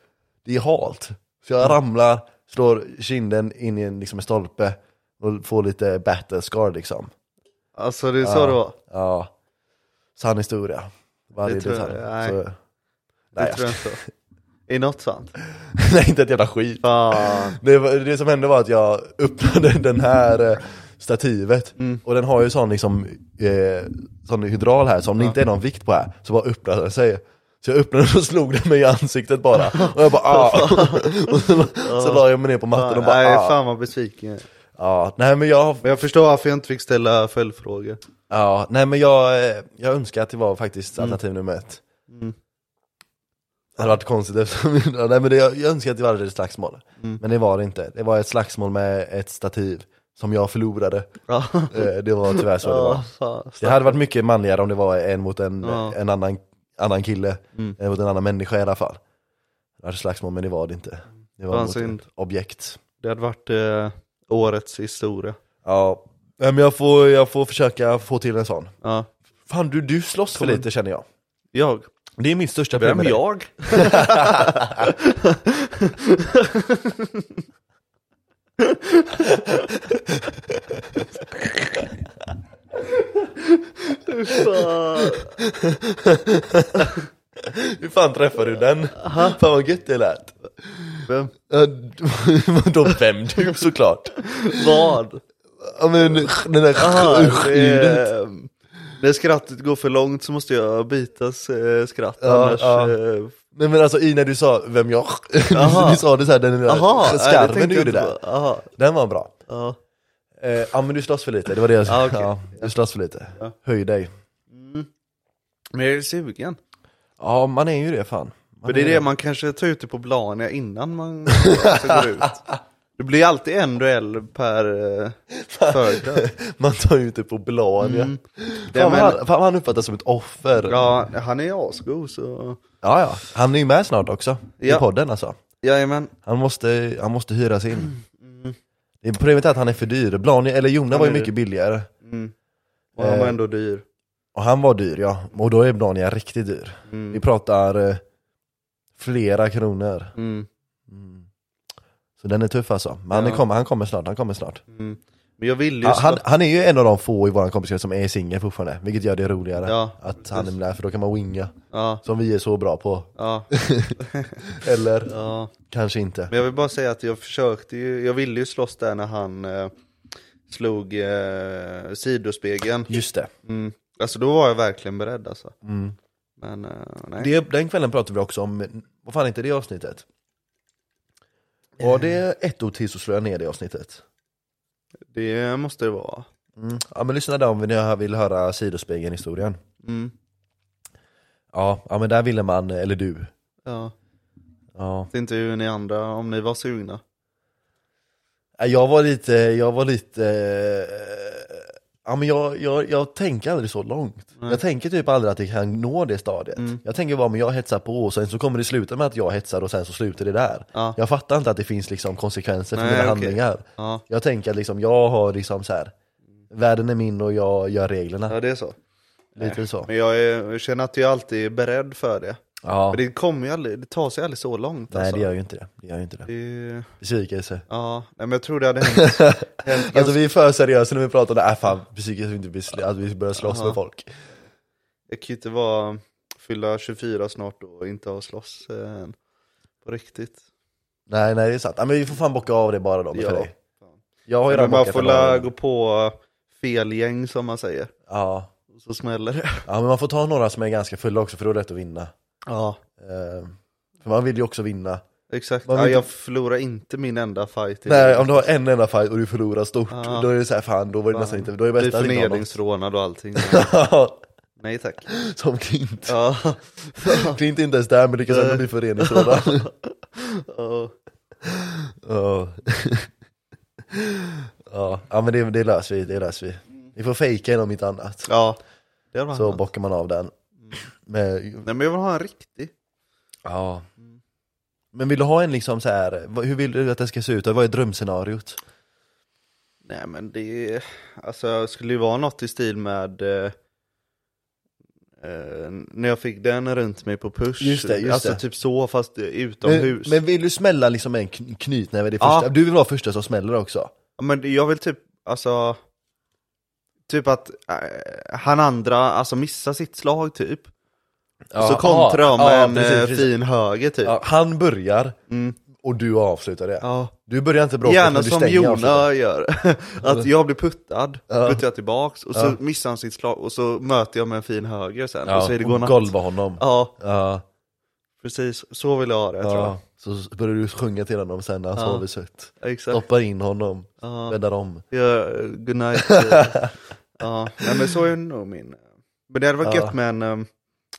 A: Det är halt. Så
B: Mm.
A: jag ramlar, slår kinden in i en, liksom, en stolpe och får lite battle scar liksom.
B: Alltså det är så det var.
A: Ja. Sann historia. Varje
B: Det tror jag-
A: detalj.
B: nej.
A: Så,
B: Det
A: nej,
B: tror jag inte. Är något sant?
A: nej, inte ett jävla skit.
B: Fan.
A: Det, var- det som hände var att jag öppnade den här eh, stativet
B: Mm.
A: och den har ju sån liksom eh, sån hydral här som det inte är någon vikt på här, så bara öppnade den sig. Så jag öppnade den och slog den mig i ansiktet bara. Och jag bara ah! och så, så la jag mig ner på mattan och
B: Nej,
A: bara ah.
B: fan vad besviken jag är.
A: Ja, nej men jag,
B: Men jag förstår varför jag inte fick ställa följdfrågor.
A: ja, nej, men jag, eh, jag önskar att det var
B: Mm.
A: faktiskt alternativ nummer ett. Det hade varit konstigt eftersom, nej, men det, jag, jag önskar att det var ett slagsmål.
B: Mm.
A: Men det var det inte. Det var ett slagsmål med ett stativ som jag förlorade.
B: Ja,
A: Eh, Det var tyvärr så det var.
B: ja fan.
A: Det hade varit mycket manligare om det var en mot en,
B: Ja. Mm.
A: en annan, annan kille, en mot en annan människa i alla fall. Det hade slagsmål men det var det inte. Det var
B: Fan,
A: mot
B: synd.
A: ett objekt.
B: Det hade varit eh, årets historia.
A: Ja, Nej, men jag får, jag får försöka få till en sån.
B: Ja.
A: Fan du, du slåss för lite känner jag.
B: Jag?
A: Det är min största problem med
B: Vem
A: dig.
B: jag? Fan.
A: Hur fan träffade du den? Fan vad gött det lät.
B: Vem?
A: Ja, Vadå vem du såklart?
B: Vad?
A: Ja men den där
B: Ah,
A: ljudet.
B: det, ehm, när skrattet går för långt så måste jag bitas eh, skratt
A: Ja,
B: annars...
A: ja.
B: eh,
A: Nej men alltså i när du sa vem jag,
B: Aha.
A: du sa det såhär den där
B: Jaha, nej, det
A: skarven
B: tänkte
A: du
B: jag
A: gjorde
B: inte
A: där.
B: på. Jaha,
A: Den var bra.
B: ja.
A: Eh, ja men du slåss för lite, det var det jag sa.
B: Ja, okej.
A: Ja, du slåss för lite. Höj dig.
B: Men jag är sugen.
A: Ja man är ju det fan. Man
B: För det är
A: ju
B: det man kanske tar ut det på Blania innan man alltså, går ut. Det blir alltid en duell per eh, företag.
A: Man tar ju inte på Blania.
B: Det
A: Fan,
B: men-
A: han, fan han uppfattas som ett offer. Ja.
B: Ja, han är asgo så...
A: ja han är ju med snart också. I
B: Ja.
A: podden alltså.
B: Jajamän.
A: Han måste, han måste hyras in. Det är Problemet är att han är för dyr. Blania, eller Jonna var ju
B: Mm. är dyr.
A: mycket billigare.
B: Och han var
A: Eh.
B: ändå dyr.
A: Och han var dyr ja, och då är Blania riktigt dyr. Vi pratar eh, flera kronor.
B: Mm.
A: Så den är tuff alltså. Men han, kommer, han kommer snart, han kommer snart.
B: Men jag vill ju...
A: Ja, han,
B: slå-
A: han är ju en av de få i vår kompiskrets som är singel fortfarande, vilket gör det roligare.
B: Ja,
A: att han är med, för då kan man winga.
B: ja,
A: Som vi är så bra på.
B: ja,
A: Eller
B: ja.
A: kanske inte.
B: Men jag vill bara säga att jag försökte ju, jag ville ju slåss där när han eh, slog eh, sidospegeln.
A: Just det.
B: Mm. Alltså då var jag verkligen beredd alltså. Men eh, nej.
A: Mm. det. Den kvällen pratade vi också om, vad fan heter det avsnittet? Var det
B: Eh.
A: ett ord till så slår jag ner det avsnittet.
B: Det måste det vara.
A: Mm. Ja men lyssna där om ni vill höra sidospegeln-historien.
B: Mm.
A: Ja, ja men där ville man, eller du.
B: Ja.
A: Ja.
B: Vet inte hur ni andra, om ni var sugna.
A: Nej, Jag var lite, jag var lite, eh, ja men jag, jag, jag tänker aldrig så långt. Jag tänker typ aldrig att jag kan nå det stadiet.
B: Mm.
A: Jag tänker bara, men jag hetsar på och sen så kommer det sluta med att jag hetsar och sen så slutar det där.
B: Ja.
A: Jag fattar inte att det finns liksom konsekvenser för
B: Nej,
A: mina
B: okej.
A: handlingar.
B: Ja.
A: Jag tänker att liksom, jag har liksom så här. världen är min och jag gör reglerna.
B: ja, det är så.
A: lite så.
B: Men jag, är, jag känner att jag alltid är beredd för det.
A: Ja.
B: För det kommer ju aldrig, det tar sig aldrig så långt
A: Nej
B: alltså.
A: det gör ju inte det. Det gör ju inte det.
B: Det-
A: Besvikelse.
B: Ja, nej, men jag tror det hade hänt. hänt
A: Alltså vi är för seriösa när vi pratar om det, äh, fan besvikelse, inte besl- att vi börjar slåss med folk.
B: Jag kan ju inte vara, fylla 24 snart och inte ha slåss eh, än. På riktigt.
A: Nej, nej det är sant. Ja, men vi får fan bocka av det bara då. men
B: Ja.
A: För dig. Jag har ju
B: Men
A: redan
B: man
A: bockat
B: får
A: den här.
B: la gå på fel gäng som man säger.
A: ja.
B: Så smäller det.
A: ja, men man får ta några som är ganska fulla också för då är det rätt att vinna.
B: Ja,
A: Eh, för man vill ju också vinna.
B: exakt.
A: Man
B: Ja,
A: vet
B: jag förlorar inte min enda fight. i
A: Nej,
B: det.
A: om du har en enda fight och du förlorar stort,
B: Ja.
A: då är det så här, fan då var det
B: Fan.
A: nästan inte, då är det
B: Blir
A: bäst att inte ha någon.
B: förnedringsrånad och allting. Nej tack.
A: Som Klint.
B: Ja.
A: Klint är inte ens där men lyckas ändå bli föreningsrådad.
B: Ja.
A: Ja. ja, ja, men det, det löser vi, det löser vi. Vi får fejka den om inte annat.
B: Mm. ja, Mm. det var
A: Så
B: så
A: bockar man av den. Men,
B: Nej men jag vill ha en riktig.
A: ja. men vill du ha en liksom så här, vad- hur vill du att den ska se ut? Vad är drömscenariot?
B: Nej men det är- alltså det skulle ju vara något i stil med eh, eh, när jag fick den runt mig på push.
A: Just det, just
B: alltså
A: det.
B: typ så fast
A: Men,
B: utomhus.
A: men vill du smälla liksom en kn- knytnäve? Det
B: Ja.
A: första? Du vill vara första som smäller också?
B: Ja, Men jag vill typ, alltså, typ att eh, han andra alltså missar sitt slag typ.
A: Ja,
B: så kontrar jag med
A: ja,
B: en
A: precis,
B: eh,
A: precis.
B: fin höger typ.
A: Ja, han börjar
B: Mm.
A: och du avslutar det.
B: Ja.
A: Du börjar inte bråka
B: Gärna
A: men du
B: som
A: stänger avslutet.
B: Jona gör. att jag blir puttad,
A: Ja.
B: puttar jag tillbaks och så
A: Ja.
B: missar han sitt slag och så möter jag med en fin höger sen.
A: Ja,
B: och så är det godnatt.
A: golva honom.
B: Ja,
A: Ja,
B: precis. Så vill jag ha det
A: ja.
B: tror jag.
A: Så börjar du sjunga till honom sen när han
B: Ja.
A: sover sött.
B: Exakt.
A: Stoppar in honom,
B: Ja.
A: bäddar om.
B: Ja, goodnight. eh. ja, nej, men så är nog min. Men det hade varit
A: Ja.
B: gött med en um,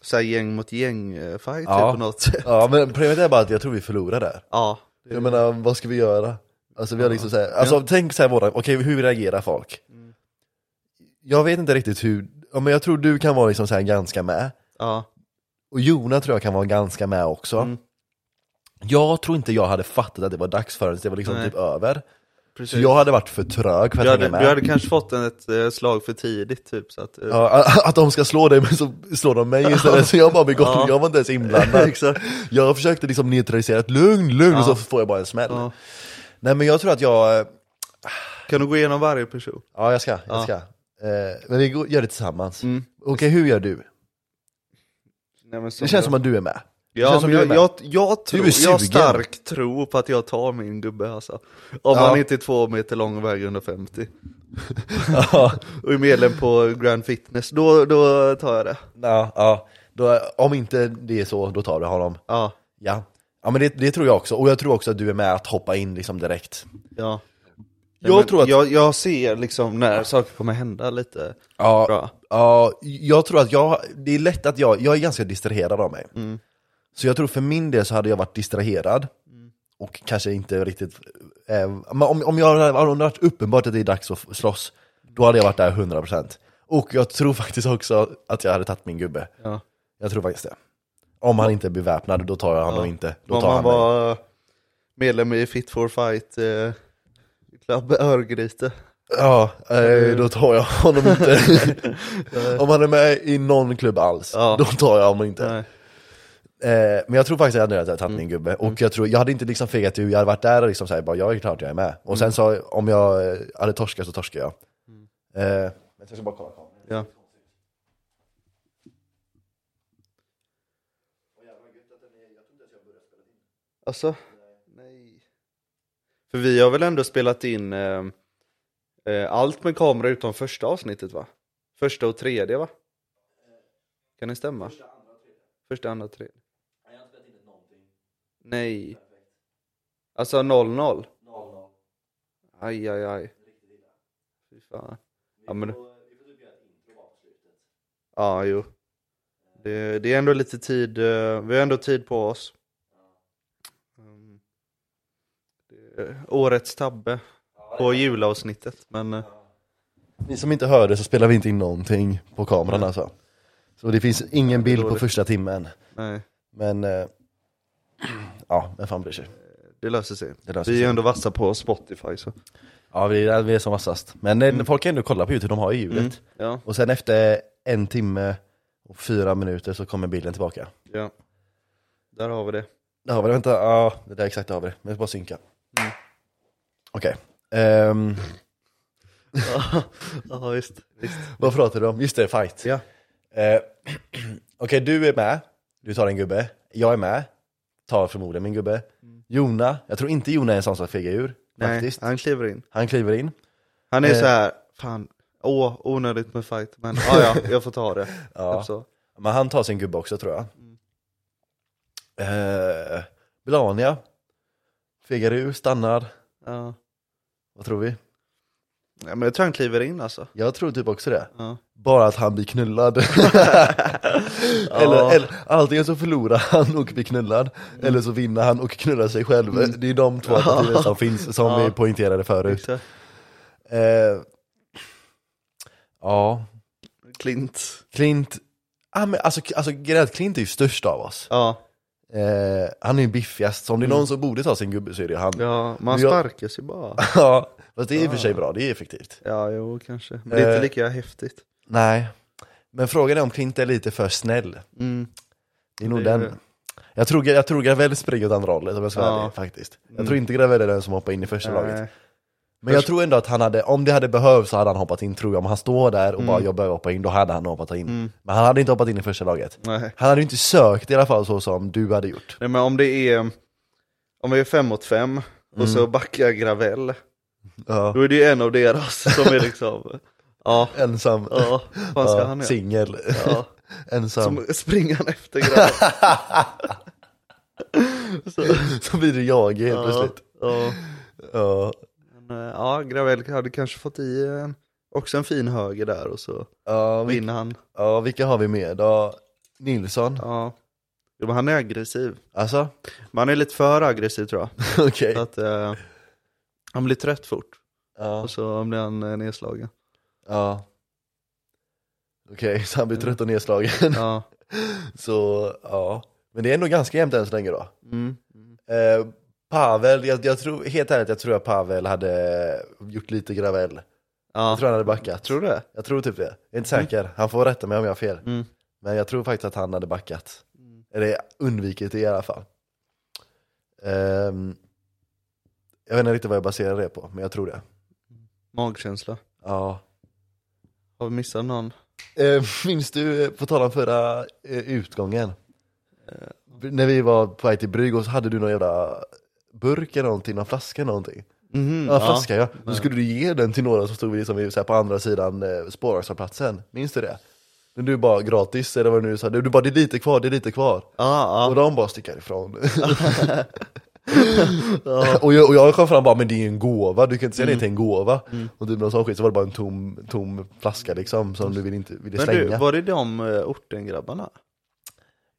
B: så här gäng mot gäng eh, fight
A: Ja.
B: typ på något sätt.
A: Ja men problemet är bara att jag tror vi förlorar där.
B: Ja.
A: Jag menar, vad ska vi göra? Alltså vi har liksom så här, alltså tänk så här våran, okej hur reagerar folk?
B: Mm.
A: Jag vet inte riktigt hur, ja, men jag tror du kan vara liksom så här ganska med.
B: ja.
A: Och Jona tror jag kan vara ganska med också.
B: Mm.
A: Jag tror inte jag hade fattat att det var dags förrän det var liksom
B: Nej.
A: typ över.
B: Precis.
A: Så jag hade varit för trög för att
B: du, hade,
A: hänga med.
B: du hade kanske fått en, ett eh, slag för tidigt typ. Så att, eh,
A: Ja, att de ska slå dig men så slår de mig istället. Så jag bara blir gott,
B: Ja.
A: jag var inte ens inblandad.
B: Exakt.
A: Jag försökte liksom neutralisera ett lugn, lugn och
B: Ja.
A: så får jag bara en smäll.
B: Ja.
A: Nej men jag tror att jag,
B: Kan du gå igenom varje person?
A: ja jag ska, jag
B: Ja.
A: ska. Eh, Men vi går- gör det tillsammans.
B: Mm.
A: Okej, hur gör du?
B: Nej, men
A: Det känns som att du är med.
B: ja,
A: känns som
B: men jag,
A: du är
B: jag, jag,
A: Du är
B: tror, jag har
A: sugen.
B: stark tro på att jag tar min gubbe alltså. Om han inte är två meter lång och väger 150.
A: Ja,
B: Och är medlem på Grand Fitness, då, då tar jag det.
A: ja, ja. Då, om inte det är så, då tar du honom.
B: Ja.
A: Ja, ja men det, det tror jag också. Och jag tror också att du är med att hoppa in liksom direkt.
B: Ja.
A: Jag
B: men
A: tror att-
B: jag, jag ser liksom när saker kommer hända lite.
A: Ja,
B: Bra.
A: Ja, jag tror att jag, det är lätt att jag, jag är ganska distraherad av mig.
B: Mm.
A: Så jag tror för min del så hade jag varit distraherad. Och kanske inte riktigt, eh, men om, om jag hade om det varit uppenbart att det är dags att slåss, då hade jag varit där 100%. Och jag tror faktiskt också att jag hade tagit min gubbe.
B: Ja.
A: Jag tror faktiskt det. Om han inte är beväpnad, då tar jag honom
B: Ja.
A: inte. Då
B: Om
A: tar han
B: man
A: mig.
B: var medlem i Fit for Fight eh, Club Örgryte.
A: Ja, eh, då tar jag honom inte. om han är med i någon klubb alls,
B: Ja.
A: då tar jag honom inte.
B: Nej.
A: Eh, men jag tror faktiskt att jag hade tagit min gubbe, och jag, tror, jag hade inte liksom fegat ur, jag hade varit där och liksom såhär, bara, jag är klart jag är med. Och sen så, om jag eh, hade torskat så torskade jag. Eh, jag ska bara kolla kameran.
B: Ja. Alltså? Nej. För vi har väl ändå spelat in eh, eh, allt med kamera utom första avsnittet va? Första och tredje va? Kan det stämma? Första, andra, tredje. Nej. Alltså 00? 00. Aj, aj, aj. Fy fan. Ja, men... Ja, jo. Det, det är ändå lite tid, eh, vi har ändå tid på oss. Mm. Det är årets tabbe på julavsnittet, men eh,
A: Ni som inte hörde så spelar vi inte in någonting på kameran alltså. Så det finns ingen bild på
B: dåligt.
A: första timmen.
B: nej,
A: Men, eh, ja, vem fan bryr sig?
B: det löser sig.
A: Det löser
B: vi är
A: sig.
B: ju ändå vassa på Spotify så.
A: Ja, vi är, vi är som vassast. Men eh, folk kan ändå kolla på YouTube, de har ju ljudet.
B: Mm. Ja,
A: Och sen efter en timme och fyra minuter så kommer bilden tillbaka.
B: ja. Där har vi det.
A: Där har vi det, vänta, ja det där exakt där har vi det. Men jag ska bara synka. Okej. Ehm,
B: ja, visst. visst.
A: vad pratar du om? Just det, fight.
B: Ja.
A: Eh, Okej, du är med. Du tar en gubbe. Jag är med. Tar förmodligen min gubbe. Jona, jag tror inte Jona är en sån som fegar ur.
B: Nej,
A: Faktiskt.
B: han kliver in.
A: Han kliver in.
B: Han är
A: Eh.
B: så här, fan, åh, onödigt med fight, men ja, ja, jag får ta det.
A: Ja.
B: Typ så.
A: Men han tar sin gubbe också tror jag. Eh, Blania fegar ur, stannar.
B: Ja.
A: Vad tror vi?
B: Ja, men jag tror han kliver in alltså.
A: Jag tror typ också det.
B: Ja.
A: Bara att han blir knullad. eller, eller antingen så förlorar han och blir knullad,
B: Mm.
A: eller så vinner han och knullar sig själv. Det är de två alternativen som finns, som
B: Ja.
A: vi poängterade förut.
B: Exakt.
A: Eh, ja,
B: Klint.
A: Clint, ah, men alltså, alltså grejen är att Clint är ju störst av oss.
B: Ja,
A: Eh, han är ju biffigast, så om det är någon som borde ta sin gubbe så är det han.
B: Mm. ja man
A: Men jag-
B: sparkas ju bara.
A: Ja, fast det är i och för sig bra, det är effektivt.
B: Ja, jo kanske. Men det är
A: Eh.
B: inte lika häftigt.
A: Nej, men frågan är om Clint är lite för snäll.
B: Mm.
A: Det är nog
B: Det är det.
A: den. Jag tror, jag tror Gravell springer åt andra hållet om jag ska vara
B: Ja. Mm.
A: ärlig faktiskt. Jag tror inte Gravell är den som hoppar in i första laget.
B: Nej.
A: Men jag tror ändå att han hade, om det hade behövts så hade han hoppat in tror jag. Om han står där och
B: Mm.
A: bara jag behöver hoppa in, då hade han hoppat in. Men han hade inte hoppat in i första laget.
B: Nej.
A: Han hade ju inte sökt i alla fall så som du hade gjort.
B: Nej men om det är, om vi är fem mot fem
A: Mm.
B: och så backar Gravel,
A: Ja.
B: då är det ju en av deras som är liksom, ja,
A: Ensam.
B: ja, vad ska han göra?
A: Singel.
B: Ja.
A: Ensam. Som...
B: Som springer han efter Gravel.
A: Så blir det jag helt
B: ja,
A: plötsligt.
B: ja.
A: Ja.
B: Men, eh, ja, Gravel hade kanske fått i en, också en fin höger där och så
A: Ja, vi...
B: vinner han.
A: ja, vilka har vi mer då? Nilsson?
B: Ja. Jo, men han är aggressiv.
A: Alltså?
B: Men han är lite för aggressiv tror jag.
A: Okej.
B: Så att, eh, han blir trött fort
A: Ja.
B: och så blir han eh, nedslagen.
A: ja. Okej, så han blir trött och nedslagen.
B: Ja.
A: Så, ja. Men det är ändå ganska jämnt än så länge då.
B: Mm.
A: Eh, Pavel, jag, jag tror, helt ärligt, jag tror att Pavel hade gjort lite gravell.
B: Ja.
A: Jag tror han hade backat.
B: Tror du det?
A: Jag tror typ det. Jag är inte säker. Han får rätta mig om jag har fel.
B: Mm.
A: Men jag tror faktiskt att han hade backat. Eller undvikit det i alla fall. Ehm, jag vet inte riktigt vad jag baserar det på, men jag tror det.
B: Magkänsla.
A: Ja.
B: Har vi missat någon?
A: Eh, minns du, eh, på tal om förra eh, utgången, Eh, när vi var på väg till Brygg och så hade du någon jävla burk eller någonting, någon flaska eller någonting.
B: Mhm,
A: Mm. Ja, flaska ja. Då skulle du ge den till några som stod liksom, i- så här, på andra sidan eh, spårvagnshållplatsen. Minns du det? Men du bara gratis, eller vad det nu sa, du du bara det är lite kvar, det är lite kvar.
B: Ja,
A: Och
B: ja.
A: de bara sticker ifrån. och, jag, och jag kom fram och bara, men det är ju en gåva, du kan inte säga det till en gåva. Och du blev sån skit, så var det bara en tom, tom flaska liksom, som du vill inte, ville
B: Men
A: slänga.
B: du, var det de eh, ortengrabbarna?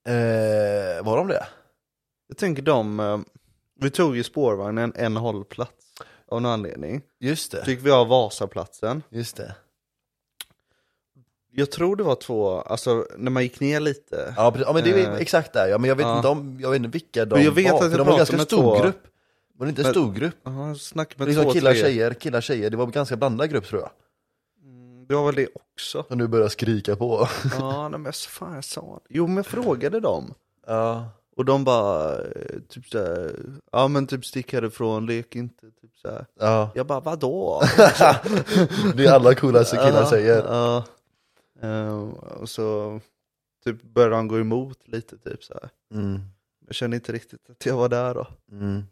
A: eh, var de det?
B: Jag tänker de, eh, vi tog ju spårvagnen en hållplats av någon anledning.
A: Just det,
B: Fick vi av Vasaplatsen.
A: just det.
B: Jag tror det var två, alltså när man gick ner lite.
A: Ja, precis. ja men det är ju
B: Eh.
A: exakt där, ja, men jag vet,
B: Ja.
A: inte om, jag vet inte vilka de
B: Men jag vet
A: var,
B: att jag
A: för de var en ganska
B: pratade med
A: stor
B: två-
A: grupp. Var det inte en
B: Men-
A: stor grupp?
B: Ja, snack med
A: Liksom
B: två,
A: killar,
B: tre.
A: tjejer, killar, tjejer, det var en ganska blandad grupp tror jag.
B: Det var väl det också.
A: Som du börjar skrika på.
B: Ja, nej, men jag- fan jag sa det. Jo, men jag frågade dem.
A: ja.
B: Och de bara, eh, typ såhär, ja men typ stick härifrån, lek inte, typ såhär.
A: ja.
B: Jag bara, vadå?
A: Det är alla coola killar
B: Ja,
A: säger.
B: Ja. Eh, och så typ började han gå emot lite, typ såhär.
A: Mm.
B: Jag kände inte riktigt att jag var där då.
A: Mm.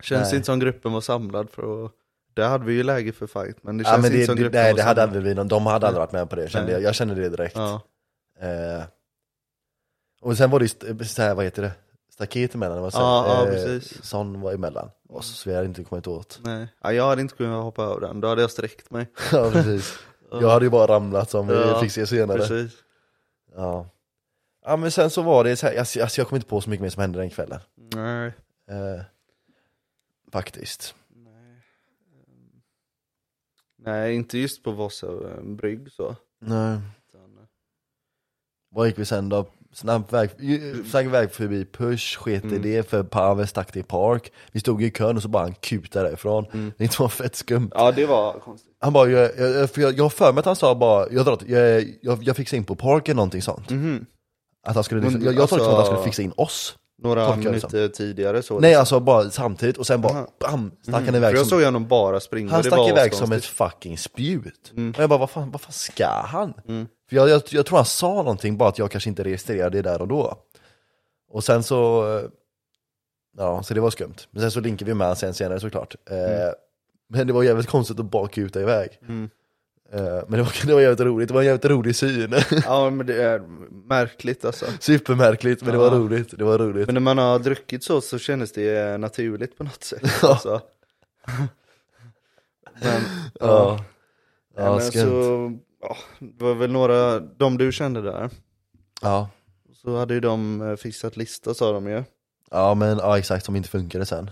B: Känns
A: Nej.
B: inte som gruppen var samlad för att, där hade vi ju läge för fight, men det
A: Ja,
B: känns
A: men
B: inte
A: det,
B: som
A: det,
B: gruppen
A: nej,
B: var
A: det hade
B: samlad.
A: aldrig vi någon, de hade aldrig varit med på det, kände
B: Nej.
A: jag, jag kände det direkt.
B: Ja.
A: Eh, och sen var det ju, st- eh, så här, vad heter det, staket emellan, det var så,
B: Ja, ja,
A: eh,
B: precis.
A: sån var emellan oss, så vi hade inte kommit åt.
B: Nej, ja, jag hade inte kunnat hoppa över den, då hade jag sträckt mig.
A: ja, precis. Jag hade ju bara ramlat som vi
B: Ja,
A: fick se senare.
B: Precis.
A: Ja. ja, men sen så var det så här, alltså, alltså, jag kommer inte på så mycket mer som hände den kvällen.
B: Nej.
A: Eh, faktiskt.
B: Nej. Eh, Nej, inte just på Vossa eh, brygg så.
A: Nej.
B: Utan, eh,
A: Vad gick vi sen då? Snabb väg, ju- snabb väg förbi Push, sket
B: Mm.
A: i det för Pavel stack till Park. Vi stod i kön och så bara han kutade därifrån.
B: Mm.
A: Det var fett skumt.
B: Ja, det var konstigt.
A: Han bara, jag, jag, för jag, jag har för mig att han sa bara, jag, drar till- jag, jag, jag fixar in på Park eller någonting sånt.
B: Mhm.
A: Att han skulle, liksom,
B: Mm. Men,
A: jag, jag tolkade det som att han skulle
B: alltså-
A: fixa in oss.
B: Några
A: Tolkar jag det som.
B: minuter tidigare så.
A: Nej alltså bara samtidigt och sen bara, bam, stack han
B: Mm. För
A: iväg
B: jag
A: som,
B: såg honom bara springa.
A: han
B: det
A: stack
B: var Mm.
A: iväg som ett
B: askonstigt.
A: fucking spjut. Och jag bara, vad fan, vad fan ska han?
B: Mm.
A: För jag, jag, jag tror han sa någonting, bara att jag kanske inte registrerade det där och då. Och sen så, eh, Ja, så det var skumt. Men sen så linkade vi med han sen senare såklart. Eh, men det var jävligt konstigt att bara kuta iväg.
B: Mm.
A: Eh, men det var, det var jävligt roligt, det var en jävligt rolig syn.
B: Ja men det är märkligt alltså.
A: Supermärkligt, men det var
B: Ja.
A: roligt. Det var roligt.
B: Men när man har druckit så så kändes det eh, naturligt på något sätt. Alltså. men,
A: ja. Ja,
B: men
A: skumt.
B: så, ja, det var väl några, de du kände där,
A: Ja.
B: så hade ju de eh, fixat lista sa de ju.
A: ja, men ja, exakt, som inte funkade sen.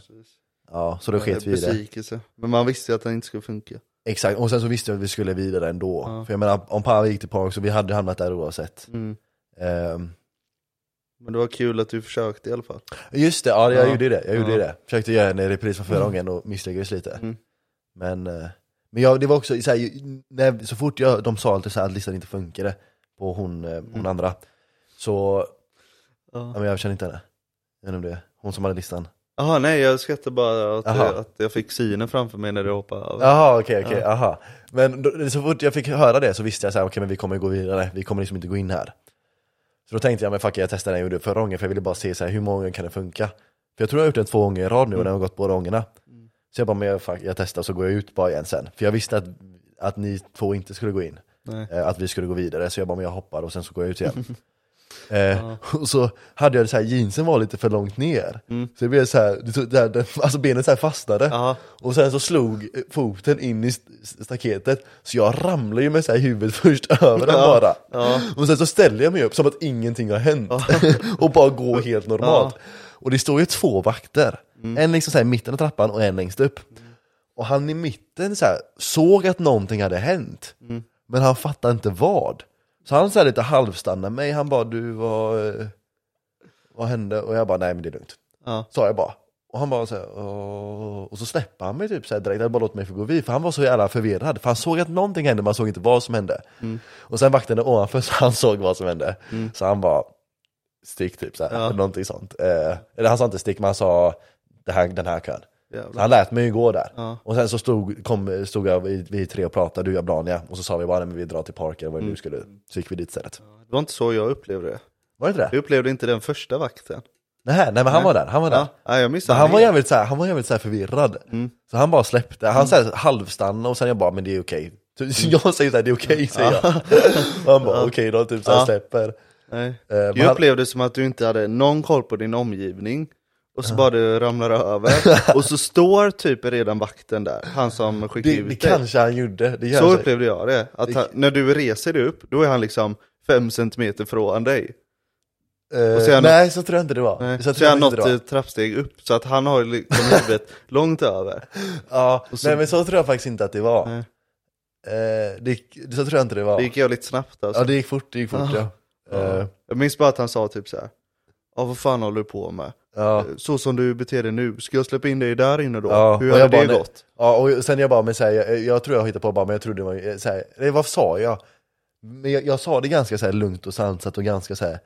A: Ja, så då sket vi i det.
B: Besvikelse. Men man visste ju att den inte skulle funka.
A: Exakt, och sen så visste vi att vi skulle vidare ändå.
B: Ja.
A: För jag menar, om Pavel gick till Park så vi hade hamnat där oavsett.
B: Mm.
A: Ehm,
B: Men det var kul att du försökte i alla fall.
A: just det, ja, jag
B: Ja.
A: gjorde ju det. Jag gjorde
B: Ja.
A: ju det. Försökte göra en repris från förra
B: Mm.
A: gången och misslyckades lite.
B: Mm.
A: Men, eh, men jag, det var också, så, här, ju- när, så fort jag, de sa alltid så här, att listan inte funkade på hon, eh, hon
B: Mm.
A: andra, så, ja,
B: Ja.
A: men jag känner inte henne. Jag vet inte om det är hon som hade listan.
B: Aha, nej jag skrattar bara att,
A: Aha.
B: att jag fick synen framför mig när du hoppade över.
A: Jaha okej, okej, aha. Men då, så fort jag fick höra det så visste jag så här, okej men vi kommer gå vidare, vi kommer liksom inte gå in här. Så då tänkte jag, men fuck it, jag testar den jag gjorde förra gången för jag ville bara se så här, hur många gånger kan det funka? För jag tror jag har gjort den två gånger i rad nu och den har gått båda gångerna. Så jag bara, men jag, fuck, jag testar så går jag ut bara igen sen. För jag visste att, att ni två inte skulle gå in.
B: Nej.
A: Eh, att vi skulle gå vidare, så jag bara, men jag hoppar och sen så går jag ut igen. eh, och så hade jag det så här, jeansen var lite för långt ner. Så det blev så här, det, tog- det, här- det, alltså benen så här fastnade.
B: Mm. Ja.
A: Och sen så slog foten in i st- staketet, så jag ramlade ju med så här huvudet först över den
B: Ja,
A: bara.
B: ja.
A: Och sen så ställde jag mig upp som att ingenting har hänt. och bara går helt normalt. Och det står ju två vakter. En liksom så här i mitten av trappan och en längst upp. Och han i mitten så här, såg att någonting hade hänt. Men han fattade inte vad. Så han så här lite halvstannade mig, han bara du vad, eh, vad hände? Och jag bara nej men det är lugnt
B: Ja.
A: sa jag bara. Och han bara så här, "Åh." och så släppte han mig typ så här direkt, han bara låt mig få gå vid, för han var så jävla förvirrad, för han såg att någonting hände, men han såg inte vad som hände.
B: Mm.
A: Och sen vakten ovanför, så han såg vad som hände. Så han bara, stick typ så här,
B: Ja.
A: eller någonting sånt. Eh, eller han sa inte stick, men han sa det här, den här kön. Så
B: Jävlar.
A: han lät mig ju gå där.
B: Ja.
A: Och sen så stod, kom, stod jag, vi, vi tre och pratade, du och jag, Blania, och så sa vi bara, "Nej, men vi drar till parken, vad det
B: Mm.
A: nu skulle, så gick vi dit istället.
B: Det var inte så jag upplevde det.
A: Var det inte det?
B: Jag upplevde inte den första vakten.
A: Nej, nej men han var där, han var där.
B: Ja. Nej, jag
A: Så
B: missade
A: han var
B: helt.
A: jävligt, så här, han var jävligt så här förvirrad.
B: Mm.
A: Så han bara släppte, han så här halvstannade och sen jag bara, men det är okej. Så jag säger såhär, det är okej säger jag. Och han bara, okej då, typ såhär
B: Ja.
A: släpper.
B: Nej.
A: men
B: Jag
A: han-
B: upplevde det som att du inte hade någon koll på din omgivning och så bara du ramlar över och så står typ redan vakten där, han som skickade
A: Det, det
B: ut dig.
A: kanske han gjorde, det
B: Så
A: kanske.
B: upplevde jag det, att han, när du reser dig upp, då är han liksom fem centimeter från dig.
A: Eh,
B: och så är han-
A: nej, så tror jag inte det var.
B: Nej.
A: Så
B: Så,
A: tror jag
B: han
A: inte
B: nått
A: det var.
B: ett trappsteg upp, så att han har ju liksom huvudet långt över.
A: Ja,
B: typ- så-
A: nej men så tror jag faktiskt inte att det var.
B: Nej.
A: Eh, det, gick- så tror jag inte det var.
B: Det gick jag lite snabbt alltså.
A: Ja, det gick fort, det gick fort ja. Eh,
B: Jag minns bara att han sa typ så här. Ja vad fan håller du på med?
A: ja.
B: Så som du beter dig nu, ska jag släppa in dig där inne då?
A: Ja,
B: Hur
A: och
B: hade
A: jag bara,
B: det
A: nej.
B: gått?
A: Ja, och sen jag bara, men så här, jag, jag tror jag hittade på bara, men jag trodde det var, eh, så här, nej, vad sa jag? Men jag, jag sa det ganska så här lugnt och sansat och ganska så här,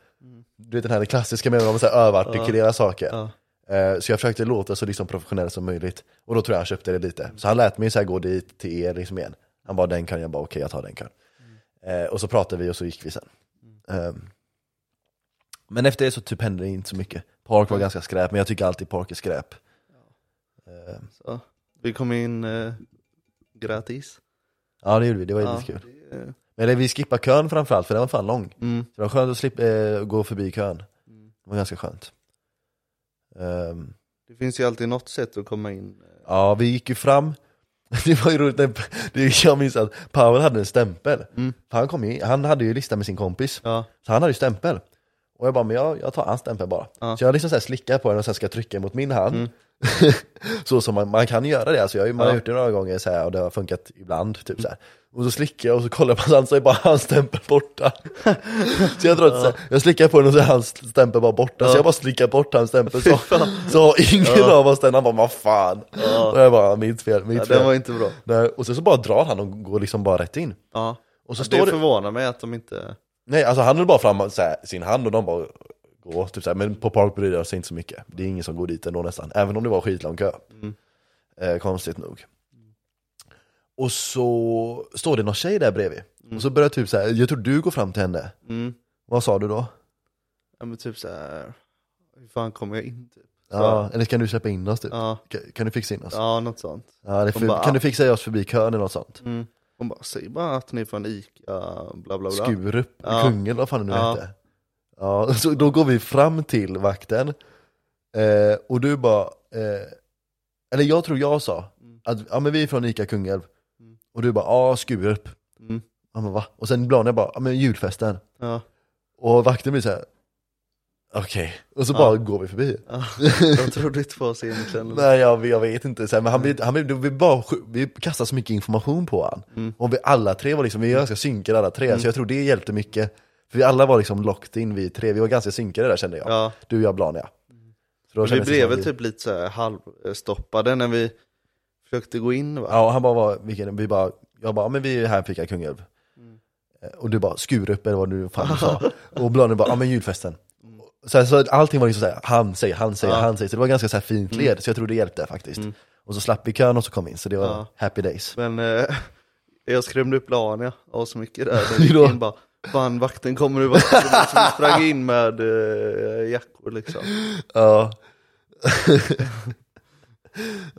A: du vet den här klassiska med att överartikulera saker.
B: Mm. Ja.
A: Eh, Så jag försökte låta så liksom professionell som möjligt. Och då tror jag han köpte det lite. Så han lät mig så här gå dit till er liksom igen. Han bara, den kan jag bara, okej jag tar den kan.
B: Mm.
A: Eh, Och så pratade vi och så gick vi sen. Ehm, Men efter det så typ hände det inte så mycket. Park
B: Mm.
A: var ganska skräp, men jag tycker alltid park är skräp. Ehm,
B: Så, vi kom in eh, gratis.
A: Ja det gjorde vi, det var
B: Ja,
A: jättekul.
B: det, eh,
A: Men det- vi skippade kön framförallt, för den var fan lång.
B: Mm.
A: Så det var skönt att slippa eh, gå förbi kön. Det var ganska skönt. Ehm,
B: det finns ju alltid något sätt att komma in.
A: ja, vi gick ju fram. Det var ju roligt, när, det, jag minns att Pavel hade en stämpel. För han, kom ju, han hade ju lista med sin kompis,
B: Ja,
A: så han hade ju stämpel. Och jag bara, men jag, jag tar hans stämpel bara.
B: Ja. Mm.
A: Så jag liksom så här slickar på den och sen ska jag trycka mot min hand. så som man, man kan göra det, alltså jag, har ju- man har
B: Ja.
A: gjort det några gånger så här, och det har funkat ibland. Typ så här. Och så slickar jag och så kollar jag på hans hand så är bara hans stämpel borta. så jag, drar ja. så här, jag slickar på den och så är hans stämpel bara borta. Så jag bara slickar bort hans stämpel. Så, så har ingen av oss den, han bara vad fan. Och jag bara mitt fel, mitt
B: ja
A: fel.
B: den var inte bra.
A: Nej, och sen så bara drar han och går liksom bara rätt in.
B: Ja.
A: Och så
B: det
A: står det...
B: förvånar mig att de inte...
A: Nej, alltså han höll bara fram så här, sin hand och de bara går, typ så här. men på Park bryr jag sig inte så mycket. Det är ingen som går dit ändå nästan, även om det var skitlång kö.
B: Mm.
A: Eh, konstigt nog. Och så står det någon tjej där bredvid, och så börjar typ så här, jag tror du går fram till henne.
B: Mm.
A: Vad sa du då?
B: Ja, men typ så här, hur fan kommer jag in? Typ.
A: Ja, eller kan du släppa in oss typ?
B: Ja,
A: Ka- Kan du fixa in oss? Ja.
B: ja något sånt.
A: det är
B: De
A: för,
B: bara,
A: kan
B: ah.
A: du fixa oss förbi kön eller något sånt?
B: Mm. Hon bara, säg bara att ni är från Ica, bla bla bla.
A: Skurup,
B: Ja.
A: Kungälv, vad fan det nu
B: Ja.
A: hette. Ja, så då går vi fram till vakten eh, och du bara, eh, eller jag tror jag sa
B: Mm.
A: att ja, men vi är från ICA Kungälv.
B: Mm.
A: Och du bara, ja Skurup.
B: Mm.
A: Ja, men va? Och sen ibland jag bara, ja men julfesten.
B: Ja,
A: Och vakten blir så här. okej. Och så
B: Ja.
A: bara går vi förbi.
B: ja. De trodde inte på oss egentligen.
A: Mm. Nej jag, jag vet inte, så här, men han blir, han blir, vi, bara, sk- vi kastar så mycket information på han.
B: Mm.
A: Och vi alla tre var liksom, vi var ganska synkade alla tre, så jag tror det hjälpte mycket. För vi alla var liksom locked in, vi tre, vi var ganska synkade där kände jag.
B: Ja. Mm.
A: Du, jag, Blania. Så då
B: Vi
A: kändes det
B: blev
A: som att
B: väl typ lite så här halvstoppade när vi försökte gå in va?
A: Ja, och han bara, var, vilken, vi bara, jag bara, "Ja, men vi är här på Ica Kungälv.
B: Mm.
A: Eh, Och du bara, Skurup eller vad du fan du sa. och Blanier bara, ja men julfesten. Så, här, så att allting var liksom såhär, han säger, han säger,
B: Mm. Ja. Mm.
A: han säger. Så det var ganska så här fint led, så jag tror det hjälpte faktiskt. Och så slapp vi kön och så kom vi in, så det var
B: Ja.
A: happy days.
B: Men eh, jag skrämde upp Lania av så mycket där. Den
A: Hur då?
B: gick in bara, fan vakten kommer nu vakten. kommer." Så vi sprang in med eh, jackor liksom.
A: Ja.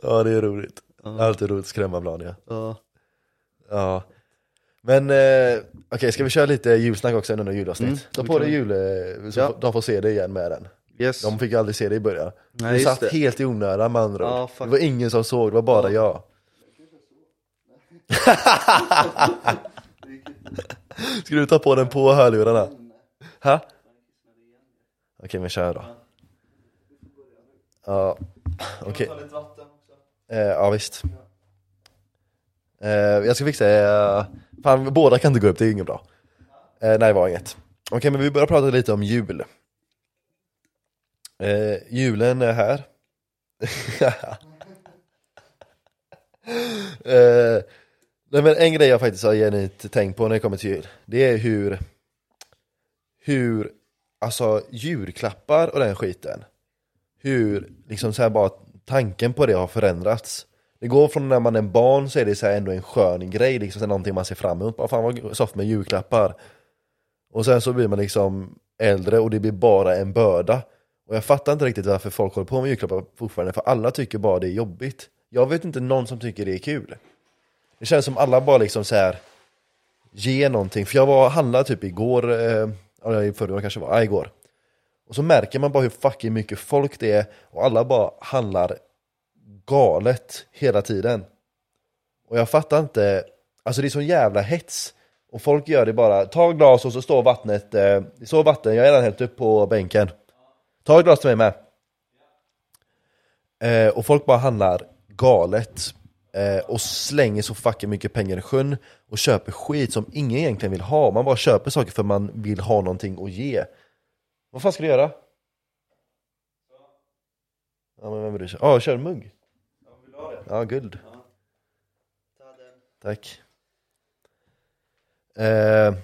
A: ja, det är roligt. Alltid roligt att skrämma Blania.
B: Ja.
A: Ja. Men eh, okej, ska vi köra lite julsnack också under julavsnitt?
B: Mm,
A: Ta
B: det
A: på
B: kan
A: dig
B: vi.
A: jul, eh, så
B: Ja.
A: får- de får se dig igen med den.
B: Yes.
A: De fick ju aldrig se det i början.
B: Nej,
A: du
B: just
A: satt
B: det.
A: helt i onödan med andra
B: Ja,
A: ord. Det
B: fuck.
A: var ingen som såg, det var bara jag. Ska du ta på den på hörlurarna? Ha? Okej men kör då. Ja, okej. Eh, ja visst. Eh, jag ska fixa, eh, fan båda kan inte gå upp, det är inget bra. Eh, nej det var inget. Okej men vi börjar prata lite om jul. Eh, julen är här. eh, nej men en grej jag faktiskt har genuint tänkt på när det kommer till jul, det är hur, hur, alltså julklappar och den skiten, hur liksom så här bara tanken på det har förändrats. Det går från när man är barn så är det så här ändå en skön grej, liksom så här någonting man ser fram emot, bara fan vad soft med julklappar. Och sen så blir man liksom äldre och det blir bara en börda. Och jag fattar inte riktigt varför folk håller på med julklappar fortfarande, för alla tycker bara det är jobbigt. Jag vet inte någon som tycker det är kul. Det känns som alla bara liksom så här ge någonting. För jag var och handlade typ igår, eh, eller i förrgår kanske var, ja igår. Och så märker man bara hur fucking mycket folk det är och alla bara handlar galet hela tiden. Och jag fattar inte, alltså det är sån jävla hets. Och folk gör det bara, ta glas och så står vattnet, eh, det står vatten, jag har redan hällt upp på bänken. Ta ett glas till mig med. Eh, och folk bara handlar galet. Eh, och slänger så fucking mycket pengar i sjön och köper skit som ingen egentligen vill ha. Man bara köper saker för man vill ha någonting att ge. Vad fan ska du göra? Ja men vem bryr sig? Ja, ah, kör en mugg. Ja, guld. Tack. Eh,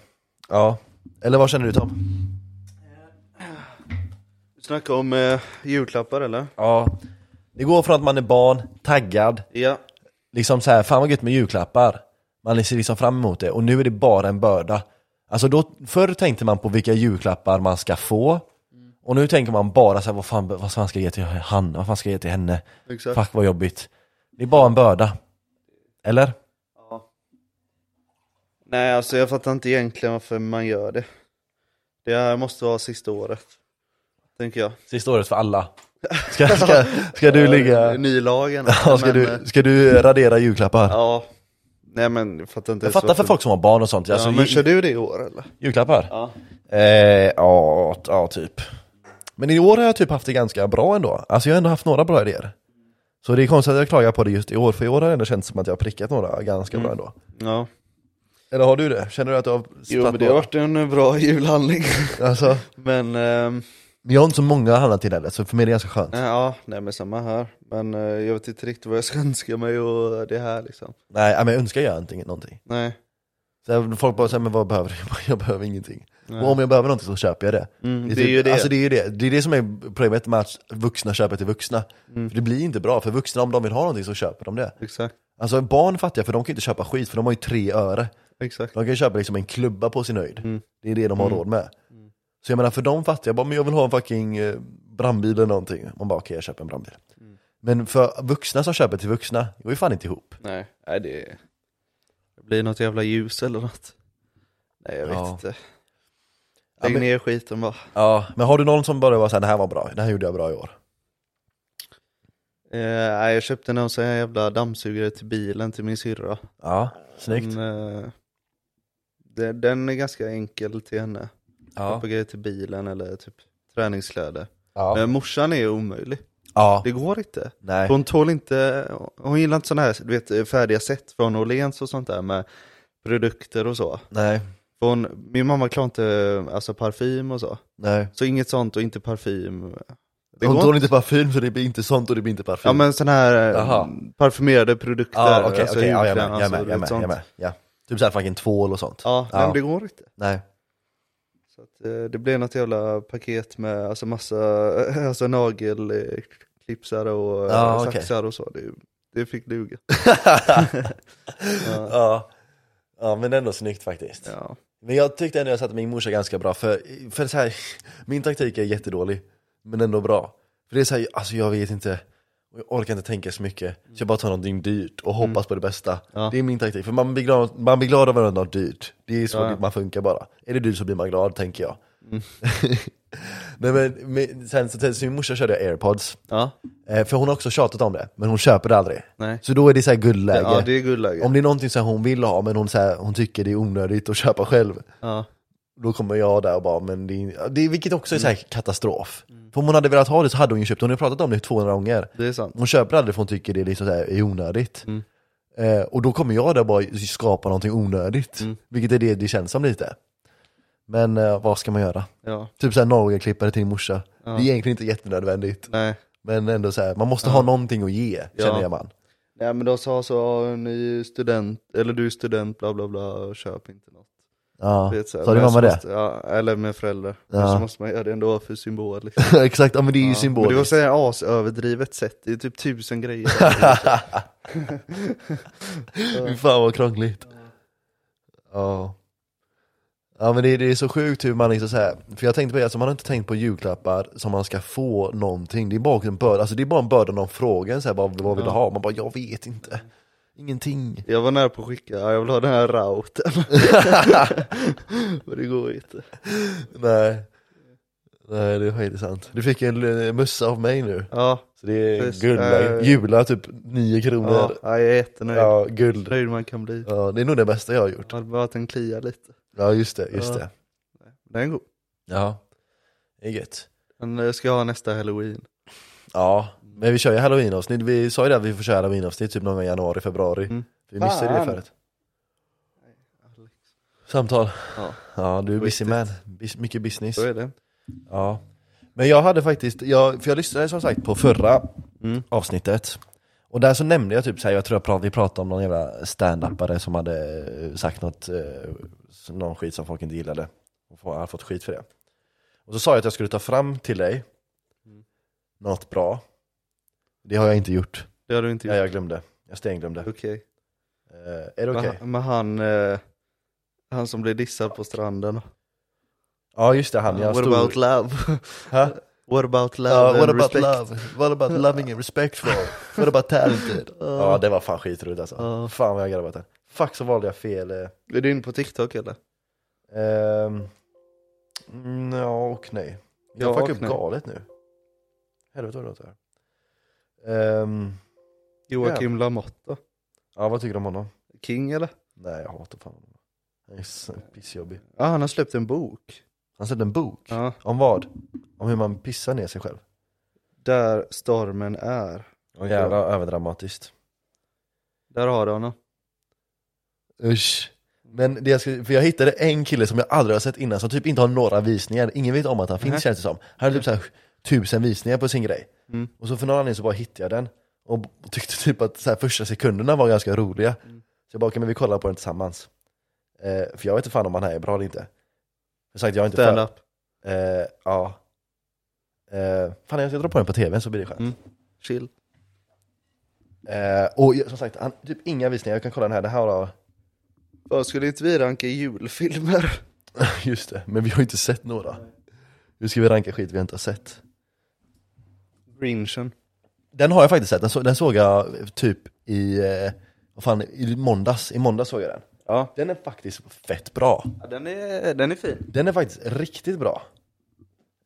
A: ja, eller vad känner du Tom?
B: Vi snackar om eh, julklappar eller?
A: Ja, det går från att man är barn, taggad,
B: Ja.
A: liksom så här, fan vad gött med julklappar. Man ser liksom fram emot det och nu är det bara en börda. Alltså då, förr tänkte man på vilka julklappar man ska få och nu tänker man bara så här, vad fan, vad fan ska jag ge till han, vad fan ska jag ge till henne?
B: Exakt.
A: Fuck vad jobbigt. Det är bara en börda. Eller?
B: Ja. Nej, alltså jag fattar inte egentligen varför man gör det. Det här måste vara sista året. Tänker jag.
A: Sista året för alla. Ska, ska, ska du ligga...
B: Eh, Ny lagen.
A: Ja, Ska
B: Men,
A: du,
B: eh,
A: ska du radera julklappar?
B: Ja. Nej men jag fattar inte
A: Jag
B: ens
A: fattar för
B: varför-
A: folk som har barn och sånt. Alltså,
B: Ja, men
A: ju-
B: kör du det i år eller?
A: Julklappar?
B: Ja.
A: Eh, ja, t- ja, typ. Men i år har jag typ haft det ganska bra ändå. Alltså jag har ändå haft några bra idéer. Så det är konstigt att jag klagar på det just i år, för i år har det ändå känts som att jag har prickat några ganska
B: Mm.
A: bra ändå.
B: Ja.
A: Eller har du det? Känner du att du har
B: Jo
A: satt
B: men det har
A: några?
B: varit en eh, bra julhandling.
A: Alltså,
B: men ehm,
A: men jag har inte så många att handla till heller, så för mig är det ganska skönt.
B: nej, ja, nej men samma här. Men eh, jag vet inte riktigt vad jag ska önska mig och det här liksom.
A: Nej, men jag önskar jag inte någonting.
B: Nej.
A: Så här, folk bara säger, men vad behöver du? Jag bara, Jag behöver ingenting.
B: Nej.
A: Och om jag behöver någonting så köper jag det.
B: Mm,
A: är
B: det är
A: typ-
B: ju det.
A: Alltså det är ju det. Det är det som är problemet med att vuxna köper till vuxna.
B: Mm.
A: För det blir inte bra, för vuxna om de vill ha någonting så köper de det.
B: Exakt.
A: Alltså barn fattar jag för de kan ju inte köpa skit för de har ju tre öre.
B: Exakt. Mm.
A: De kan ju köpa liksom en klubba på sin höjd. Det är det de har råd med. Så jag menar för de fattiga, jag bara, men jag vill ha en fucking eh, brandbil eller någonting. Man bara, okej jag köper en brandbil.
B: Mm.
A: Men för vuxna som köper till vuxna, det går ju fan inte ihop.
B: Nej, nej det... det blir något jävla ljus eller något. Nej jag vet
A: Ja.
B: inte. Lägg
A: Ja, men-
B: ner skiten bara.
A: Ja. Men har du någon som bara var såhär, det här var bra, det här gjorde jag bra i år.
B: Eh, nej, jag köpte någon sån här jävla dammsugare till bilen till min syrra.
A: Ja, snyggt.
B: Men, eh, det- den är ganska enkel till henne.
A: Ja.
B: Köpa grejer till bilen eller typ träningskläder.
A: Ja.
B: Men morsan är omöjlig.
A: ja.
B: Det går inte.
A: Nej.
B: Hon tål inte, hon gillar inte sådana här du vet, färdiga set från Åhléns och sånt där med produkter och så.
A: Nej.
B: För hon, min mamma klarar inte alltså, parfym och så.
A: Nej.
B: Så inget sånt och inte parfym. Det
A: Hon
B: går
A: tål
B: inte.
A: inte parfym så det blir inte sånt och det blir inte parfym.
B: Ja men sådana här eh,
A: Jaha.
B: parfymerade produkter.
A: Ja, okej, okej, ja, jag
B: julkräm,
A: med, jag
B: alltså,
A: med,
B: du
A: jag
B: vet,
A: med,
B: sånt.
A: jag med. Ja. Typ såhär fucking tvål och sånt.
B: Ja,
A: Ja.
B: nej, men det går inte.
A: Nej.
B: Så att, eh, det blir något jävla paket med alltså massa alltså nagelklipsare och eh,
A: Ja, okej.
B: saxar och så. Det, det fick duga. Ja.
A: ja. ja, men ändå snyggt faktiskt.
B: Ja.
A: Men jag tyckte ändå jag satte min morsa ganska bra, för, för så här, min taktik är jättedålig, men ändå bra. För det är såhär, alltså jag vet inte, och jag orkar inte tänka så mycket, så jag bara tar någonting dyrt och hoppas på det bästa.
B: Mm. Ja.
A: Det är min taktik, för man blir glad, man blir glad av att något dyrt. Det är så
B: Ja, Mm. ja.
A: man funkar bara. Är det dyrt så blir man glad, tänker jag. Nej, men, men, sen så, sen så min morsa körde jag airpods,
B: ja,
A: eh, för hon har också tjatat om det, men hon köper det aldrig.
B: nej.
A: Så då är det så här guldläge.
B: Ja, det är guldläge.
A: Om det är någonting som hon vill ha, men hon, så här, hon tycker det är onödigt att köpa själv,
B: Ja.
A: då kommer jag där och bara, men det är, det är vilket också är så här katastrof. För om hon hade velat ha det så hade hon ju köpt det, hon har ju pratat om det 200 gånger.
B: Det är sant.
A: Hon köper aldrig för hon tycker det liksom så här är onödigt. Eh, och då kommer jag där och bara skapa någonting onödigt, vilket är det det känns som lite. Men eh, vad ska man göra?
B: Ja,
A: Typ såhär nagelklippare till din morsa. Det är egentligen inte jättenödvändigt.
B: nej.
A: Men ändå så här, man måste ha någonting att ge, känner jag man.
B: Nej men de sa så, ja, ni är student, eller du är student, bla bla bla, köp inte något.
A: Ja.
B: Du vet, så här,
A: Sa din
B: men så
A: mamma det?
B: Måste, ja, eller med föräldrar. Men
A: Ja.
B: så måste man göra det ändå för symbol. Liksom.
A: Exakt, ja, men det är ju
B: Ja. Men
A: symboliskt.
B: det var så här asöverdrivet sätt, det är typ tusen grejer.
A: Fy fan vad krångligt. Ja. Ja men det, det är så sjukt hur man liksom så här, för jag tänkte på det, alltså, man har inte tänkt på julklappar som man ska få någonting. Det är bara en börda, alltså det är bara en börda någon frågar så här, vad, vad vill du ha? Man bara, jag vet inte. Ingenting.
B: Jag var nära på att skicka, ja, jag vill ha den här routern. Men det går inte.
A: Nej. Nej det är faktiskt sant. Du fick en eh, mössa av mig nu.
B: Ja,
A: Så det är
B: Precis.
A: guld.
B: Eh.
A: Jula typ 9
B: ja,
A: kronor.
B: ja, jag är jättenöjd.
A: Ja, guld.
B: Nöjd man kan bli.
A: Ja, det är nog det bästa jag har gjort.
B: Jag hade bara att den kliar lite.
A: Ja just det, just
B: Ja.
A: det.
B: Den är god.
A: Ja. Det är gött.
B: Den eh, ska jag ha nästa halloween.
A: Ja, men vi kör ju halloween-avsnitt. Vi sa ju det att vi får köra halloween-avsnitt typ någon gång i januari, februari.
B: Mm.
A: Vi missade det
B: Fan.
A: förut. Samtal.
B: Ja,
A: Ja, du är busy
B: Riktigt.
A: man. Bus- mycket business.
B: så är det.
A: Ja. Men jag hade faktiskt, jag, för jag lyssnade som sagt på förra
B: Mm.
A: avsnittet. Och där så nämnde jag typ såhär, jag tror jag prat, vi pratade om någon jävla stand-upare som hade eh, sagt något, eh, någon skit som folk inte gillade. Och få- hade fått skit för det. Och så sa jag att jag skulle ta fram till dig
B: Mm.
A: något bra. Det har jag inte gjort.
B: Det har du inte gjort.
A: Ja, jag glömde. Jag stenglömde.
B: Okej.
A: Eh, är det okej?
B: Men han- Men han, eh, han som blev dissad på stranden.
A: Ja just det, han jag
B: What
A: stod...
B: about love?
A: Huh?
B: What about love
A: Ja,
B: and
A: what about
B: respect?
A: love? What about loving and respectful? What about talented?
B: Ah.
A: Ja det var fan skitroligt alltså.
B: Ja.
A: Fan vad jag garvade åt den. Fuck så valde jag fel. eh.
B: Ah. Är du inne på TikTok eller?
A: Ehm, mm, ja och nej. Jag
B: Ja,
A: fuckar
B: och
A: upp
B: nej.
A: galet nu. Helvete vad det låter. Ehm,
B: Joakim Lamotte då?
A: ja vad tycker du om honom?
B: King eller?
A: Nej jag hatar fan honom. Han är så pissjobbig.
B: Ja, ah, han har släppt en bok.
A: Han släppte en bok.
B: Ja.
A: Om vad? Om hur man pissar ner sig själv.
B: Där stormen är.
A: Och jävla överdramatiskt.
B: Där har du honom.
A: Usch. Men det jag, skulle, för jag hittade en kille som jag aldrig har sett innan som typ inte har några visningar. Ingen vet om att han finns
B: Nej.
A: känns det som. Han hade typ så här, tusen visningar på sin grej.
B: Mm.
A: Och så för några anledning så bara hittade jag den. Och b- tyckte typ att så här, första sekunderna var ganska roliga.
B: Mm.
A: Så jag bara, okej men vi kollar på den tillsammans. Eh, för jag vet inte fan om han här är bra eller inte. Som sagt, jag är inte för-
B: Stand-up.
A: Eh, ja. Eh, fan jag ska dra på den på tvn så blir det skönt.
B: Mm. Chill.
A: Eh, och jag- som sagt, han, typ inga visningar. Jag kan kolla den här. Det här har...
B: Vad skulle inte vi ranka julfilmer?
A: Just det, men vi har ju inte sett några. Nu ska vi ranka skit vi inte har sett.
B: Grinchen.
A: Den har jag faktiskt sett, den, så, den såg jag typ i, eh, vad fan, i måndags. I måndags såg jag den.
B: Ja.
A: Den är faktiskt fett bra.
B: den, är, den är fin.
A: Den är faktiskt riktigt bra.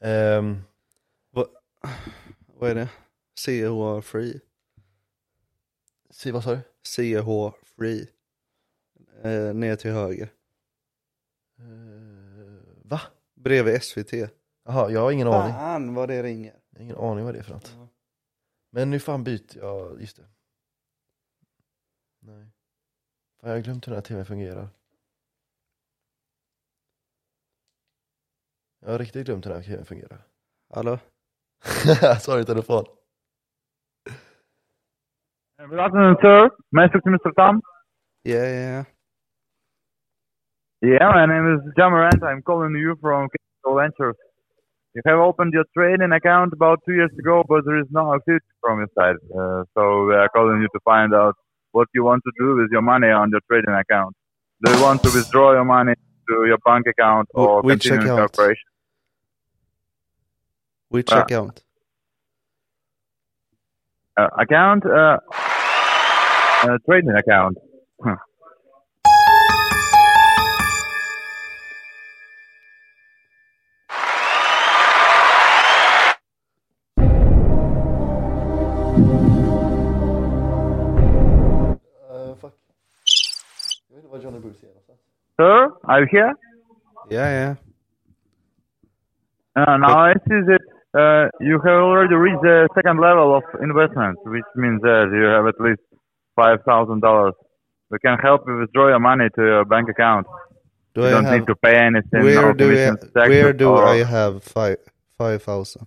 A: Ehm,
B: Vad är det? CH Free.
A: si, vad sa du? Eh,
B: CH Free. Eh, ner till höger.
A: Va?
B: Bredvid SVT.
A: Jaha, jag har ingen aning.
B: Fan vad det ringer.
A: Jag har ingen aning vad det är för något.
B: Ja.
A: Men nu fan byter jag, just det. Nej. Fan, jag har glömt hur den här tvn fungerar. Jag har riktigt glömt hur den här tvn fungerar.
B: Hallå?
A: Sorry telefon.
C: Good afternoon, sir. May I speak to Mr. Tom?
B: Yeah, yeah, yeah.
C: Yeah, my name is Jamarant. I'm calling you from Capital Ventures. You have opened your trading account about two years ago, but there is no activity from your side. Uh, so we are calling you to find out what you want to do with your money on your trading account. Do you want to withdraw your money to your bank account
B: Wh-
C: or
B: which
C: continue in
B: account?
C: corporation?
B: Which
C: Va?
B: account?
C: Uh, account? Uh, uh, trading account.
A: Eh, fuck. Jag vet inte vad Johnny Bruce är någonstans.
C: Sir, are you here?
B: Yeah, yeah.
C: Uh, now I see that uh, you have already reached the second level of investment, which means that you have at least five thousand dollars. We can help you withdraw your money to your bank account.
B: Do
C: You
B: I
C: don't
B: have,
C: need to pay anything.
B: where
C: no
B: do I,
C: commissions, taxes,
B: where do
C: or-
B: I have five five thousand?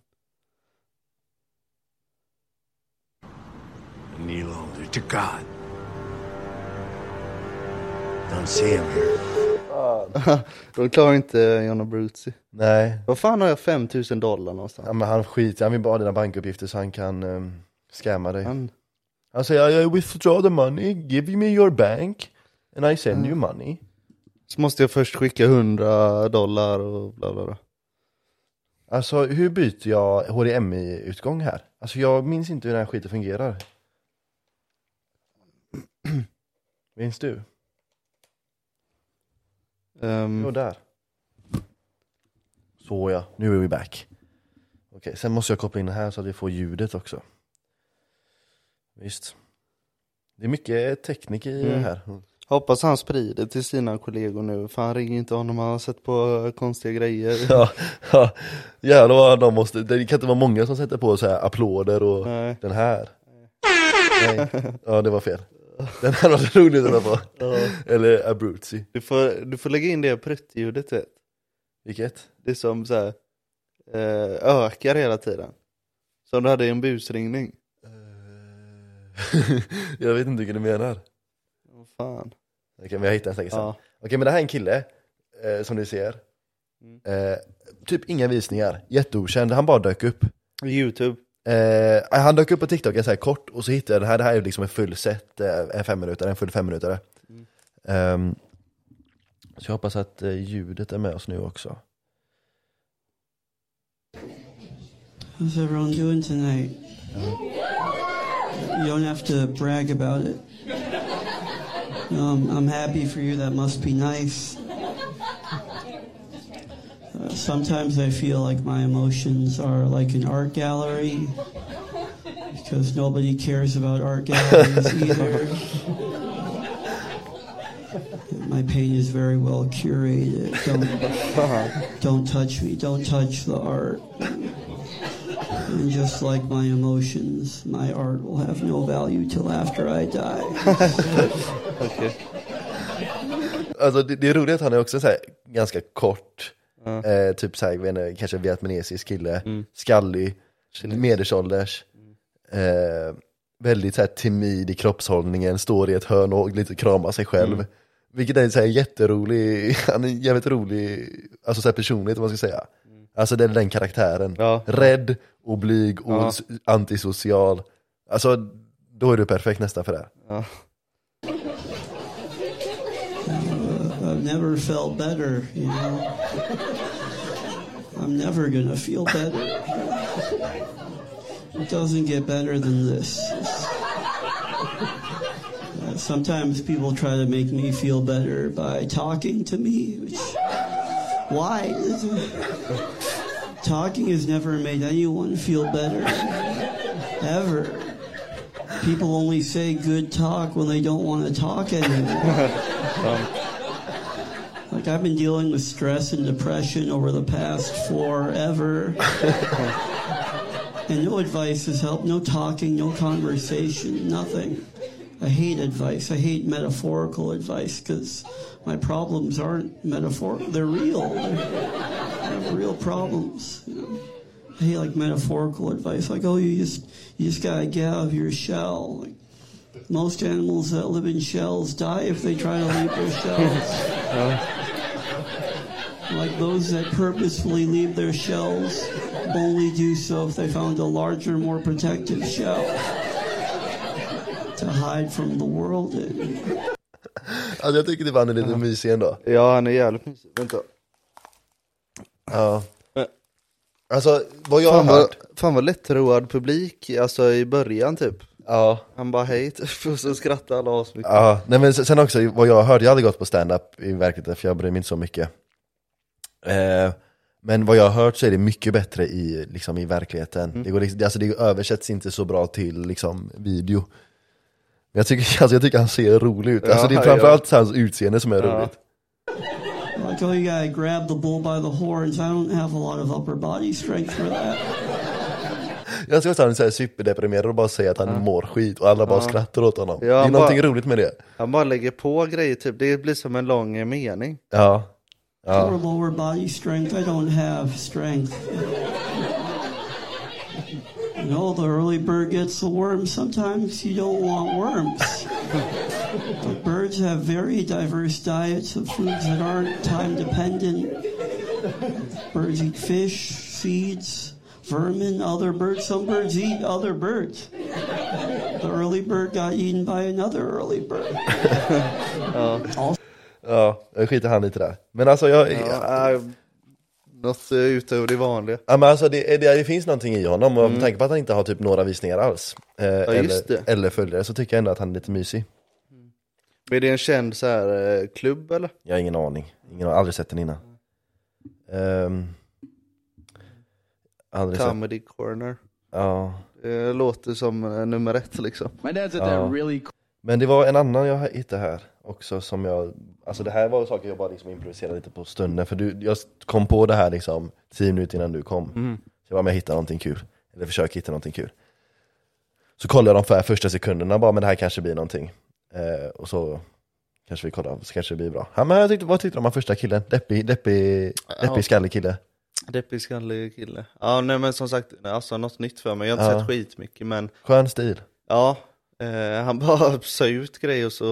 D: kneel only to God. Don't see him here.
B: Då klarar inte Jonna Bruzzi.
A: Nej,
B: Vad fan har jag 5000 dollar någonstans?
A: ja, men han skiter han vill bara ha dina bankuppgifter så han kan um, scamma dig.
B: Han,
A: Han säger I withdraw the money, give me your bank and I send you money.
B: så måste jag först skicka 100 dollar och bla bla bla.
A: Alltså hur byter jag HDMI-utgång här? Alltså jag minns inte hur den här skiten fungerar. Minns du?
B: Ehm,
A: Jo, där. Så ja, nu är vi back. Okej, sen måste jag koppla in den här så att vi får ljudet också. Visst. Det är mycket teknik i det här.
B: hoppas han sprider till sina kollegor nu, för han ringer inte honom, han har sett på konstiga grejer.
A: Ja, ja, jävlar vad de måste, det kan inte vara många som sätter på så här applåder och
B: Nej.
A: den här. Nej. Ja, det var fel. Den här var så rolig den på. Eller Abruzzi.
B: Du får, du får lägga in det pruttljudet, du vet.
A: Vilket?
B: det som så här, eh, ökar hela tiden. Som du hade i en busringning.
A: Eh, jag vet inte vilken du menar.
B: Åh, fan.
A: Okej, men jag hittar en säkert sen.
B: Ja.
A: Okej, men det här är en kille, eh, som ni ser.
B: Mm.
A: Eh, typ inga visningar, jätteokänd, han bara dök upp.
B: Youtube.
A: Eh, han dök upp på TikTok jag säger kort och så hittade jag det här, det här är liksom en full set, eh, en femminutare, en full femminutare. Ehm, så jag hoppas att eh, ljudet är med oss nu också.
E: How's everyone doing tonight? You don't have to brag about it. Um, I'm happy for you. That must be nice. Uh, sometimes I feel like my emotions are like an art gallery because nobody cares about art galleries either. My pain is very well curated. Don't, don't touch me. Don't touch the art. And just like my emotions, my art will have no value till after I die.
A: Alltså det, det är roligt att han är också så här, ganska kort, eh, typ så här, jag vet inte, kanske vietnamesisk kille,
B: Mm.
A: skallig, medelålders, eh, väldigt så här, timid i kroppshållningen, står i ett hörn och lite kramar sig själv.
B: Mm.
A: Vilket är så här, jätterolig, han är en jävligt rolig alltså, så här, personlighet om man ska säga. Alltså den, den karaktären.
B: Mm. Ja.
A: Rädd och blyg och
B: Ja.
A: s- antisocial. Alltså då är du perfekt nästan för det. här.
B: Ja.
E: I've never felt better, you know. I'm never gonna feel better. It doesn't get better than this. Uh, sometimes people try to make me feel better by talking to me, which why? Talking has never made anyone feel better. Ever. People only say good talk when they don't want to talk anymore. like, I've been dealing with stress and depression over the past forever. and no advice has helped. No talking, no conversation, nothing. I hate advice. I hate metaphorical advice because my problems aren't metaphorical. They're real. They're, I have real problems. You know? I hate like metaphorical advice, like oh you just you just gotta get out of your shell. Like, most animals that live in shells die if they try to leave their shells. like those that purposefully leave their shells only do so if they found a larger, more protective shell to hide from the world in.
A: Alltså jag tycker typ han är lite mysig ändå.
B: Ja han är jävligt mysig. Vänta.
A: Ja.
B: Men-
A: Alltså vad jag
B: Fan
A: har
B: vad,
A: hört,
B: fan vad lättroad publik, alltså i början typ.
A: ja.
B: Han bara hej typ, och så skrattar alla asmycket.
A: Ja, nej men sen också vad jag hörde, jag hade gått på stand-up i verkligheten för jag bryr mig inte så mycket. Eh, men vad jag har hört så är det mycket bättre i, liksom, i verkligheten.
B: Mm.
A: Det, går, liksom- det- alltså, det översätts inte så bra till liksom, video. Men Jag tycker, alltså, jag tycker han ser rolig ut. Alltså, det är
B: Ja,
A: framförallt hans utseende som är roligt.
E: Like, oh, you gotta grab the bull by the horns. I don't have a lot of upper body strength for that.
A: Jag ska att han är så här superdeprimerad och bara säga att han mår skit och alla bara skrattar åt honom. det är
B: han
A: någonting
B: bara-
A: roligt med det.
B: Han bara lägger på grejer typ, det blir som en lång eh, mening.
A: Ja.
E: Or lower body strength. I don't have strength. You know, the early bird gets the worm. Sometimes you don't want worms. But birds have very diverse diets of foods that aren't time dependent. Birds eat fish, seeds, vermin, other birds. Some birds eat other birds. The early bird got eaten by another early bird.
A: Ja, jag skiter han lite där. Men alltså jag,
B: Ja, eh, något eh, utöver det vanliga.
A: Ja, men alltså det, det, det finns någonting i honom och med tanke på att han inte har typ några visningar alls eh,
B: Mm. just
A: eller,
B: det.
A: eller följare så tycker jag ändå att han är lite mysig.
B: Men Är det en känd så här eh, klubb eller?
A: Jag har ingen aning, ingen, har aldrig sett den innan. Ehm, aldrig sett,
B: Comedy corner.
A: ja.
B: Det låter som eh, nummer ett liksom.
F: My dad's at that really
A: Men det var en annan jag hittade här också som jag, alltså det här var saker jag bara liksom improviserade lite på stunden för du, jag kom på det här liksom tio minuter innan du kom. Så jag bara, men jag hittar någonting kul, eller försöker hitta någonting kul. Så kollade jag de för första sekunderna bara, men det här kanske blir någonting. Eh, och så kanske vi kollar, så kanske det blir bra. Ja, men jag tyckte, vad tyckte du om han första killen? Deppig, deppig, deppig skallig kille.
B: Deppig skallig kille. Ja nej men som sagt, alltså något nytt för mig. Jag har inte
A: Ja.
B: sett skitmycket men
A: Skön stil.
B: ja. Eh, han bara sa ut grejer och så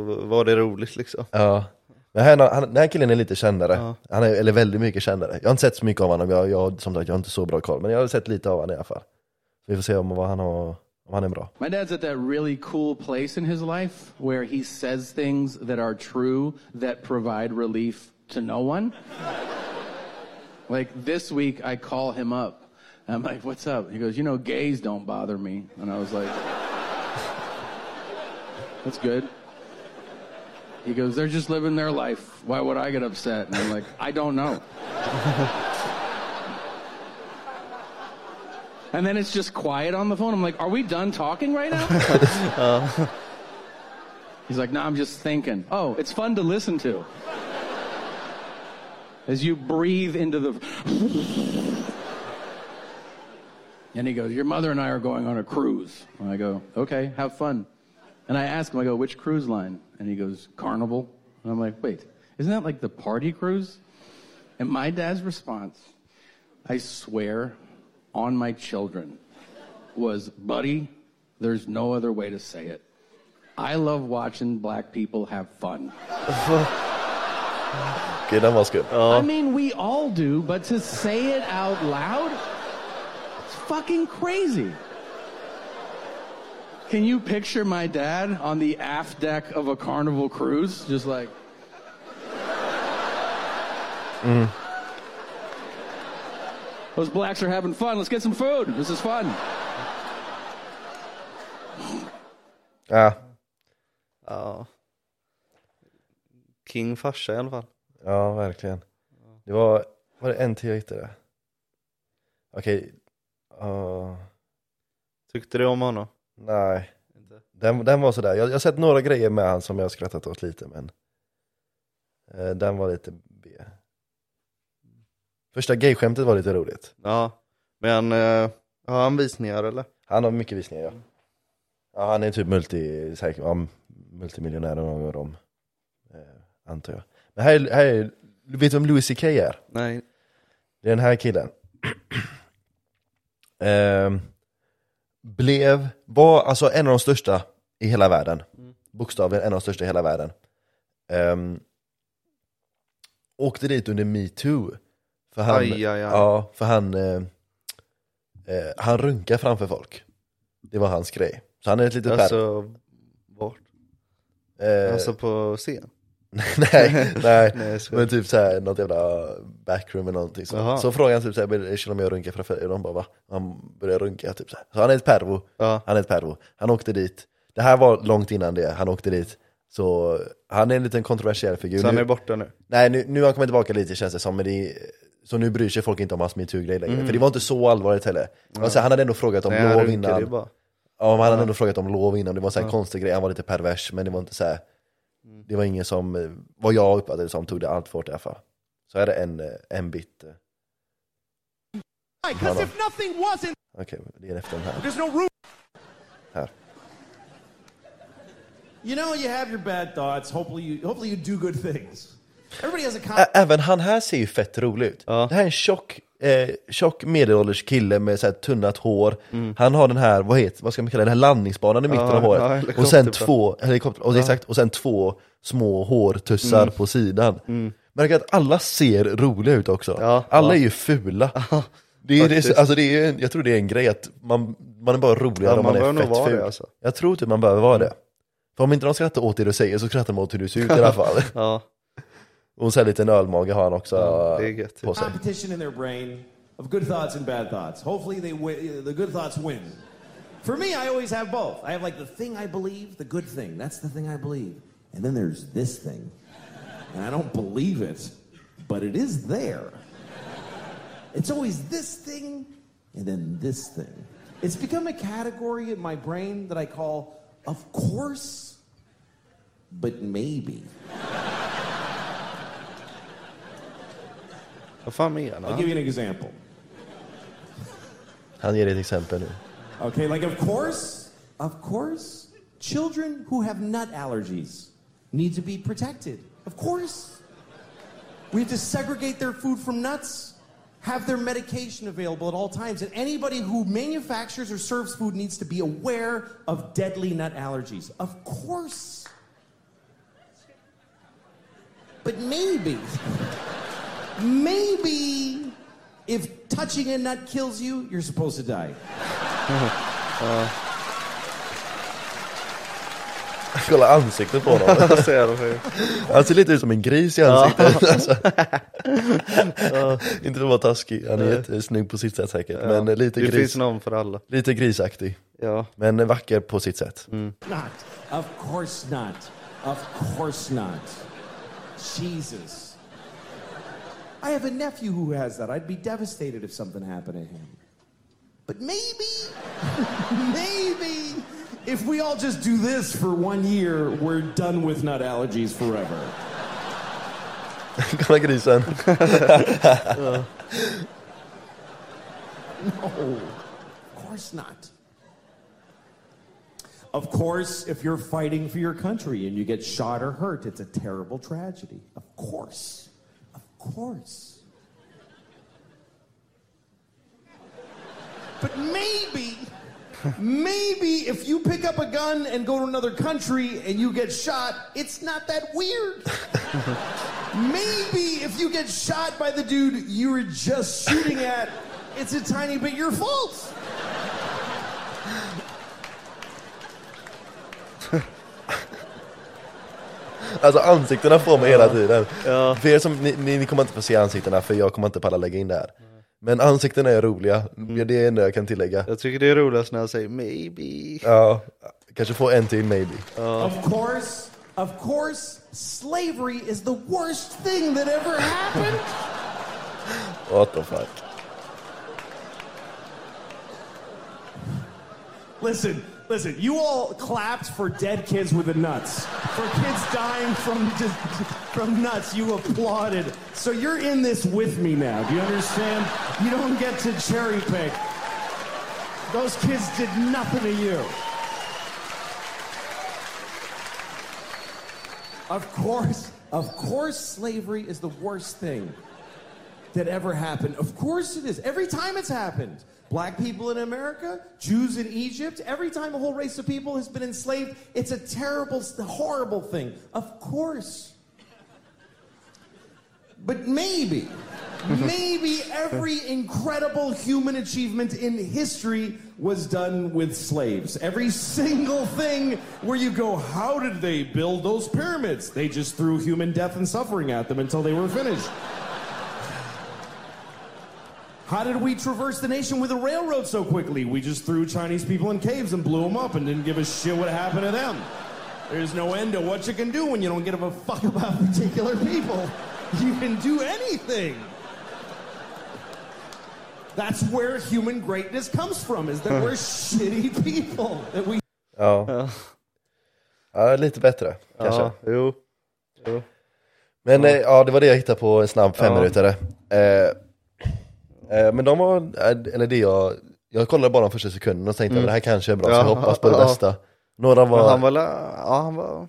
B: var det roligt liksom.
A: Ja. Men här, han, den här killen är lite kändare,
B: Ja.
A: han är, eller väldigt mycket kändare. Jag har inte sett så mycket av honom, jag, jag, som sagt jag har inte så bra koll, men jag har sett lite av honom i alla fall. Så vi får se om, vad han, har, om han är bra.
F: My dad's at that really cool place in his life where he says things that are true that provide relief to no one. like this week, I call him up. I'm like, what's up? He goes, you know, gays don't bother me. And I was like, that's good. He goes, they're just living their life. Why would I get upset? And I'm like, I don't know. And then it's just quiet on the phone. I'm like, are we done talking right now? Uh. He's like, no, I'm just thinking. Oh, it's fun to listen to. As you breathe into the. and he goes, Your mother and I are going on a cruise. And I go, Okay, have fun. And I ask him, I go, Which cruise line? And he goes, Carnival. And I'm like, Wait, isn't that like the party cruise? And my dad's response, I swear on my children, was, Buddy, there's no other way to say it. I love watching black people have fun.
A: Okej, den var skum.
F: I mean, we all do, but to say it out loud, it's fucking crazy. Can you picture my dad on the aft deck of a carnival cruise? Just like. Those blacks are having fun. Let's get some food. This is fun.
A: Ja,
B: Ja. King farsa i alla fall.
A: ja verkligen. Det var, var det en till jag hittade? Okej, ja,
B: Tyckte du om honom?
A: nej.
B: Inte.
A: Den, den var sådär, jag, jag har sett några grejer med han som jag har skrattat åt lite men eh, den var lite B. Första gayskämtet var lite roligt.
B: Ja. Men eh, har han visningar eller?
A: Han har mycket visningar ja. Ja han är typ multi, säkert, ja, multimiljonär och någon av dem. Eh, antar jag. Men här, är- här är, vet du vem Louis CK är?
B: Nej.
A: Det är den här killen. Ehm, blev, var alltså en av de största i hela världen. Bokstavligen en av de största i hela världen. Ehm, åkte dit under metoo. För han,
B: Aj, aj, aj.
A: Ja, för han, eh, eh, han runkar framför folk. Det var hans grej. Så han är ett litet alltså,
B: Alltså, vart?
A: eh,
B: Alltså på scen?
A: nej, nej.
B: Nej, jag skojar.
A: men typ såhär, något jävla backroom eller någonting så.
B: Jaha.
A: Så frågade han typ såhär, känner om jag runkar framför er? Och de bara va? Han började runka typ såhär. Så han är ett pervo.
B: Ja.
A: Han är ett pervo. Han åkte dit. Det här var långt innan det, han åkte dit. Så han är en liten kontroversiell figur.
B: Så han
A: Nu-
B: är borta nu?
A: Nej, nu, nu har han kommit tillbaka lite känns det som, men det är, så nu bryr sig folk inte om hans metoo-grej längre. För det var inte så allvarligt heller. Alltså, han hade ändå frågat om
B: Mm. Nej, han
A: lov
B: runkade ju
A: innan.
B: bara.
A: Ja, men han hade ändå frågat om lov innan, det var en sån här konstig grej, han var lite pervers, men det var inte så här. Det var ingen som, eh, vad jag uppfattade det som, tog det allt för hårt i alla fall. Så är det en, eh, en bit. eh,
G: Because if nothing wasn't,
A: Okej, det är efter den här.
G: there's no room.
A: här.
G: You know, you have your bad thoughts. Hopefully, you hopefully you do good things. Everybody has a
A: Ä-
G: con-
A: Även han här ser ju fett rolig ut.
B: Ja.
A: Det här är en tjock, eh, tjock medelålders kille med så här tunnat hår. Han har den här, vad, heter, vad ska man kalla det, den här landningsbanan i mitten
B: Mm. Ja,
A: av
B: ja,
A: håret.
B: helikopter
A: och sen
B: bara.
A: två, helikopter, och, exakt, och sen två små hårtussar
B: Mm.
A: på sidan. Märker att alla ser roliga ut också.
B: Ja,
A: alla
B: ja.
A: är ju fula. Det är, det är,
B: faktiskt.
A: alltså det är, ju en- jag tror det är en grej att man, man är bara roligare
B: Ja,
A: om
B: man
A: man,
B: bör
A: är
B: nog
A: fett
B: vara
A: ful.
B: det, alltså.
A: Jag tror typ man behöver vara det. För om inte de skrattar åt det du säger så skrattar de åt hur du ser ut i alla fall.
B: Ja,
A: Och så här liten ölmage har han också
B: det är gött.
A: på sig.
G: competition in their brain of good thoughts and bad thoughts. Hopefully, they win, the good thoughts win. For me, I always have both. I have like the thing I believe, the good thing. That's the thing I believe. And then there's this thing. And I don't believe it, but it is there. It's always this thing and then this thing. It's become a category in my brain that I call, of course, but maybe.
B: Vad fan menar
G: I'll
B: han?
G: give you an example.
A: Han ger ett exempel nu.
G: Okay, like of course, of course, children who have nut allergies need to be protected. Of course. We have to segregate their food from nuts, have their medication available at all times, and anybody who manufactures or serves food needs to be aware of deadly nut allergies. Of course. But maybe, maybe if touching a nut kills you, you're supposed to die.
A: Kolla ansiktet på honom.
B: Vad säger de för-
A: Han ser lite ut som en gris i ansiktet. alltså. Inte för att vara taskig, han är jättesnygg på sitt sätt säkert. Men eh, lite,
B: Det finns
A: gris,
B: någon för alla.
A: lite grisaktig.
B: Ja. Mm.
A: Men vacker på sitt sätt.
G: not. Of course not. Of course not. Jesus. I have a nephew who has that. I'd be devastated if something happened to him. But maybe, maybe, if we all just do this for one year, we're done with nut allergies forever.
A: Kolla grisen.
G: No, of course not. Of course, if you're fighting for your country and you get shot or hurt, it's a terrible tragedy. Of course. Of course. But maybe, maybe if you pick up a gun and go to another country and you get shot, it's not that weird. Maybe if you get shot by the dude you were just shooting at, it's a tiny bit your fault.
A: Alltså ansiktena får mig hela tiden. För er som, ni, ni, ni kommer inte få se ansiktena för jag kommer inte palla lägga in det här. Men ansiktena är roliga,
B: Mm.
A: ja, det är det enda jag kan tillägga.
B: Jag tycker det är roligast när han säger maybe.
A: Ja, kanske få en till maybe.
G: Of course, of course, slavery is the worst thing that ever happened.
A: What the fuck.
G: Listen, listen, you all clapped for dead kids with the nuts. For kids dying from just, from nuts, you applauded. So you're in this with me now. Do you understand? You don't get to cherry pick. Those kids did nothing to you. Of course, of course slavery is the worst thing that ever happened. Of course it is. Every time it's happened. Black people in America, Jews in Egypt, every time a whole race of people has been enslaved, it's a terrible, horrible thing. Of course. But maybe, maybe every incredible human achievement in history was done with slaves. Every single thing where you go, how did they build those pyramids? They just threw human death and suffering at them until they were finished. How did we traverse the nation with a railroad so quickly? We just threw Chinese people in caves and blew them up and didn't give a shit what happened to them. There's no end to what you can do when you don't give a fuck about particular people. You can do anything. That's where human greatness comes from, is that we're shitty people. That we
A: Ja. ja, lite bättre kanske.
B: Ja, jo.
A: Men ja. ja, det var det jag hittade på en snabb femminutare. Eh, eh, men de var, eh, eller det jag, jag kollade bara de första sekunderna och tänkte att det här kanske är bra, så jag
B: Mm. Ja,
A: hoppas på det
B: ja.
A: bästa. Några var,
B: Men han var, la- ja han var,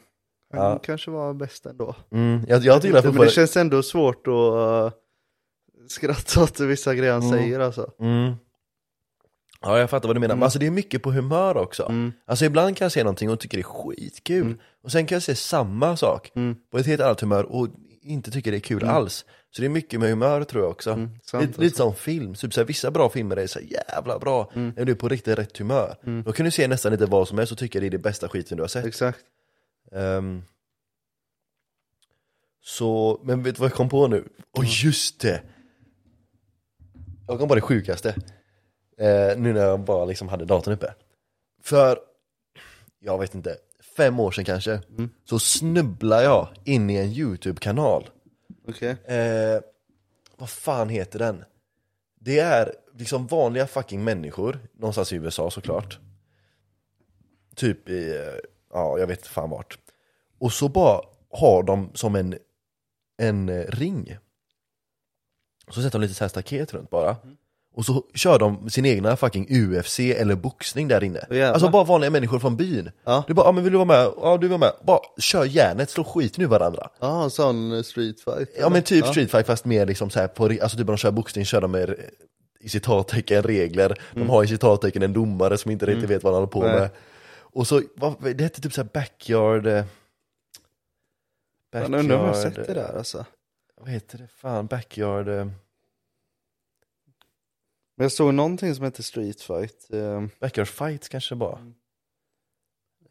B: han kanske var bäst ändå.
A: mm, jag, jag gillar
B: Typ, Men det
A: fortfarande,
B: känns ändå svårt att eh, skratta åt vissa grejer han
A: Mm.
B: säger alltså.
A: ja jag fattar vad du menar, men alltså det är mycket på humör också. Alltså ibland kan jag se någonting och tycker det är skitkul, och sen kan jag se samma sak på ett helt annat humör och inte tycker det är kul alls. Så det är mycket med humör tror jag också.
B: sant
A: lite, lite som film, typ såhär, vissa bra filmer är så här jävla bra, när du är på riktigt rätt humör. Då kan du se nästan lite vad som helst och tycka det är det bästa skiten du har sett.
B: Exakt.
A: Ehm, så, men vet du vad jag kom på nu? Åh just det! Jag kom på det sjukaste. Eh, nu när jag bara liksom hade datorn uppe. För, jag vet inte, fem år sedan kanske, så snubblade jag in i en YouTube-kanal.
B: Okej.
A: Eh, vad fan heter den? Det är liksom vanliga fucking människor, någonstans i USA såklart. Typ i, eh, ja jag vet inte fan vart. Och så bara har de som en, en eh, ring. Så sätter de lite så här staket runt bara. Och så kör de sin egna fucking UFC eller boxning där inne.
B: Åh, jävlar.
A: Alltså bara vanliga människor från byn.
B: Ja.
A: Du bara, ah, men vill du vara med? Ja, du vill vara med. Bara kör järnet, slå skiten ur varandra.
B: Ja, en sån eh, street fight.
A: Ja men typ street fight fast mer liksom så här på, ri- alltså typ när de kör boxning kör de med eh, i citattecken regler, de har i citattecken en domare som inte riktigt vet vad han håller på
B: Mm. Nej.
A: med. Och så, vad, det hette typ så här backyard... eh,
B: Jag undrar om jag har
A: backyard,
B: sett det där alltså.
A: Vad heter det? Fan, backyard... eh,
B: Men jag såg någonting som hette street fight. eh,
A: Backyard fights kanske det var.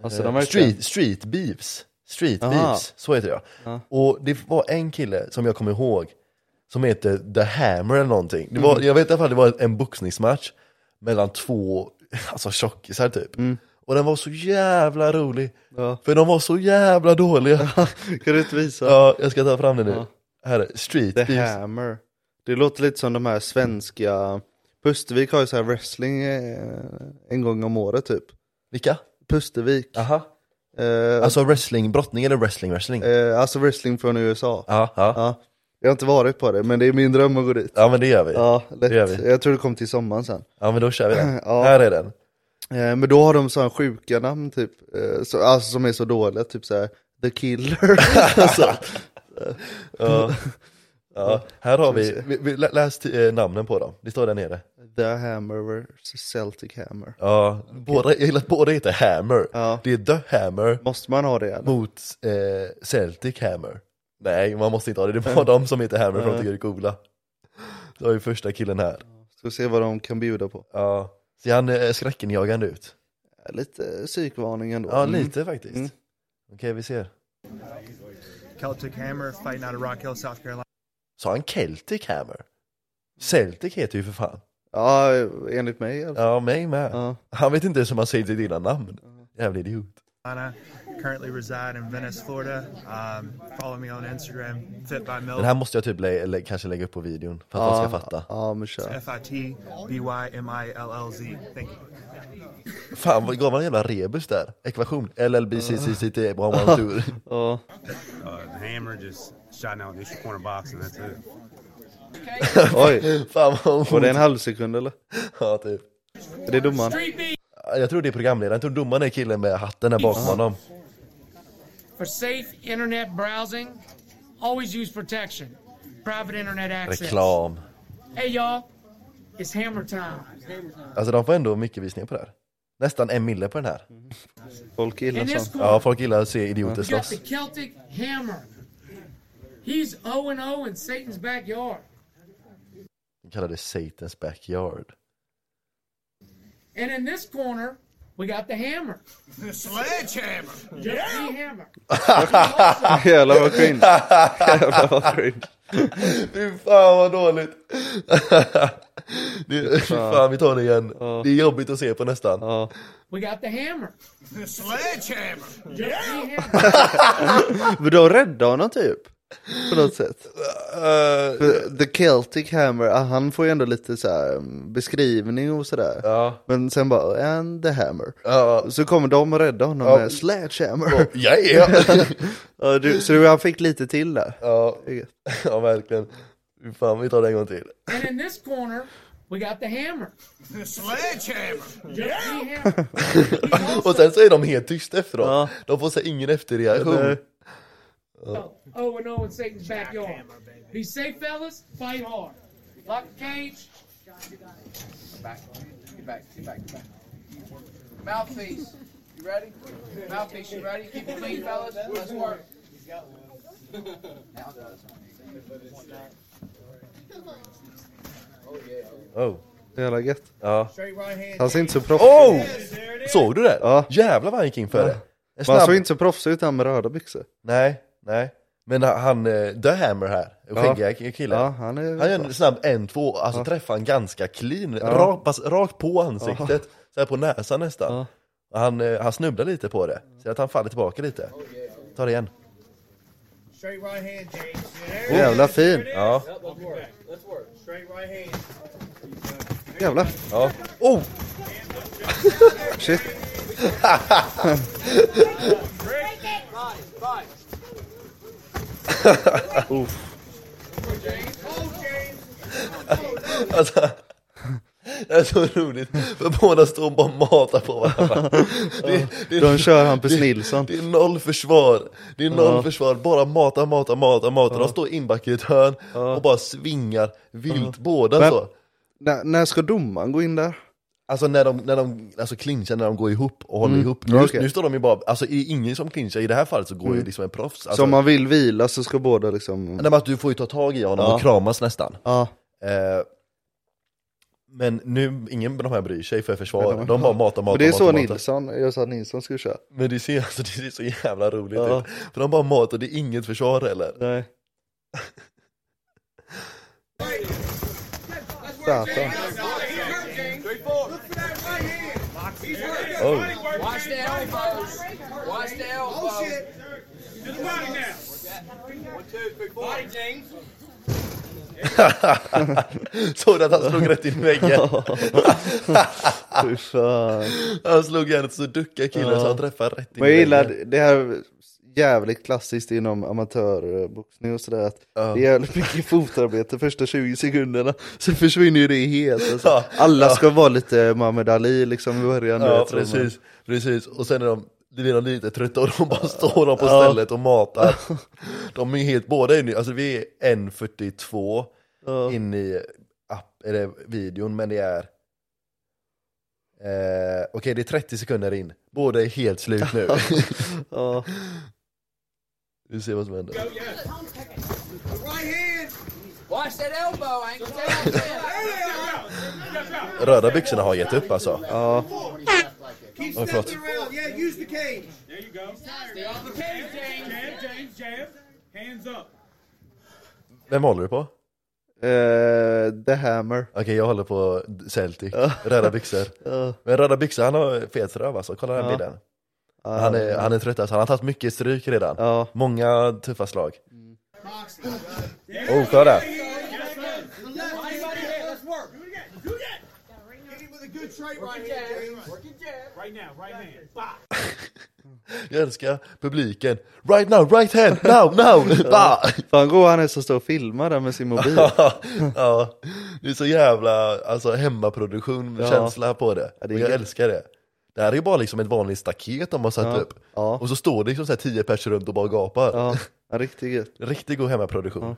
B: Alltså,
A: Eh,
B: de verkar-
A: street, street beefs. Street
B: Aha.
A: beefs, så heter jag. Och det var en kille som jag kommer ihåg som heter The Hammer eller någonting. Det var,
B: Mm.
A: Jag vet i alla fall det var en boxningsmatch mellan två alltså, tjockisar typ. Och den var så jävla rolig.
B: Mm. Ja.
A: För de var så jävla dåliga.
B: Kan du inte visa?
A: ja, jag ska ta fram det nu. Här, är street
B: The
A: beefs.
B: Hammer. Det låter lite som de här svenska... Pustervik har ju så här wrestling eh, en gång om året typ.
A: Vilka?
B: Pustervik.
A: Aha.
B: Eh, alltså...
A: Alltså wrestling, brottning eller wrestling, wrestling?
B: Eh, alltså wrestling från USA.
A: Ja, ja.
B: Ja. Jag har inte varit på det, men det är min dröm att gå dit.
A: ja, men det gör vi.
B: Ja, lätt.
A: det gör vi.
B: Jag tror det kommer till sommaren sen.
A: Ja men då kör vi den.
B: Ja.
A: Här är den.
B: Eh, men då har de sådana sjuka namn typ, eh, så, alltså, som är så dåliga, typ såhär The Killer. alltså,
A: Ja. Ja. Här har vi,
B: Ska vi se.
A: vi, vi lä- läs t- eh, namnen på dem. Det står där nere.
B: The Hammer vs Celtic Hammer.
A: Ja. Båda, jag gillar att båda heter Hammer.
B: Ja.
A: Det är The Hammer
B: Måste man ha det eller?
A: mot eh, Celtic Hammer. Nej, man måste inte ha det. Det är bara de som heter Hammer för de tycker det är coola. Då har vi första killen här.
B: Ska se vad de kan bjuda på.
A: Ja. Ser han eh, skräckenjagande ut?
B: Lite eh, psykvarning ändå.
A: Ja,
B: Mm.
A: lite faktiskt.
B: Mm.
A: Okej, vi ser.
H: Celtic Hammer fighting out of Rock Hill, South Carolina.
A: Sa han Celtic Hammer? Celtic heter ju för fan.
B: Ja, enligt mig i alla fall.
A: Ja, mig med.
B: Ja.
A: Han vet inte ens hur man säger sitt egna namn. Jävla idiot.
H: Anna, currently reside in Venice, Florida. Um, follow me on Instagram, fit by
A: Den
H: Mel,
A: här måste jag typ lä- lä- kanske lägga upp på videon för att de ska fatta.
B: Ja, men kör.
H: F I T B Y M I L L Z. Thank you.
A: Fan, vad gav han en jävla rebus där? Ekvation. LLBCCCT, bra man tur.
B: Ja.
I: Uh, the hammer just shot out his corner box, and that's it.
B: Oj,
A: Fan vad
B: var det en
A: ont.
B: halv sekund eller?
A: Ja, typ.
B: Är det domaren?
A: Jag tror det är programledaren, jag tror domaren är killen med hatten där bakom honom.
J: For safe internet browsing, always use protection. Private internet access.
A: Reklam.
J: Hey y'all, it's hammer time.
A: Alltså de får ändå mycket visningar på det här. Nästan en mille på den här.
B: Folk gillar
J: In this
B: sånt.
J: corner,
A: Ja, folk gillar att se idioter
J: you got the
A: slåss.
J: Celtic hammer. He's 0 and 0 in Satan's backyard.
A: De kallar det Satan's backyard.
J: And in this corner, we got the hammer. The sledgehammer. Yeah. hammer.
B: Jävlar vad cringe. Jävlar vad cringe.
A: Fy fan vad dåligt! det, fy fan, vi tar det igen. Det är jobbigt att se på nästan.
B: Ja.
J: We got the hammer. The sledgehammer. Yeah.
B: Men de räddade honom typ. På något sätt.
A: Eh,
B: För The Celtic Hammer, ah, han får ju ändå lite så här mm, beskrivning och sådär.
A: Ja.
B: Men sen bara, and the hammer.
A: Ja.
B: Så kommer de och räddar honom
A: Ja.
B: med sledgehammer.
A: Ja, ja.
B: Ja, du, så han fick lite till där.
A: ja,
B: Det är gött.
A: ja verkligen. Fy fan, vi tar det en gång till.
J: And in this corner, we got the hammer. The sledgehammer. Yeah.
A: Och sen så är de helt tysta efteråt.
B: Ja.
A: De får så här ingen efterreaktion.
B: Nej.
J: Oh and oh in Satan's backyard. Be safe, fellas. Fight hard. Lock the cage.
K: Back. Get back. Get back. Get back. Mouthpiece. You ready? Mouthpiece, you ready? Keep it clean, fellas. Let's work.
A: Oh.
B: Jävla gött.
A: Ja.
K: Straight right hand.
B: Han ser inte så proffsig ut.
A: Oh! Såg du det?
B: Ja.
A: Jävlar vad han gick in för det. En
B: Men Han
A: snabb-
B: såg inte så proffsig ut han med röda byxor.
A: Nej, nej. Men han- han, eh, The Hammer här, skäggiga killen.
B: Ja, han är...
A: Han gör en snabb 1-2, alltså träffar han ganska clean, rakt, pass, rakt på ansiktet, så här på näsan nästan.
B: Ja.
A: Och Han, eh, han snubblar lite på det, så att han faller tillbaka lite. Ta det igen.
K: Straight right hand, James.
B: Jävla fin.
A: Ja.
K: Let's work. Let's work. Straight right hand.
B: Jävlar.
A: ja. Oh!
B: Shit.
K: Body. Body.
A: Alltså, det är så roligt, för båda står och bara matar på varandra. Det, det,
B: De kör Hampus Nilsson.
A: Det är noll försvar, det är noll
B: Ja.
A: försvar, bara mata, mata, mata, mata. De står inbackade i ett hörn och bara svingar vilt båda
B: Men-
A: så.
B: När, när ska domaren gå in där?
A: Alltså när de, när de alltså clinchar, när de går ihop och håller ihop. Nu,
B: Mm. Ja, okej. Mm.
A: nu står de ju bara, alltså är ingen som clinchar, i det här fallet så går ju liksom en proffs. Alltså,
B: Så om man vill vila så ska båda liksom...
A: Nej, men att du får ju ta tag i honom
B: Ja.
A: och kramas nästan.
B: Ja.
A: Eh, men nu, ingen av de här bryr sig för
B: Nej,
A: försvar,
B: de
A: de
B: är-
A: bara matar, matar, matar.
B: Men det är så
A: matar.
B: Nilsson, jag sa att Nilsson skulle köra.
A: Men det ser, alltså, det ser så jävla roligt
B: Ja.
A: ut. För de bara matar, det är inget försvar heller.
B: Nej.
K: Watch the elbows. Watch the elbows. Oh shit. To the body now. One, two, three, four. Body, James.
A: Såg du att han slog rätt in i väggen?
B: Fy fan.
A: Han slog järnet så duckade killen
B: Ja.
A: så han träffade rätt in
B: Men
A: i
B: jag
A: väggen.
B: gillar det här jävligt klassiskt inom amatörboxning och sådär att det är jävligt mycket fotarbete första 20 sekunderna, sen försvinner ju det helt. Alltså.
A: Ja.
B: Alla ska vara lite Muhammad Ali liksom i början. du
A: Ja,
B: vet, så man-
A: precis, precis. Och sen är de, det blir de lite trötta och de bara står de på stället och matar. De är helt, båda är nu, alltså vi är 1.42 in i app, eller videon, men det är... Eh, Okej, det är 30 sekunder in. Båda är helt slut nu.
B: Ja.
A: Vi ser vad som händer.
K: Watch that elbow. I ain't gonna tell you that.
A: Röda byxorna har gett upp alltså.
B: Ja.
A: Oj, förlåt.
I: There you go.
K: Stay off the cage, James.
I: James, jam. Hands up.
A: Vem håller du på?
B: Eh, the Hammer.
A: Okej, jag håller på Celtic. Röda byxor.
B: Ja.
A: Men röda byxor, han har fet röv alltså. Kolla den
B: Ja.
A: bilden. Han är, han är trött alltså. Han har tagit mycket stryk redan. Många tuffa slag. Oh, kolla.
J: Let's work. Do it again. Do it again. Get him with a good straight right hand. Work it jab. Right now, right hand. Bop.
A: Jag älskar publiken. Right now, right hand, now, now! Bah!
B: Fan god han är som står och filmar där med sin mobil.
A: ja, det är så jävla alltså, hemmaproduktion,
B: Ja.
A: känsla på det.
B: Ja, det är
A: Och jag
B: grymt.
A: älskar det. Det här är ju bara liksom ett vanligt staket de har satt
B: Ja.
A: upp. Och så står det liksom så här tio pers runt och bara gapar.
B: Ja, ja riktigt gött.
A: Riktigt god hemmaproduktion.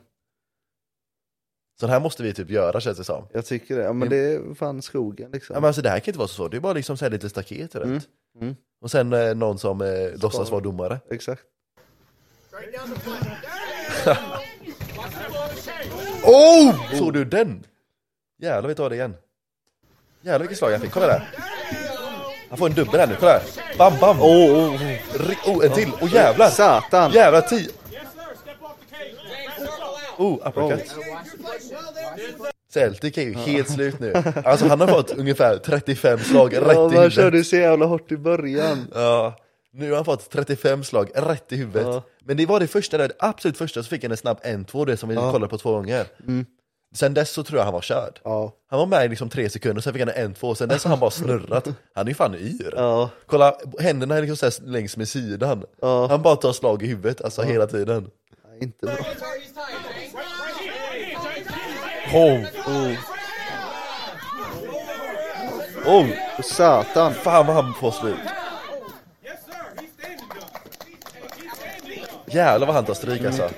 A: Så det här måste vi typ göra känns det som.
B: Jag tycker det. Ja men det är fan skogen liksom.
A: Mm. Ja, men alltså, det här kan inte vara så svårt, det är bara liksom så här lite staket runt.
B: Mm.
A: Och sen eh, någon som eh, låtsas vara domare.
B: Exakt.
J: Right down the plate. Watch that ball shake.
A: Oh! Såg du den? Jävlar, vi tar det igen. Jävlar vilket slag han fick, kolla där. Han får en dubbel här nu, kolla här. Bam, bam! Oh, oh, oh. en till, oh jävlar!
B: Satan!
A: Jävlar, tio! Oh, uppercut. Celtic är ju helt slut nu. Alltså han har fått ungefär 35 slag rätt
B: Ja,
A: i
B: man körde
A: huvudet.
B: så jävla hårt i början.
A: Ja, nu har han fått 35 slag rätt i huvudet.
B: Ja.
A: Men det var det första, där, det absolut första, så fick han en snabb 1-2, det som vi kollade på två gånger.
B: Mm.
A: Sen dess så tror jag han var körd.
B: Ja.
A: Han var med i liksom tre sekunder, sen fick han en två, sen dess har han bara snurrat. Han är ju fan yr.
B: Ja.
A: Kolla, händerna är liksom så här längs med sidan.
B: Ja.
A: Han bara tar slag i huvudet, alltså hela tiden.
B: Nej, inte bra.
A: Oh. Oh.
B: Satan!
A: Fan vad han får stryk. Jävlar vad han tar stryk alltså.
B: Mm.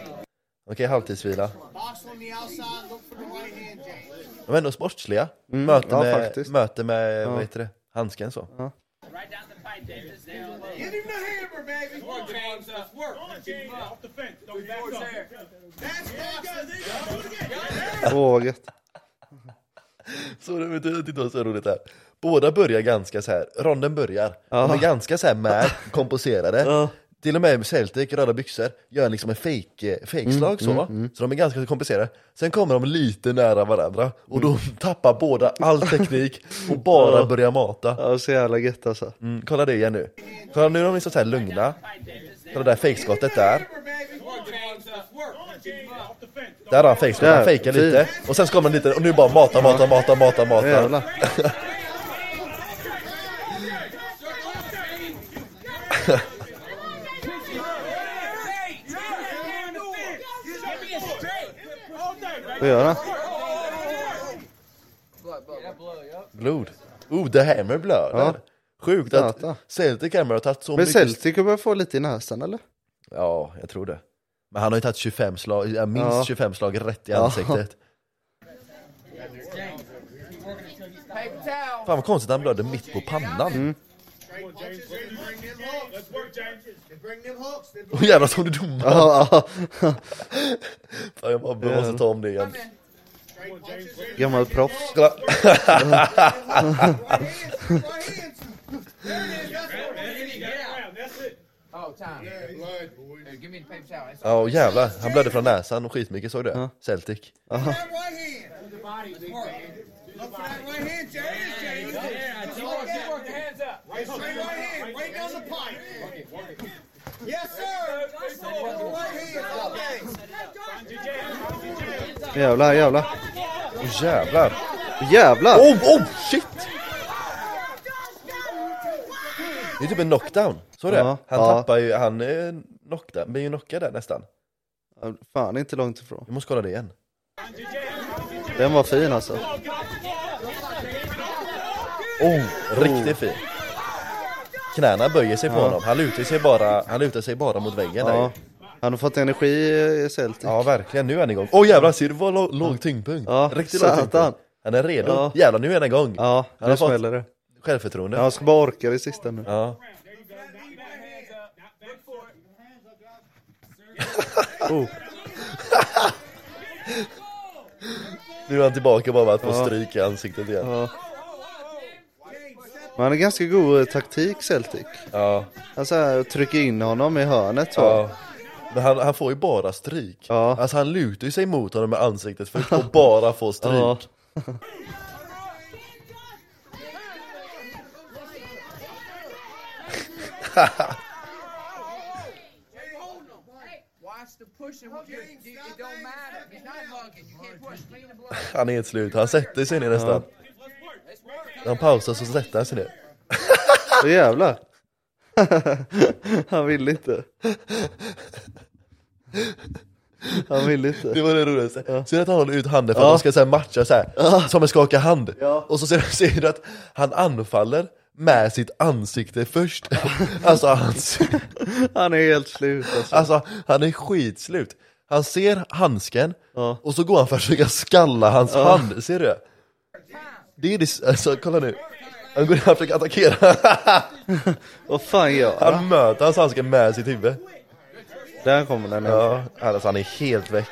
A: Okej, halvtidsvila.
K: Box on the outside, look for the right hand, James.
A: De är ändå sportsliga.
B: Mm,
A: Möte,
B: ja,
A: med,
B: faktiskt.
A: möte med,
B: Ja.
A: vad heter det, handsken så.
K: Right down the pipe, Davis. Get him the hammer, baby. Work, James. Let's work. Off the fence. Don't back up. That's boxing.
B: Åh vad gött.
A: Så det betyder att det inte var så roligt här. Båda börjar ganska så här. ronden börjar, de är ganska så här med, komposerade. Till och med Celtic, röda byxor, gör liksom en fake, fake slag
B: Mm,
A: så. Så de är ganska komplicerade. Sen kommer de lite nära varandra och då tappar båda all teknik och bara
B: Ja.
A: börjar mata.
B: Ja, så jävla gött alltså.
A: Mm, kolla det igen nu. Kolla nu är de liksom så här lugna. Kolla där fejkskottet där.
K: Work, James. Let's work. Off the fence.
A: Där har han fejkskott, han
B: Där,
A: fejkar
B: fin.
A: lite. Och sen så kommer han lite och nu bara mata, mata, mata, mata, mata.
B: Jävlar. Vad gör han?
A: Blod. Oh, the hammer blöder.
B: Ja.
A: Sjukt att
B: Satan.
A: Celtic Hammer har tagit så
B: Men
A: mycket...
B: Celtic börjar få lite i näsan eller?
A: Ja, jag tror det. Men han har ju tagit 25 slag, ja, minst
B: Ja.
A: 25 slag rätt i
B: Ja.
A: ansiktet.
K: Paper towel.
A: Fan vad konstigt, han blödde mitt på pannan.
B: Mm.
K: Straight punches in. Bring them hooks. Let's work, James. Bring them hooks. Then
A: Och jävlar som du domare!
B: Ja, ja.
A: Fan, jag bara, jag måste ta om det igen.
K: Straight punches in.
B: Gammal proffs.
A: Kolla.
K: Right hands. Right hands. There it is. That's what we're getting. Get out. That's it. Oh, time. Blood, boys. Here, give me the paper towel. That's
A: Ja, och jävlar. Han blödde från näsan och skitmycket, såg du det? Celtic.
K: that right hand. Let's work. Look for that right hand, James. James. Just work it. Straight right hand, right down the pipe. Yes, sir. Straight right hand.
B: Jävlar, jävlar.
A: Åh jävlar!
B: Jävlar!
A: Oh, oh shit! Det är typ en knockdown, såg du det?
B: Ja,
A: Han
B: ja.
A: tappar ju, han är knockdown, blir ju knockad där nästan.
B: Ja, Fan, inte långt ifrån.
A: Jag måste kolla det igen.
B: Den var fin alltså.
A: Oh, riktigt fin. Knäna böjer sig på
B: Ja.
A: honom. Han lutar sig bara, han lutar sig bara mot väggen där ju.
B: Ja. Han har fått energi i Celtic.
A: ja, verkligen. Nu är han igång. Åh oh, jävlar, ser du vad låg, låg tyngdpunkt?
B: Ja,
A: Riktigt låg
B: satan.
A: tyngdpunkt. Han är redo.
B: Ja.
A: Jävlar, nu är han igång.
B: Ja,
A: Han har
B: nu
A: fått-
B: smäller det.
A: Självförtroende.
B: Ja, Han ska bara orka det sista nu.
A: Ja.
B: Oh.
A: Nu är han tillbaka bara med att få
B: Ja.
A: stryk i ansiktet igen.
B: Ja. Men han är ganska god eh, taktik Celtic.
A: Ja.
B: Han så här, trycker in honom i hörnet så.
A: ja. Men han, han får ju bara stryk. Alltså han lutar ju sig mot honom med ansiktet först och bara får stryk.
B: Ja.
K: Watch the pushing with your, it don't matter. He's not hugging. You can't push. Clean the blood.
A: Han är helt slut, han sätter sig ner nästan. Han pausar så sätter han sig ner.
B: Åh jävlar. han ville inte. Han ville inte.
A: Det var det roligaste. Ser att han håller ut handen för att de ska så här matcha så här, som en skaka hand. Och så ser, ser du att han anfaller med sitt ansikte först. alltså, hans,
B: Han är helt slut alltså.
A: alltså han är skitslut. Han ser handsken och så går han för att försöka skalla hans hand, ser du det? Det är det, alltså kolla nu. Han går in och försöker attackera.
B: Vad fan gör han?
A: Han möter hans handske med sitt huvud.
B: Där kommer den.
A: Ja, alltså han är helt väck.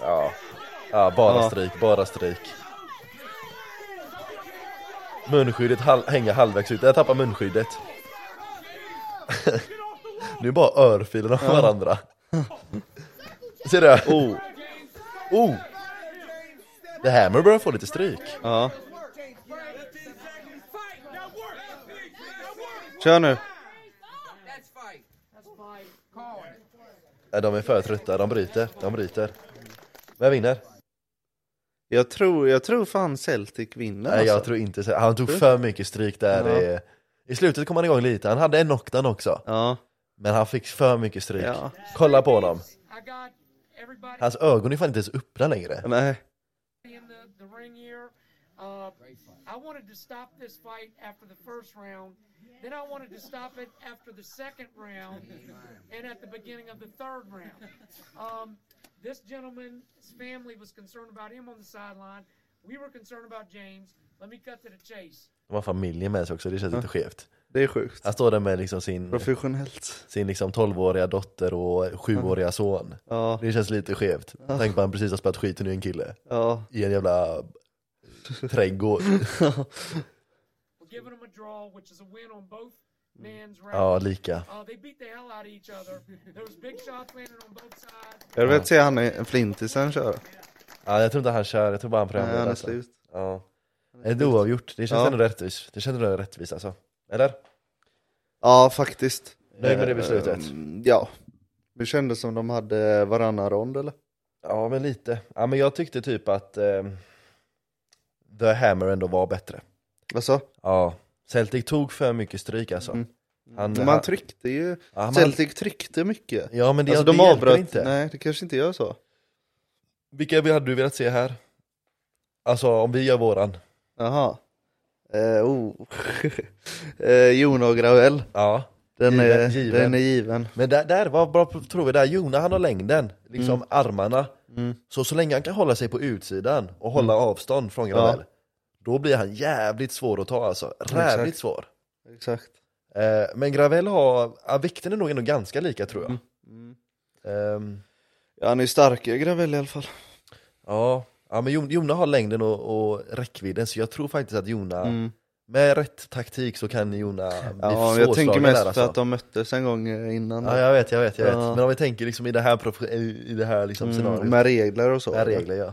A: Ja, ja bara
B: Ja.
A: stryk, bara stryk. Munskyddet hal- hänger halvvägs ut, jag tappar munskyddet. nu är bara örfilen av varandra. Ser du?
B: Oh,
A: Oh! The Hammer börjar få lite stryk.
B: ja. Kör nu.
K: That's fight. That's fight. Call it.
A: Nej, de är för trötta, de bryter, de bryter. Vem vinner?
B: Jag tror, jag tror fan Celtic vinner
A: Nej jag
B: alltså.
A: tror inte så. Han tog för mycket stryk där.
B: Ja.
A: eh, I slutet kom han igång lite, han hade en knockdown också.
B: Ja.
A: Men han fick för mycket stryk.
B: Ja.
A: Kolla på honom.
J: I got everybody
A: Hans ögon är fan inte ens öppna längre.
B: Nej.
J: in the, the ring here. Uh, I wanted to stop this fight after the first round. Then I wanted to stop it after the second round and at the beginning of the third round. Um, this gentleman's family was concerned about him on the sideline. We were concerned about James. Let me cut to the chase.
A: De har familjen med sig också, det känns lite skevt.
B: Det är sjukt.
A: Han står där med liksom sin,
B: Professionellt.
A: sin liksom 12-åriga dotter och 7-åriga son.
B: Ja.
A: Det känns lite skevt. Tänk på att han precis har spöat skiten ur en kille.
B: Ja.
A: I en jävla trädgård.
J: We're giving him a draw, which is a win on both men's
A: Ja,
J: rounds.
A: lika.
J: Uh, they beat the hell out of each other. There was big shots landed on both sides.
B: Jag vill inte se han är flintisen köra.
A: Ja, jag tror inte han kör, jag tror bara han
B: Nej,
A: programlerar.
B: han är
A: alltså.
B: slut.
A: Ja. Ett oavgjort, det känns
B: Ja.
A: ändå rättvist. Det känns ändå rättvist alltså. Eller?
B: Ja, faktiskt.
A: Nöjd med det beslutet?
B: Mm, Ja. Det kändes som de hade varannan rond eller?
A: Ja, men lite. Ja, men jag tyckte typ att ehm, The Hammer ändå var bättre.
B: Alltså,
A: Ja. Celtic tog för mycket stryk alltså.
B: Mm.
A: Han,
B: man
A: han-
B: tryckte ju.
A: Ja, man-
B: Celtic tryckte mycket.
A: Ja, men det,
B: alltså
A: det
B: de
A: hjälper
B: avbröt.
A: inte.
B: Nej, det kanske inte gör så.
A: Vilka hade du velat se här? Alltså om vi gör våran.
B: Jaha. Eh, oh. eh, Jon och Gravel.
A: Ja.
B: Den,
A: Given-
B: är,
A: given.
B: den är given.
A: Men där, där vad bra tror vi där? Jona han har längden, liksom
B: Mm.
A: armarna. Så så länge han kan hålla sig på utsidan och hålla
B: Mm.
A: avstånd från Granell, då blir han jävligt svår att ta alltså. Rävligt
B: Exakt.
A: svår.
B: Exakt.
A: Eh, men Gravel har, ja, vikten är nog ändå ganska lika tror jag.
B: Mm.
A: Ehm,
B: Ja, han är ju starkare Gravel i alla fall.
A: ja. ja, men Jon- Jona har längden och, och räckvidden så jag tror faktiskt att Jona, med rätt taktik så kan Jona bli
B: Mm. Ja, jag tänker
A: svårslagen
B: mest
A: där alltså.
B: för att de möttes en gång eh, innan.
A: Ja, jag vet, jag vet, jag vet.
B: Ja.
A: Men om vi tänker liksom i det här, prof- i- i det här liksom scenariot.
B: mm, med regler och så.
A: Ja, regler ja.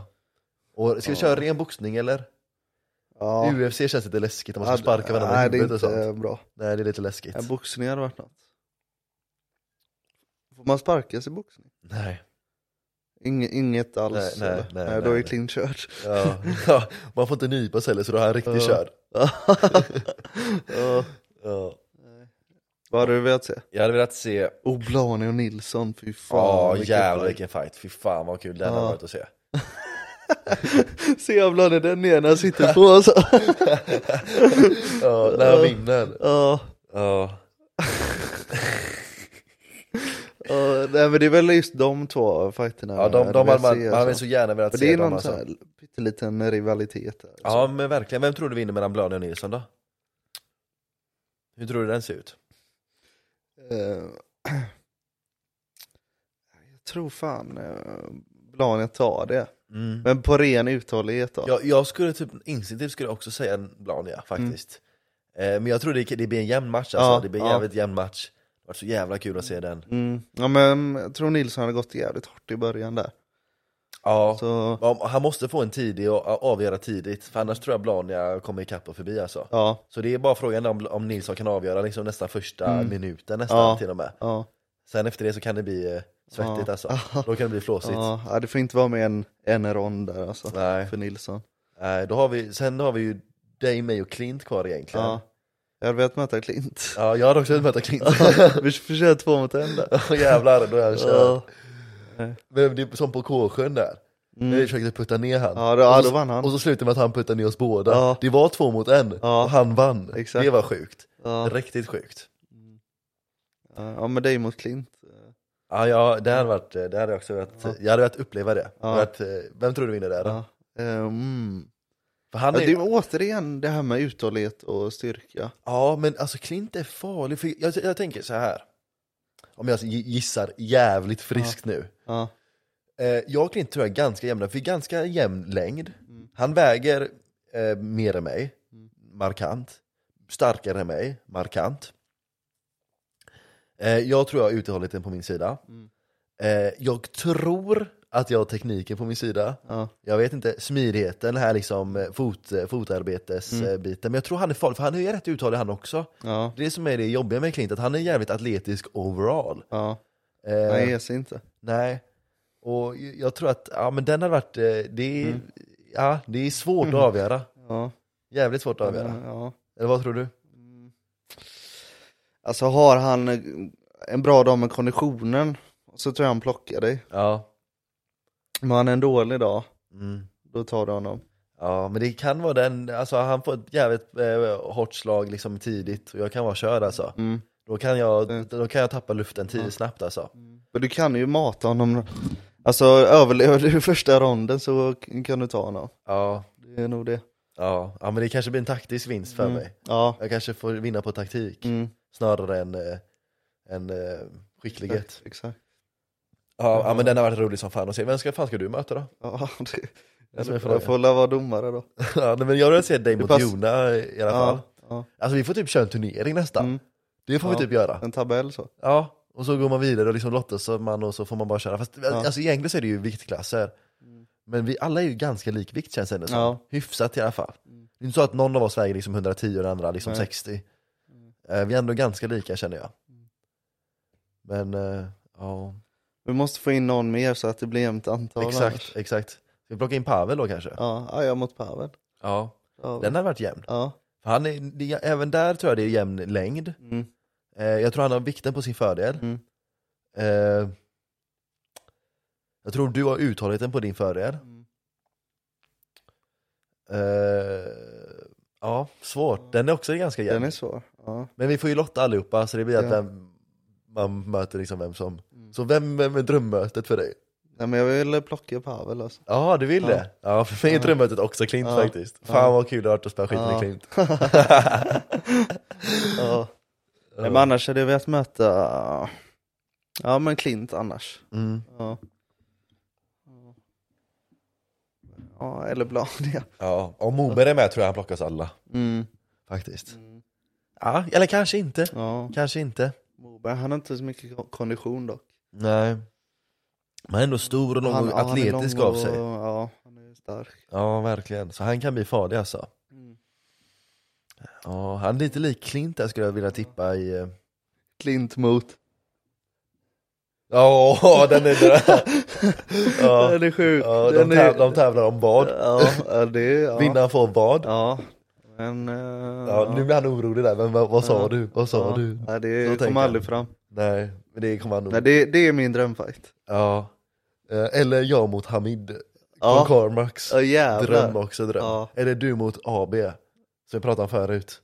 A: Och ska vi köra ren boxning eller?
B: Ja.
A: UFC känns lite läskigt om man ska sparka varandra i
B: Nej, det är
A: huvudet och
B: inte
A: sånt.
B: bra.
A: Nej det är lite läskigt.
B: Ja, boxning hade varit något. Får man sparkas i boxning?
A: Nej.
B: Inge, inget alls?
A: Nej, nej,
B: eller?
A: nej,
B: då
A: nej,
B: är
A: nej.
B: Clint körd.
A: Ja. Ja, man får inte nypas heller så då är han riktigt
B: Ja.
A: körd.
B: Ja.
A: Ja.
B: Vad hade du velat se?
A: Jag hade velat se,
B: Oblani och Nilsson, fy fan.
A: ja
B: vilken
A: jävlar
B: fight.
A: vilken fight, fy fan vad kul den hade varit att se.
B: Se Oblani, den ena sitter på alltså.
A: Ja, när han vinner.
B: Ja,
A: Ja.
B: ja, nej men det är väl just de två fighterna. eh,
A: Ja, de, de hade man, man
B: alltså.
A: hade så gärna velat
B: Men
A: se
B: det är
A: dem
B: någon
A: alltså.
B: sån här pytteliten rivalitet. Där,
A: Ja men verkligen, vem tror du vinner mellan Blöden och Nilsson då? Hur tror du den ser ut?
B: Eh, jag tror fan eh, Blanet tar det.
A: Mm.
B: Men på ren uthållighet då?
A: Jag, jag skulle typ instinktivt skulle jag också säga en Blania faktiskt. Eh, Men jag tror det, det blir en jämn match alltså,
B: Ja,
A: det blir en
B: ja.
A: jävligt jämn match. Det var så jävla kul att se den.
B: Mm. Ja men jag tror Nilsson hade gått jävligt hårt i början där.
A: Ja.
B: Så,
A: Ja, Han måste få en tidig och och avgöra tidigt, för annars tror jag Blania kommer ikapp och förbi alltså.
B: ja.
A: Så det är bara frågan om, om Nilsson kan avgöra liksom nästan första
B: Mm.
A: minuten nästan
B: Ja.
A: till och med.
B: Ja.
A: Sen efter det så kan det bli eh, svettigt
B: Ja.
A: alltså. Då kan det bli flåsigt.
B: Ja, ja, det får inte vara med en, en rond där alltså,
A: Nej.
B: för Nilsson.
A: Nej, Eh, då har vi, sen har vi ju dig, mig och Klint kvar egentligen.
B: Ja.
A: Ja,
B: Jag hade velat möta Klint.
A: jag hade också velat möta Klint.
B: Vi får köra två mot en där.
A: Åh jävlar, då är han körd.
B: Ja.
A: Men det är som på Kåsjön där. När vi försökte putta ner han.
B: Mm. Ja, då- ja,
A: Och så-
B: då vann han.
A: Och så slutade det med att han puttade ner oss båda.
B: Ja.
A: Det var två mot en,
B: Ja.
A: och han vann.
B: Exakt.
A: Det var sjukt.
B: Ja.
A: Riktigt sjukt.
B: Ja, men dig mot Klint.
A: Ja, ja det hade varit, det hade jag också varit, jag hade velat uppleva det. Jag
B: Ja.
A: hade Varit, eh, vem tror du vinner där?
B: Ja. Mm.
A: För han
B: Ja,
A: är,
B: det är återigen det här med uthållighet och styrka.
A: ja, men alltså Klint är farlig, för jag, jag tänker så här. Om jag gissar jävligt friskt nu.
B: Ja.
A: Eh, jag och Klint tror jag är ganska jämna, för vi är ganska jämn längd.
B: Mm.
A: Han väger eh, mer än mig, markant. Starkare än mig, markant. Eh, jag tror jag har uthålligheten på min sida. Eh, jag tror att jag har tekniken på min sida.
B: Ja.
A: Jag vet inte, smidigheten, den här liksom eh, fot, eh, fotarbetesbiten. Men jag tror han är farlig, för han är ju rätt uthållig han också.
B: Mm. Ja.
A: Det som är det jobbiga med Klint, att han är jävligt atletisk overall.
B: Ja.
A: Eh,
B: Nej, jag ser inte.
A: Nej, och jag tror att ja, men den har varit, eh, det är, ja, det är svårt att avgöra.
B: Mm. Ja.
A: Jävligt svårt att avgöra.
B: Ja.
A: Eller vad tror du?
B: Alltså har han eh, en bra dag med konditionen så tror jag han plockar dig.
A: Ja.
B: Men han är en dålig dag,
A: Mm.
B: då tar du honom.
A: Ja, men det kan vara den, alltså han får ett jävligt eh, hårt slag liksom tidigt och jag kan vara körd alltså.
B: Mm.
A: Då, kan jag,
B: Mm.
A: då kan jag tappa luften tidigt snabbt alltså.
B: Men du kan ju mata honom. Alltså överlever du första ronden så k- kan du ta honom.
A: Ja,
B: Det är nog det.
A: ja, ja, men det kanske blir en taktisk vinst för mig.
B: Ja.
A: Jag kanske får vinna på taktik
B: Mm.
A: snarare än, eh, än eh, skicklighet.
B: Exakt.
A: Ja, ja, men den har varit rolig som fan att se. Vem ska, fan ska du möta då?
B: Ja, det,
A: är
B: jag,
A: som en fråga.
B: jag får väl vara domare då.
A: Ja, nej, men jag vill se dig mot
B: pass-
A: Jona i alla fall.
B: Ja, ja.
A: Alltså vi får typ köra en turnering nästan.
B: Mm.
A: Det får vi
B: Ja.
A: typ göra.
B: En tabell så.
A: Ja, och så går man vidare och liksom lottas så man och så får man bara köra. Fast alltså, egentligen så är det ju viktklasser. Men vi alla är ju ganska likvikt känns det ändå som.
B: Ja. Mm.
A: Hyfsat i alla fall. Det är inte så att någon av oss väger liksom 110 och den andra liksom
B: Nej. Mm.
A: 60. Eh, Vi är ändå ganska lika känner jag. Men, eh, ja.
B: Vi måste få in någon mer så att det blir jämnt antal
A: Exakt,
B: annars.
A: exakt. Ska vi plocka in Pavel då kanske?
B: Ja, ja, jag mot Pavel.
A: Ja.
B: Ja.
A: Den har varit jämn.
B: Ja.
A: För Han är, det, även där tror jag det är jämn längd.
B: Mm.
A: Eh, jag tror han har vikten på sin fördel.
B: Mm.
A: Eh, jag tror du har uthålligheten på din fördel.
B: Mm.
A: Eh, ja, svårt. Den är också ganska jämn.
B: Den är svår. Ja.
A: Men vi får ju lotta allihopa, så det blir att
B: Ja. Mm.
A: vem, man möter liksom vem som... Så vem, vem är drömmötet för dig?
B: Nej, men jag vill plocka Pavel alltså.
A: Ja, du vill
B: Ja.
A: det? Ja, för mig är drömmötet också Klint
B: Ja.
A: faktiskt. Fan
B: Ja.
A: vad kul det har varit att spela skit med
B: Ja.
A: Klint.
B: Ja. Nej, men annars hade jag velat möta... Ja men Klint annars.
A: Mm.
B: Ja. Ja, eller Blania.
A: Ja, om Moberg är med tror jag han plockas alla,
B: Mm.
A: faktiskt. Ja, eller kanske inte.
B: Ja.
A: Kanske inte.
B: Moberg, han har inte så mycket ko- kondition dock.
A: Nej. Men han är ändå stor och lång
B: han,
A: och
B: ja, han är
A: atletisk
B: lång
A: av sig.
B: och- Ja, han är stark.
A: Ja, verkligen. Så han kan bli farlig alltså.
B: Mm.
A: Ja, han är lite lik Klint där skulle jag vilja tippa i... eh.
B: Klint mot.
A: Ja, den är död. ja.
B: Den är sjuk.
A: Ja, de,
B: Den är-
A: tävlar, de tävlar om vad.
B: Ja, ja, det är... Ja.
A: Vinnaren får vad. Ja.
B: Ja. Men... eh,
A: nu blir han orolig där, men vad, vad sa
B: Ja.
A: du? Vad sa
B: ja.
A: du?
B: Ja,
A: Så
B: det
A: tänker
B: kommer
A: han.
B: aldrig fram.
A: Nej, men det kommer han nog...
B: Nej, det, det är min drömfight.
A: Ja. Eh, Eller jag mot Hamid.
B: Ja.
A: Ja. Cormax.
B: Ja jävlar.
A: Dröm också dröm.
B: Ja.
A: Eller du mot AB, som vi pratade om förut.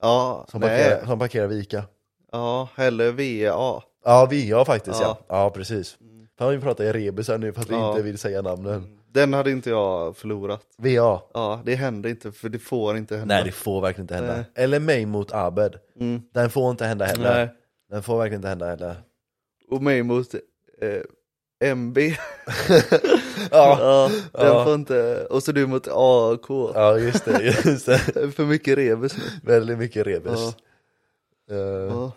B: Ja,
A: Som,
B: nej.
A: parkerar, som parkerar vid Ica.
B: Ja, eller VA.
A: Ja, VA faktiskt ja.
B: Ja.
A: Ja, precis. Fan vi pratar i rebusar nu fast vi
B: Ja. Mm.
A: inte vill säga namnen.
B: Den hade inte jag förlorat.
A: VA.
B: Ja, det hände inte för det får inte hända.
A: Nej det får verkligen inte hända.
B: Nej.
A: Eller mig mot Abed.
B: Mm.
A: Den får inte hända heller.
B: Nej.
A: Den får verkligen inte hända heller.
B: Och mig mot eh, MB. ja, den
A: ja.
B: får inte, och så du mot AK.
A: Ja, just det, just det.
B: För mycket rebus nu.
A: Väldigt mycket rebus.
B: Ja.
A: Eh,
B: Ja.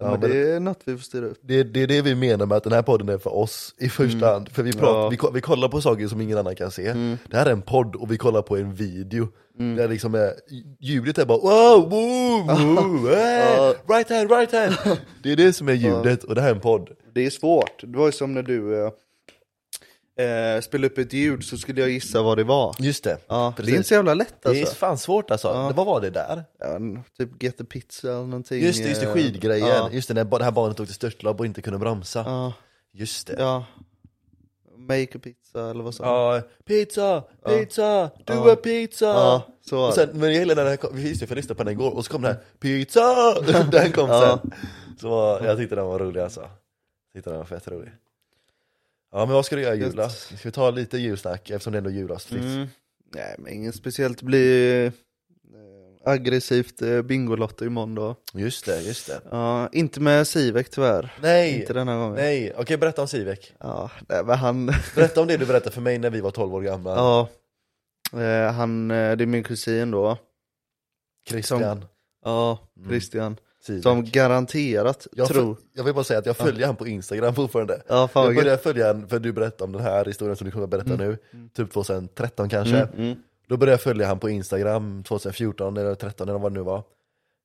B: Ja,
A: ja,
B: men
A: men-
B: det är något vi får styra upp.
A: Det, det är det vi menar med att den här podden är för oss i första
B: Mm.
A: hand. För vi, pratar,
B: Ja.
A: vi, ko- vi kollar på saker som ingen annan kan se. Det här är en podd och vi kollar på en video. Där liksom är, ljudet är bara wow, wow, wow, eh, right hand, right hand. Det är det som är ljudet och det här är en podd.
B: Det är svårt. Det var ju som när du eh, eh, spelade upp ett ljud så skulle jag gissa vad det var.
A: Just det.
B: Ja,
A: Precis.
B: Det är inte så jävla lätt
A: Det är
B: alltså.
A: fan svårt alltså. Det- Vad var det där?
B: Ja, n- typ get the pizza eller någonting.
A: Just det, just det,
B: eh,
A: skidgrejen.
B: Ja.
A: Just det, när ba- det här barnet åkte störtlopp och inte kunde bromsa.
B: Ja.
A: Just det.
B: ja. Make a pizza eller vad som
A: Ja, pizza, pizza, du
B: Ja.
A: är pizza!
B: Ja, så var
A: och sen, men hela den här, kom- vi visste för jag lyssnade på den igår, och så kom den här pizza! den kom
B: Ja.
A: sen. Så jag tyckte den var rolig alltså. Jag tyckte den var fett rolig. Ja men vad ska du göra i
B: Gött.
A: julas? Ska vi ta lite julsnack eftersom det är ändå är julavsnitt?
B: Mm. Nej men inget speciellt, det blir eh, aggressivt eh, Bingolotto imorgon då.
A: Just det, just det.
B: Ja, inte med Sivek tyvärr.
A: Nej!
B: Inte den här gången.
A: Nej, okej berätta om Sivek.
B: Ja, nej, men han...
A: Berätta om det du berättade för mig när vi var 12 år gamla.
B: ja. Eh, han, eh, det är min kusin då.
A: Christian.
B: Ja, Christian.
A: Mm. Sivek.
B: Som garanterat
A: Jag,
B: tror...
A: föl- jag vill bara säga att jag följer han på Instagram fortfarande.
B: Ja, fan vad Mm.
A: jag började följa han, för du berättade om den här historien som du kommer att berätta nu, typ 2013 kanske. Då började jag följa han på Instagram 2014 eller 2013 eller vad det nu var.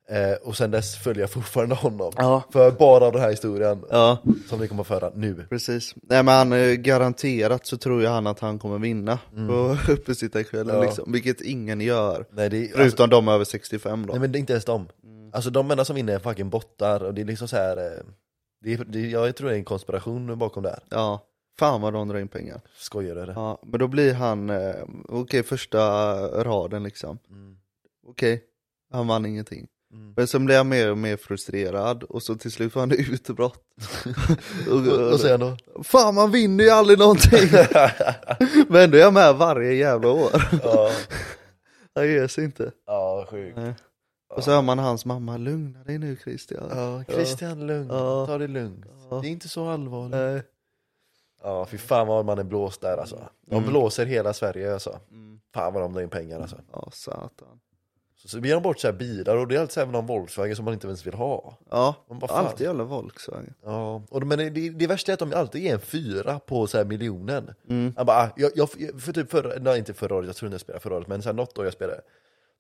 A: Eh, och sen dess följer jag fortfarande honom.
B: Ja.
A: För bara av den här historien
B: Ja,
A: som vi kommer att föra nu.
B: precis. Nej men han, eh, garanterat så tror jag han att han kommer vinna på uppesittarkvällen
A: Mm. Ja.
B: liksom. Vilket ingen gör.
A: Nej, det är,
B: Förutom
A: alltså,
B: de över 65 då.
A: nej men det är inte ens dem.
B: Mm.
A: Alltså de enda som vinner är fucking bottar och det är liksom så här. Eh, det är, det, jag tror det är en konspiration bakom det här.
B: Ja. Fan vad de drar in pengar.
A: Skojar du? Ja.
B: Ja, men då blir han, eh, okej första raden liksom.
A: Mm.
B: Okej, han vann ingenting. Men sen blir han mer och mer frustrerad och så till slut får han utbrott.
A: Och, och säger han då?
B: Fan man vinner ju aldrig någonting! men ändå är jag med varje jävla år.
A: Ja,
B: Han ger sig inte.
A: ja sjukt.
B: Och så hör man hans mamma, lugna dig nu Christian.
A: Ja, Christian lugn,
B: Ja.
A: ta det lugnt.
B: Ja.
A: Det är inte så allvarligt.
B: Nej.
A: Ja, fy fan vad man är blåst där alltså. De blåser hela Sverige alltså. Fan vad de drar in pengar alltså.
B: Ja, satan.
A: Så, så ger de bort så här bilar och det är alltid så här med någon Volkswagen som man inte ens vill ha.
B: Ja,
A: Men vad fan.
B: alltid jävla Volkswagen.
A: Ja, och de, men det, det, det värsta är att de alltid ger en fyra på så här miljonen. Han bara, ah, jag, jag, för typ förra, nej inte förra året, jag tror inte jag spelade förra året, men sen något år jag spelade,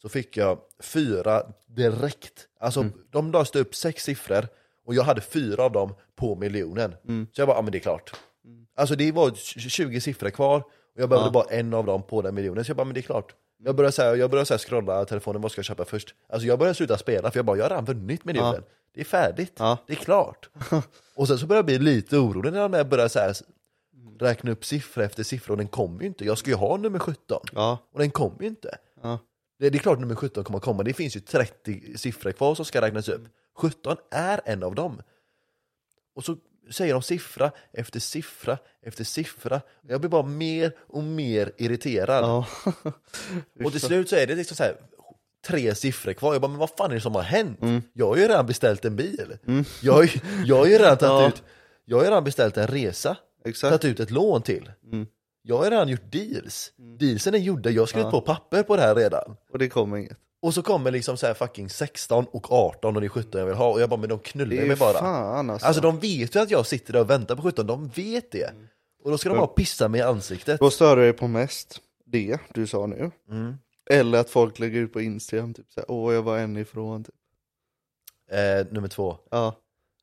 A: så fick jag fyra direkt. Alltså
B: Mm.
A: de löste upp sex siffror och jag hade fyra av dem på miljonen.
B: Mm.
A: Så jag bara, ja ah, men det är klart. Alltså det var 20 siffror kvar och jag behövde bara en av dem på den miljonen, så jag bara, men det är klart. Jag började, så här, jag började så här scrolla telefonen, vad ska jag köpa först? Alltså jag började sluta spela för jag bara, jag har redan vunnit miljonen. Det är färdigt,
B: Ja.
A: det är klart. Och sen så började jag bli lite orolig när jag började så här,
B: Mm.
A: räkna upp siffra efter siffra och den kom ju inte. Jag ska ju ha nummer 17
B: Ja.
A: och den kom ju inte.
B: Ja.
A: Det, det är klart nummer 17 kommer att komma, det finns ju 30 siffror kvar som ska räknas upp. 17 är en av dem. Och så säger de siffra efter siffra efter siffra. Jag blir bara mer och mer irriterad.
B: Ja.
A: Och till slut så är det liksom så här tre siffror kvar. Jag bara, men vad fan är det som har hänt?
B: Mm.
A: Jag har ju redan beställt en bil. Jag, har ju- jag har ju redan tagit
B: Ja.
A: ut, jag har ju redan beställt en resa.
B: Exakt. Mm.
A: Tagit ut ett lån till. Jag har ju redan gjort deals. Dealsen är gjorda, jag har skrivit på papper på det här redan.
B: Och det kommer inget.
A: Och så kommer liksom så här fucking 16 och 18 och det är 17 jag vill ha. Och jag bara, men de knullar
B: Det
A: ju
B: är
A: mig bara.
B: fan alltså.
A: Alltså de vet ju att jag sitter där och väntar på 17, de vet det.
B: Mm.
A: Och då ska de bara pissa mig i ansiktet.
B: Vad stör du dig på mest? Det du sa nu?
A: Mm.
B: Eller att folk lägger ut på Instagram, typ såhär, åh jag var en ifrån. Typ.
A: Eh, nummer två.
B: Ja,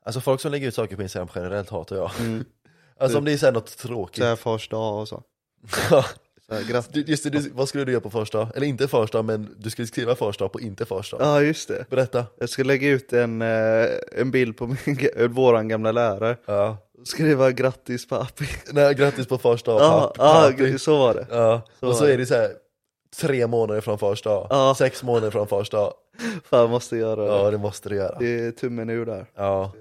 A: Alltså folk som lägger ut saker på Instagram generellt hatar jag.
B: Mm.
A: Alltså om det är så här något tråkigt.
B: såhär fars dag och så. Så här, grattis.
A: Du- Just det, du, vad skulle du göra på första? Eller inte första, men du skulle skriva första på inte första.
B: Ja just det.
A: Berätta.
B: Jag ska lägga ut en, eh, en bild på min, ga- våran gamla lärare.
A: Ja.
B: Skriva grattis pappi.
A: Nej, grattis på första.
B: Ja,
A: papp-
B: ja,
A: pappi.
B: så var det.
A: ja. Och så
B: var det.
A: är det så här tre månader från första,
B: Ja.
A: sex månader från första.
B: Fan måste göra det.
A: Ja, det måste du göra.
B: Det är tummen ur där.
A: Ja.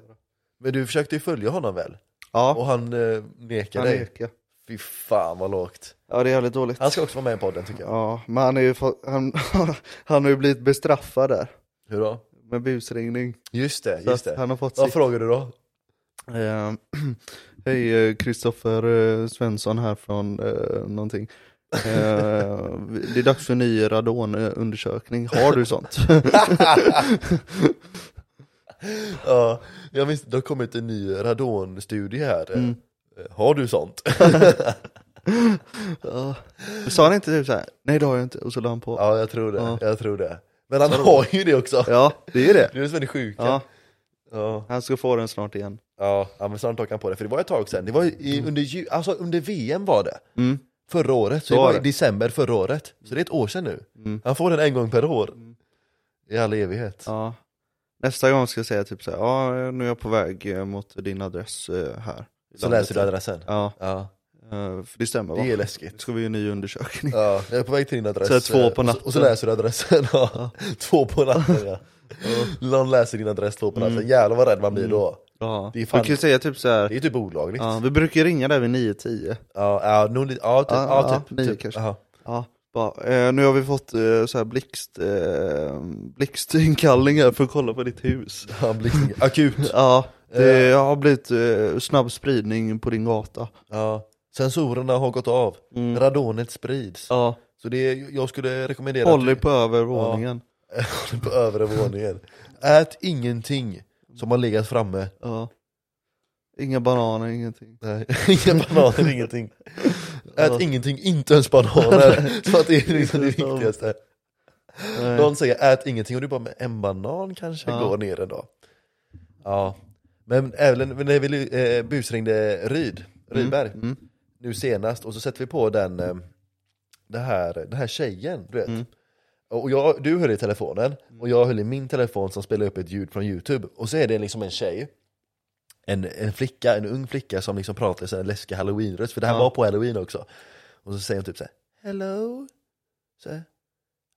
A: Men du försökte ju följa honom väl? Och
B: Ja,
A: han eh, nekar
B: han
A: dig?
B: nekar.
A: Fy fan vad lågt.
B: Ja det är jävligt dåligt.
A: Han ska också vara med i podden tycker jag.
B: Ja, men han, är ju, fa- han, han har ju blivit bestraffad där.
A: Hur då?
B: Med busringning.
A: Just det,
B: Så
A: just
B: att
A: det.
B: han har fått
A: Vad
B: sitt.
A: frågar du då?
B: Eh, Hej, eh, Kristoffer eh, Svensson här från eh, någonting. Eh, det är dags för en ny radonundersökning. Har du sånt?
A: Ja, jag minns, det har kommit en ny radonstudie här.
B: Mm.
A: Eh, Har du sånt?
B: ja. Sa han inte typ såhär, nej det har jag inte, och så la han på.
A: ja, jag tror det.
B: Ja.
A: Jag tror det. Men han
B: Så-
A: har ju det också.
B: Ja, det är ju det.
A: Det är det som är det sjuka.
B: Ja.
A: Ja.
B: Han ska få den snart igen.
A: Ja, ja men snart tok han på det, för det var ett tag sedan. Det var ju i, under, ju- alltså, under VM var det.
B: Mm.
A: Förra året, så
B: Så
A: det
B: var
A: var i
B: det.
A: december förra året. Så det är ett år sedan nu.
B: Mm.
A: Han får den en gång per år. I all evighet.
B: Ja. Nästa gång ska jag säga typ såhär, ja nu är jag på väg eh, mot din adress eh, här.
A: Så läser du adressen.
B: Ja,
A: Ja.
B: eh, för det stämmer va?
A: Det är läskigt.
B: Nu ska vi ju en ny undersökning.
A: Ja, jag är på väg till din adress.
B: Så två på
A: Och så-
B: natten.
A: Och så läser du adressen. Ja. Två på natten ja. Någon läser din adress två
B: Mm.
A: på natten. Jävlar vad rädd man blir då.
B: Ja.
A: Det är
B: Du
A: fan-
B: kan ju säga typ
A: Det
B: såhär,
A: är typ olagligt.
B: Mm. ja,
A: Ja,
B: vi brukar ju ringa där vid 9-10.
A: ja, nog lite, ja, typ,
B: Ja,
A: ja,
B: ja,
A: typ.
B: nio
A: typ.
B: kanske.
A: Ja.
B: Ja, bara, eh, nu har vi fått eh, så här blixt, eh, blixtinkallningar för att kolla på ditt hus.
A: Ja, Blekinge. Akut.
B: Ja, det har blivit eh, snabb spridning på din gata.
A: Ja. Sensorerna har gått av.
B: Mm.
A: Radonet sprids.
B: Ja,
A: Så det, är- jag skulle rekommendera
B: håll dig
A: att
B: på övervåningen.
A: du, håll dig på övre våningen. Ät ingenting som har legat framme.
B: Ja. Inga bananer, ingenting.
A: Nej, inga bananer, ingenting. Ät ingenting, inte ens bananer. så att det är liksom det
B: Inte ens dem.
A: viktigaste.
B: Nej.
A: Någon säger ät ingenting och du bara, men en banan kanske
B: Ja.
A: går ner en dag. Ja. Men även när vi eh, busringde Ryd, Rydberg,
B: Mm.
A: nu senast, och så sätter vi på den, eh, det här, den här tjejen, du vet.
B: Mm.
A: Och jag, du höll i telefonen, och jag höll i min telefon som spelar upp ett ljud från YouTube. Och så är det liksom en tjej, en, en flicka, en ung flicka som liksom pratar i sån här läskig halloween-röst, för det här
B: Ja.
A: var på halloween också. Och så säger hon typ så här, hello, så här,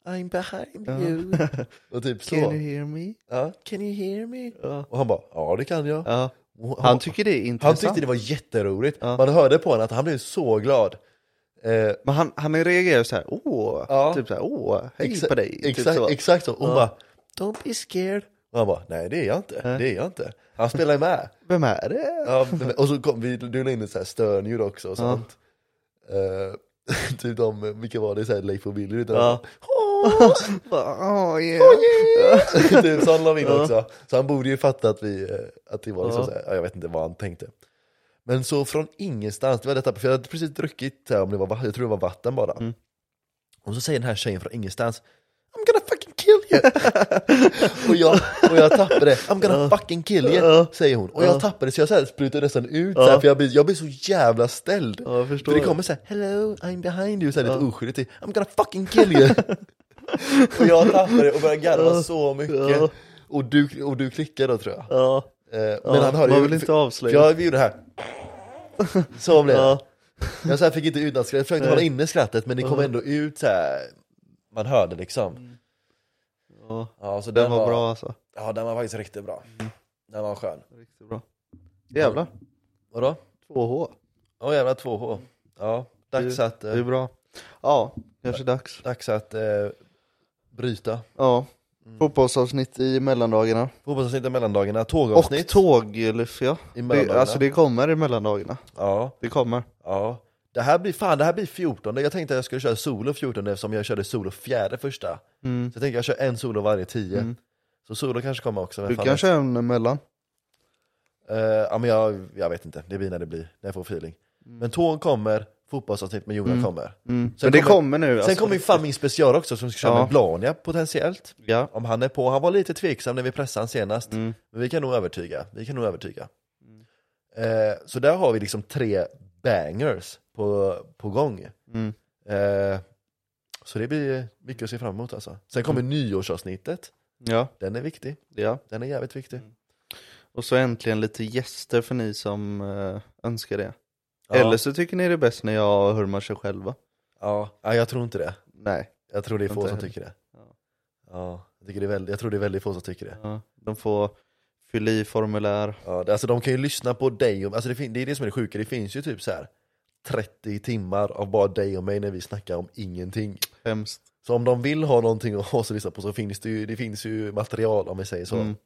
A: I'm behind
B: Ja.
A: you. Och typ så.
B: Can you hear me?
A: ja, Can you hear me?
B: Ja.
A: Och han bara, ja det kan jag.
B: Ja.
A: Och
B: Han tycker det är
A: han
B: intressant.
A: tyckte det var jätteroligt.
B: Ja.
A: Man hörde på honom att han blev så glad. Eh,
B: Men han, han reagerar så här, åh,
A: Ja.
B: typ så här, åh, hej
A: exa-
B: på dig.
A: Exakt,
B: typ så.
A: exakt så. Hon
B: Ja.
A: bara, don't be scared. Och han bara, nej det är jag inte,
B: Nej.
A: det är jag inte. Han spelar ju med.
B: Vem är det?
A: Ja, men- och så kom vi, du la in ett så här stönljud också och sånt. Eh, typ de, vilka var det, så här Leif och Billy utan
B: Ja.
A: ja.
B: Bara, "Åh, yeah."
A: typ sån la vi in
B: Ja.
A: också. Så han borde ju fatta att, vi, eh, att det var liksom
B: Ja.
A: så här, ja, jag vet inte vad han tänkte. Men så från ingenstans, det var detta, för jag hade precis druckit, så här, om det var, va- jag tror det var vatten bara.
B: Mm.
A: Och så säger den här tjejen från ingenstans, I'm gonna fucking kill you! och, jag, och jag tappade det, I'm gonna fucking kill you,
B: Ja.
A: säger hon. Och
B: Ja.
A: jag tappade det så jag så här sprutar nästan ut, så här,
B: Ja.
A: för jag blir, jag blir så jävla ställd.
B: Ja, jag förstår
A: för det
B: det.
A: kommer så här, hello, I'm behind you, så här, lite oskyldigt, typ, I'm gonna fucking kill you! och jag tappade det och började garva
B: Ja.
A: så mycket.
B: Ja.
A: Och, du, och du klickar då tror jag.
B: Ja.
A: Eh,
B: Ja,
A: Men han hörde
B: man
A: ju-
B: vill inte
A: för-
B: avslöja.
A: för Jag vi gjorde det här. Så blev det.
B: Ja.
A: Jag så här fick inte ut något skratt, jag försökte
B: Nej.
A: hålla inne skrattet men det kom ändå ut så här. man hörde liksom.
B: Mm. Ja.
A: Ja, så den,
B: Den var bra Mm. alltså.
A: Ja, den var faktiskt riktigt bra. Den var skön.
B: Riktigt bra. Jävlar,
A: Vadå?
B: 2H.
A: Åh jävla 2H. Ja, dags
B: Det-
A: att, eh,
B: Det är bra. Ja, kanske dags.
A: dags att eh, bryta.
B: Ja.
A: Mm.
B: Fotbollsavsnitt i mellandagarna.
A: Fotbollsavsnitt i mellandagarna,
B: Och
A: tågavsnitt.
B: tågluff ja.
A: I
B: Det,
A: mellandagarna.
B: alltså det kommer i mellandagarna.
A: ja.
B: Det kommer.
A: Ja, det här blir fan, det här blir 14. Jag tänkte att jag skulle köra solo 14 eftersom jag körde solo fjärde första. Så jag tänker jag kör en solo varje tio.
B: Mm.
A: Så solo kanske kommer också. Men
B: Du
A: fan
B: kan
A: vet.
B: köra en mellan.
A: Eh, ja, men jag, jag vet inte, det blir när det blir, när jag får feeling. Men tåg kommer, fotbollsavsnitt med Jonas kommer.
B: Mm.
A: Sen
B: Men det
A: kommer-
B: kommer nu.
A: Sen
B: alltså.
A: kommer ju fan min special också som ska köra
B: Ja.
A: med Blania potentiellt.
B: Ja.
A: Om han är på, han var lite tveksam när vi pressade han senast.
B: Mm.
A: Men vi kan nog övertyga, vi kan nog övertyga. Eh, så där har vi liksom tre bangers på, på gång.
B: Mm.
A: Eh, så det blir mycket att se fram emot alltså. Sen kommer nyårsavsnittet,
B: Ja,
A: den är viktig.
B: Mm. ja. Mm.
A: Den är jävligt viktig.
B: Och så äntligen lite gäster för ni som eh, önskar det.
A: Ja.
B: Eller så tycker ni det är bäst när jag hurmar sig själva.
A: Ja, nej, jag tror inte det.
B: Nej.
A: Jag tror det är få
B: Inte
A: som
B: heller.
A: tycker det.
B: Ja.
A: Ja, jag, tycker det är väldigt, jag tror det är väldigt få som tycker det.
B: Ja. De får fylla i formulär.
A: Ja, det- alltså de kan ju lyssna på dig och, alltså det, fin- det är det som är det sjuka, det finns ju typ så här 30 timmar av bara dig och mig när vi snackar om ingenting.
B: Hemskt.
A: Så om de vill ha någonting att ha oss att lyssna på så finns det ju, det finns ju material om vi säger så.
B: Mm.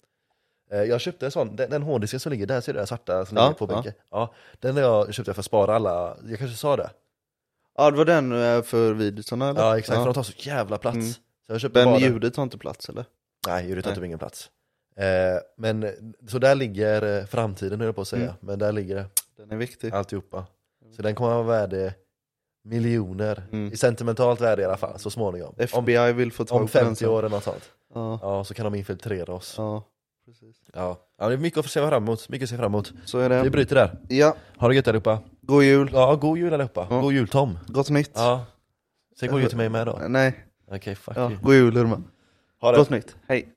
A: Eh, Jag köpte en sån, den, den hårddisken som ligger där, ser du den svarta som
B: Ja,
A: ligger på
B: ja.
A: bänken? Ja. Den har jag köpte för att spara alla, jag kanske sa det?
B: Ja det var den eh, för videosarna eller?
A: Ja exakt, för de tar så jävla plats.
B: Mm.
A: Så jag köpte bara
B: Men
A: den.
B: ljudet tar inte plats eller?
A: Nej, ljudet tar
B: Nej.
A: typ ingen plats. Eh, Men, eh, så där ligger eh, framtiden höll jag på att säga,
B: Mm.
A: men där ligger det.
B: Den är viktig.
A: Alltihopa. Så den kommer att vara värd eh, miljoner,
B: Mm.
A: i sentimentalt värde i alla fall, så småningom.
B: FBI vill få tag
A: Om
B: på den
A: 50
B: sen.
A: år eller något sånt.
B: Ja.
A: ja, så kan de infiltrera oss.
B: Ja,
A: Ja. ja, det är mycket att se fram emot. Mycket att se fram emot.
B: Så är det.
A: Vi bryter där.
B: Ja.
A: Ha det gött allihopa.
B: God jul.
A: Ja, god jul allihopa. God jul Tom.
B: Gott nytt.
A: Ja. Säg god jul till mig med då.
B: Nej.
A: Okej, fuck
B: Ja,
A: you.
B: god jul Hurma.
A: Ha det.
B: Gott nytt. Hej.